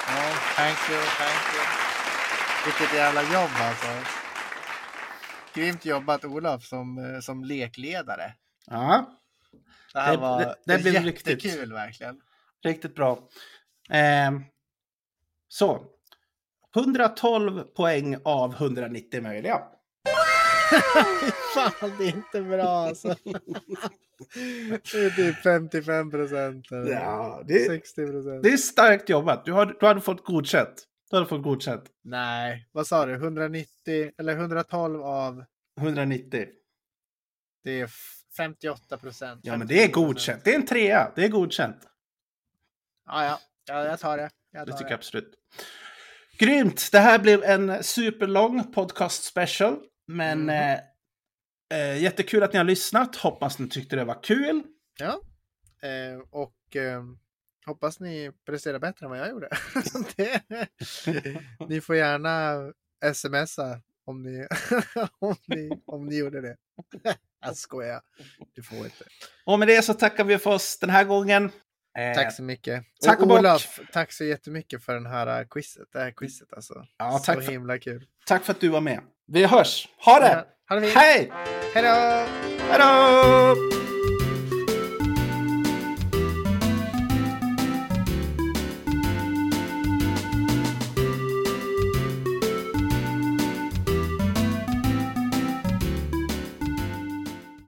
Speaker 2: Ja, thank you, thank you. Vilket jävla jobb alltså. Grymt jobbat Olof som, eh, som lekledare.
Speaker 1: Ja,
Speaker 2: Det här
Speaker 1: Det-
Speaker 2: var
Speaker 1: det- det blev
Speaker 2: jättekul
Speaker 1: riktigt.
Speaker 2: verkligen.
Speaker 1: riktigt bra. Ehm, så. 112 poäng av 190 möjliga.
Speaker 8: Fan, det är inte bra alltså. Det är typ 55 procent.
Speaker 1: Ja, det,
Speaker 8: 60 procent.
Speaker 1: det är starkt jobbat. Du hade, du hade fått godkänt. Du hade fått godkänt.
Speaker 2: Nej.
Speaker 8: Vad sa du? 190 eller 112 av?
Speaker 1: 190.
Speaker 2: Det är f- 58 procent.
Speaker 1: Ja, men det är godkänt. Det är en trea. Det är godkänt.
Speaker 2: Ja, ja. ja jag tar det. Jag
Speaker 1: Det
Speaker 2: tar
Speaker 1: tycker jag absolut. Grymt! Det här blev en superlång podcast special. Men
Speaker 8: Mm.
Speaker 1: eh, eh, jättekul att ni har lyssnat. Hoppas ni tyckte det var kul.
Speaker 8: Eh, och eh, hoppas ni presterar bättre än vad jag gjorde. det, ni får gärna smsa om ni, om ni, om ni gjorde det. jag skojar. Du får inte.
Speaker 1: Och med det så tackar vi för oss den här gången. Eh,
Speaker 8: Tack så mycket.
Speaker 1: Tack och bock.
Speaker 8: Olof, tack så jättemycket för den här eh, quizet. Det här quizet alltså.
Speaker 1: ja,
Speaker 8: så
Speaker 1: tack, för,
Speaker 8: himla kul.
Speaker 1: tack för att du var med. Vi hörs! Ha det!
Speaker 8: Ha det fint.
Speaker 1: Hej!
Speaker 8: Hej då!
Speaker 1: Hej då!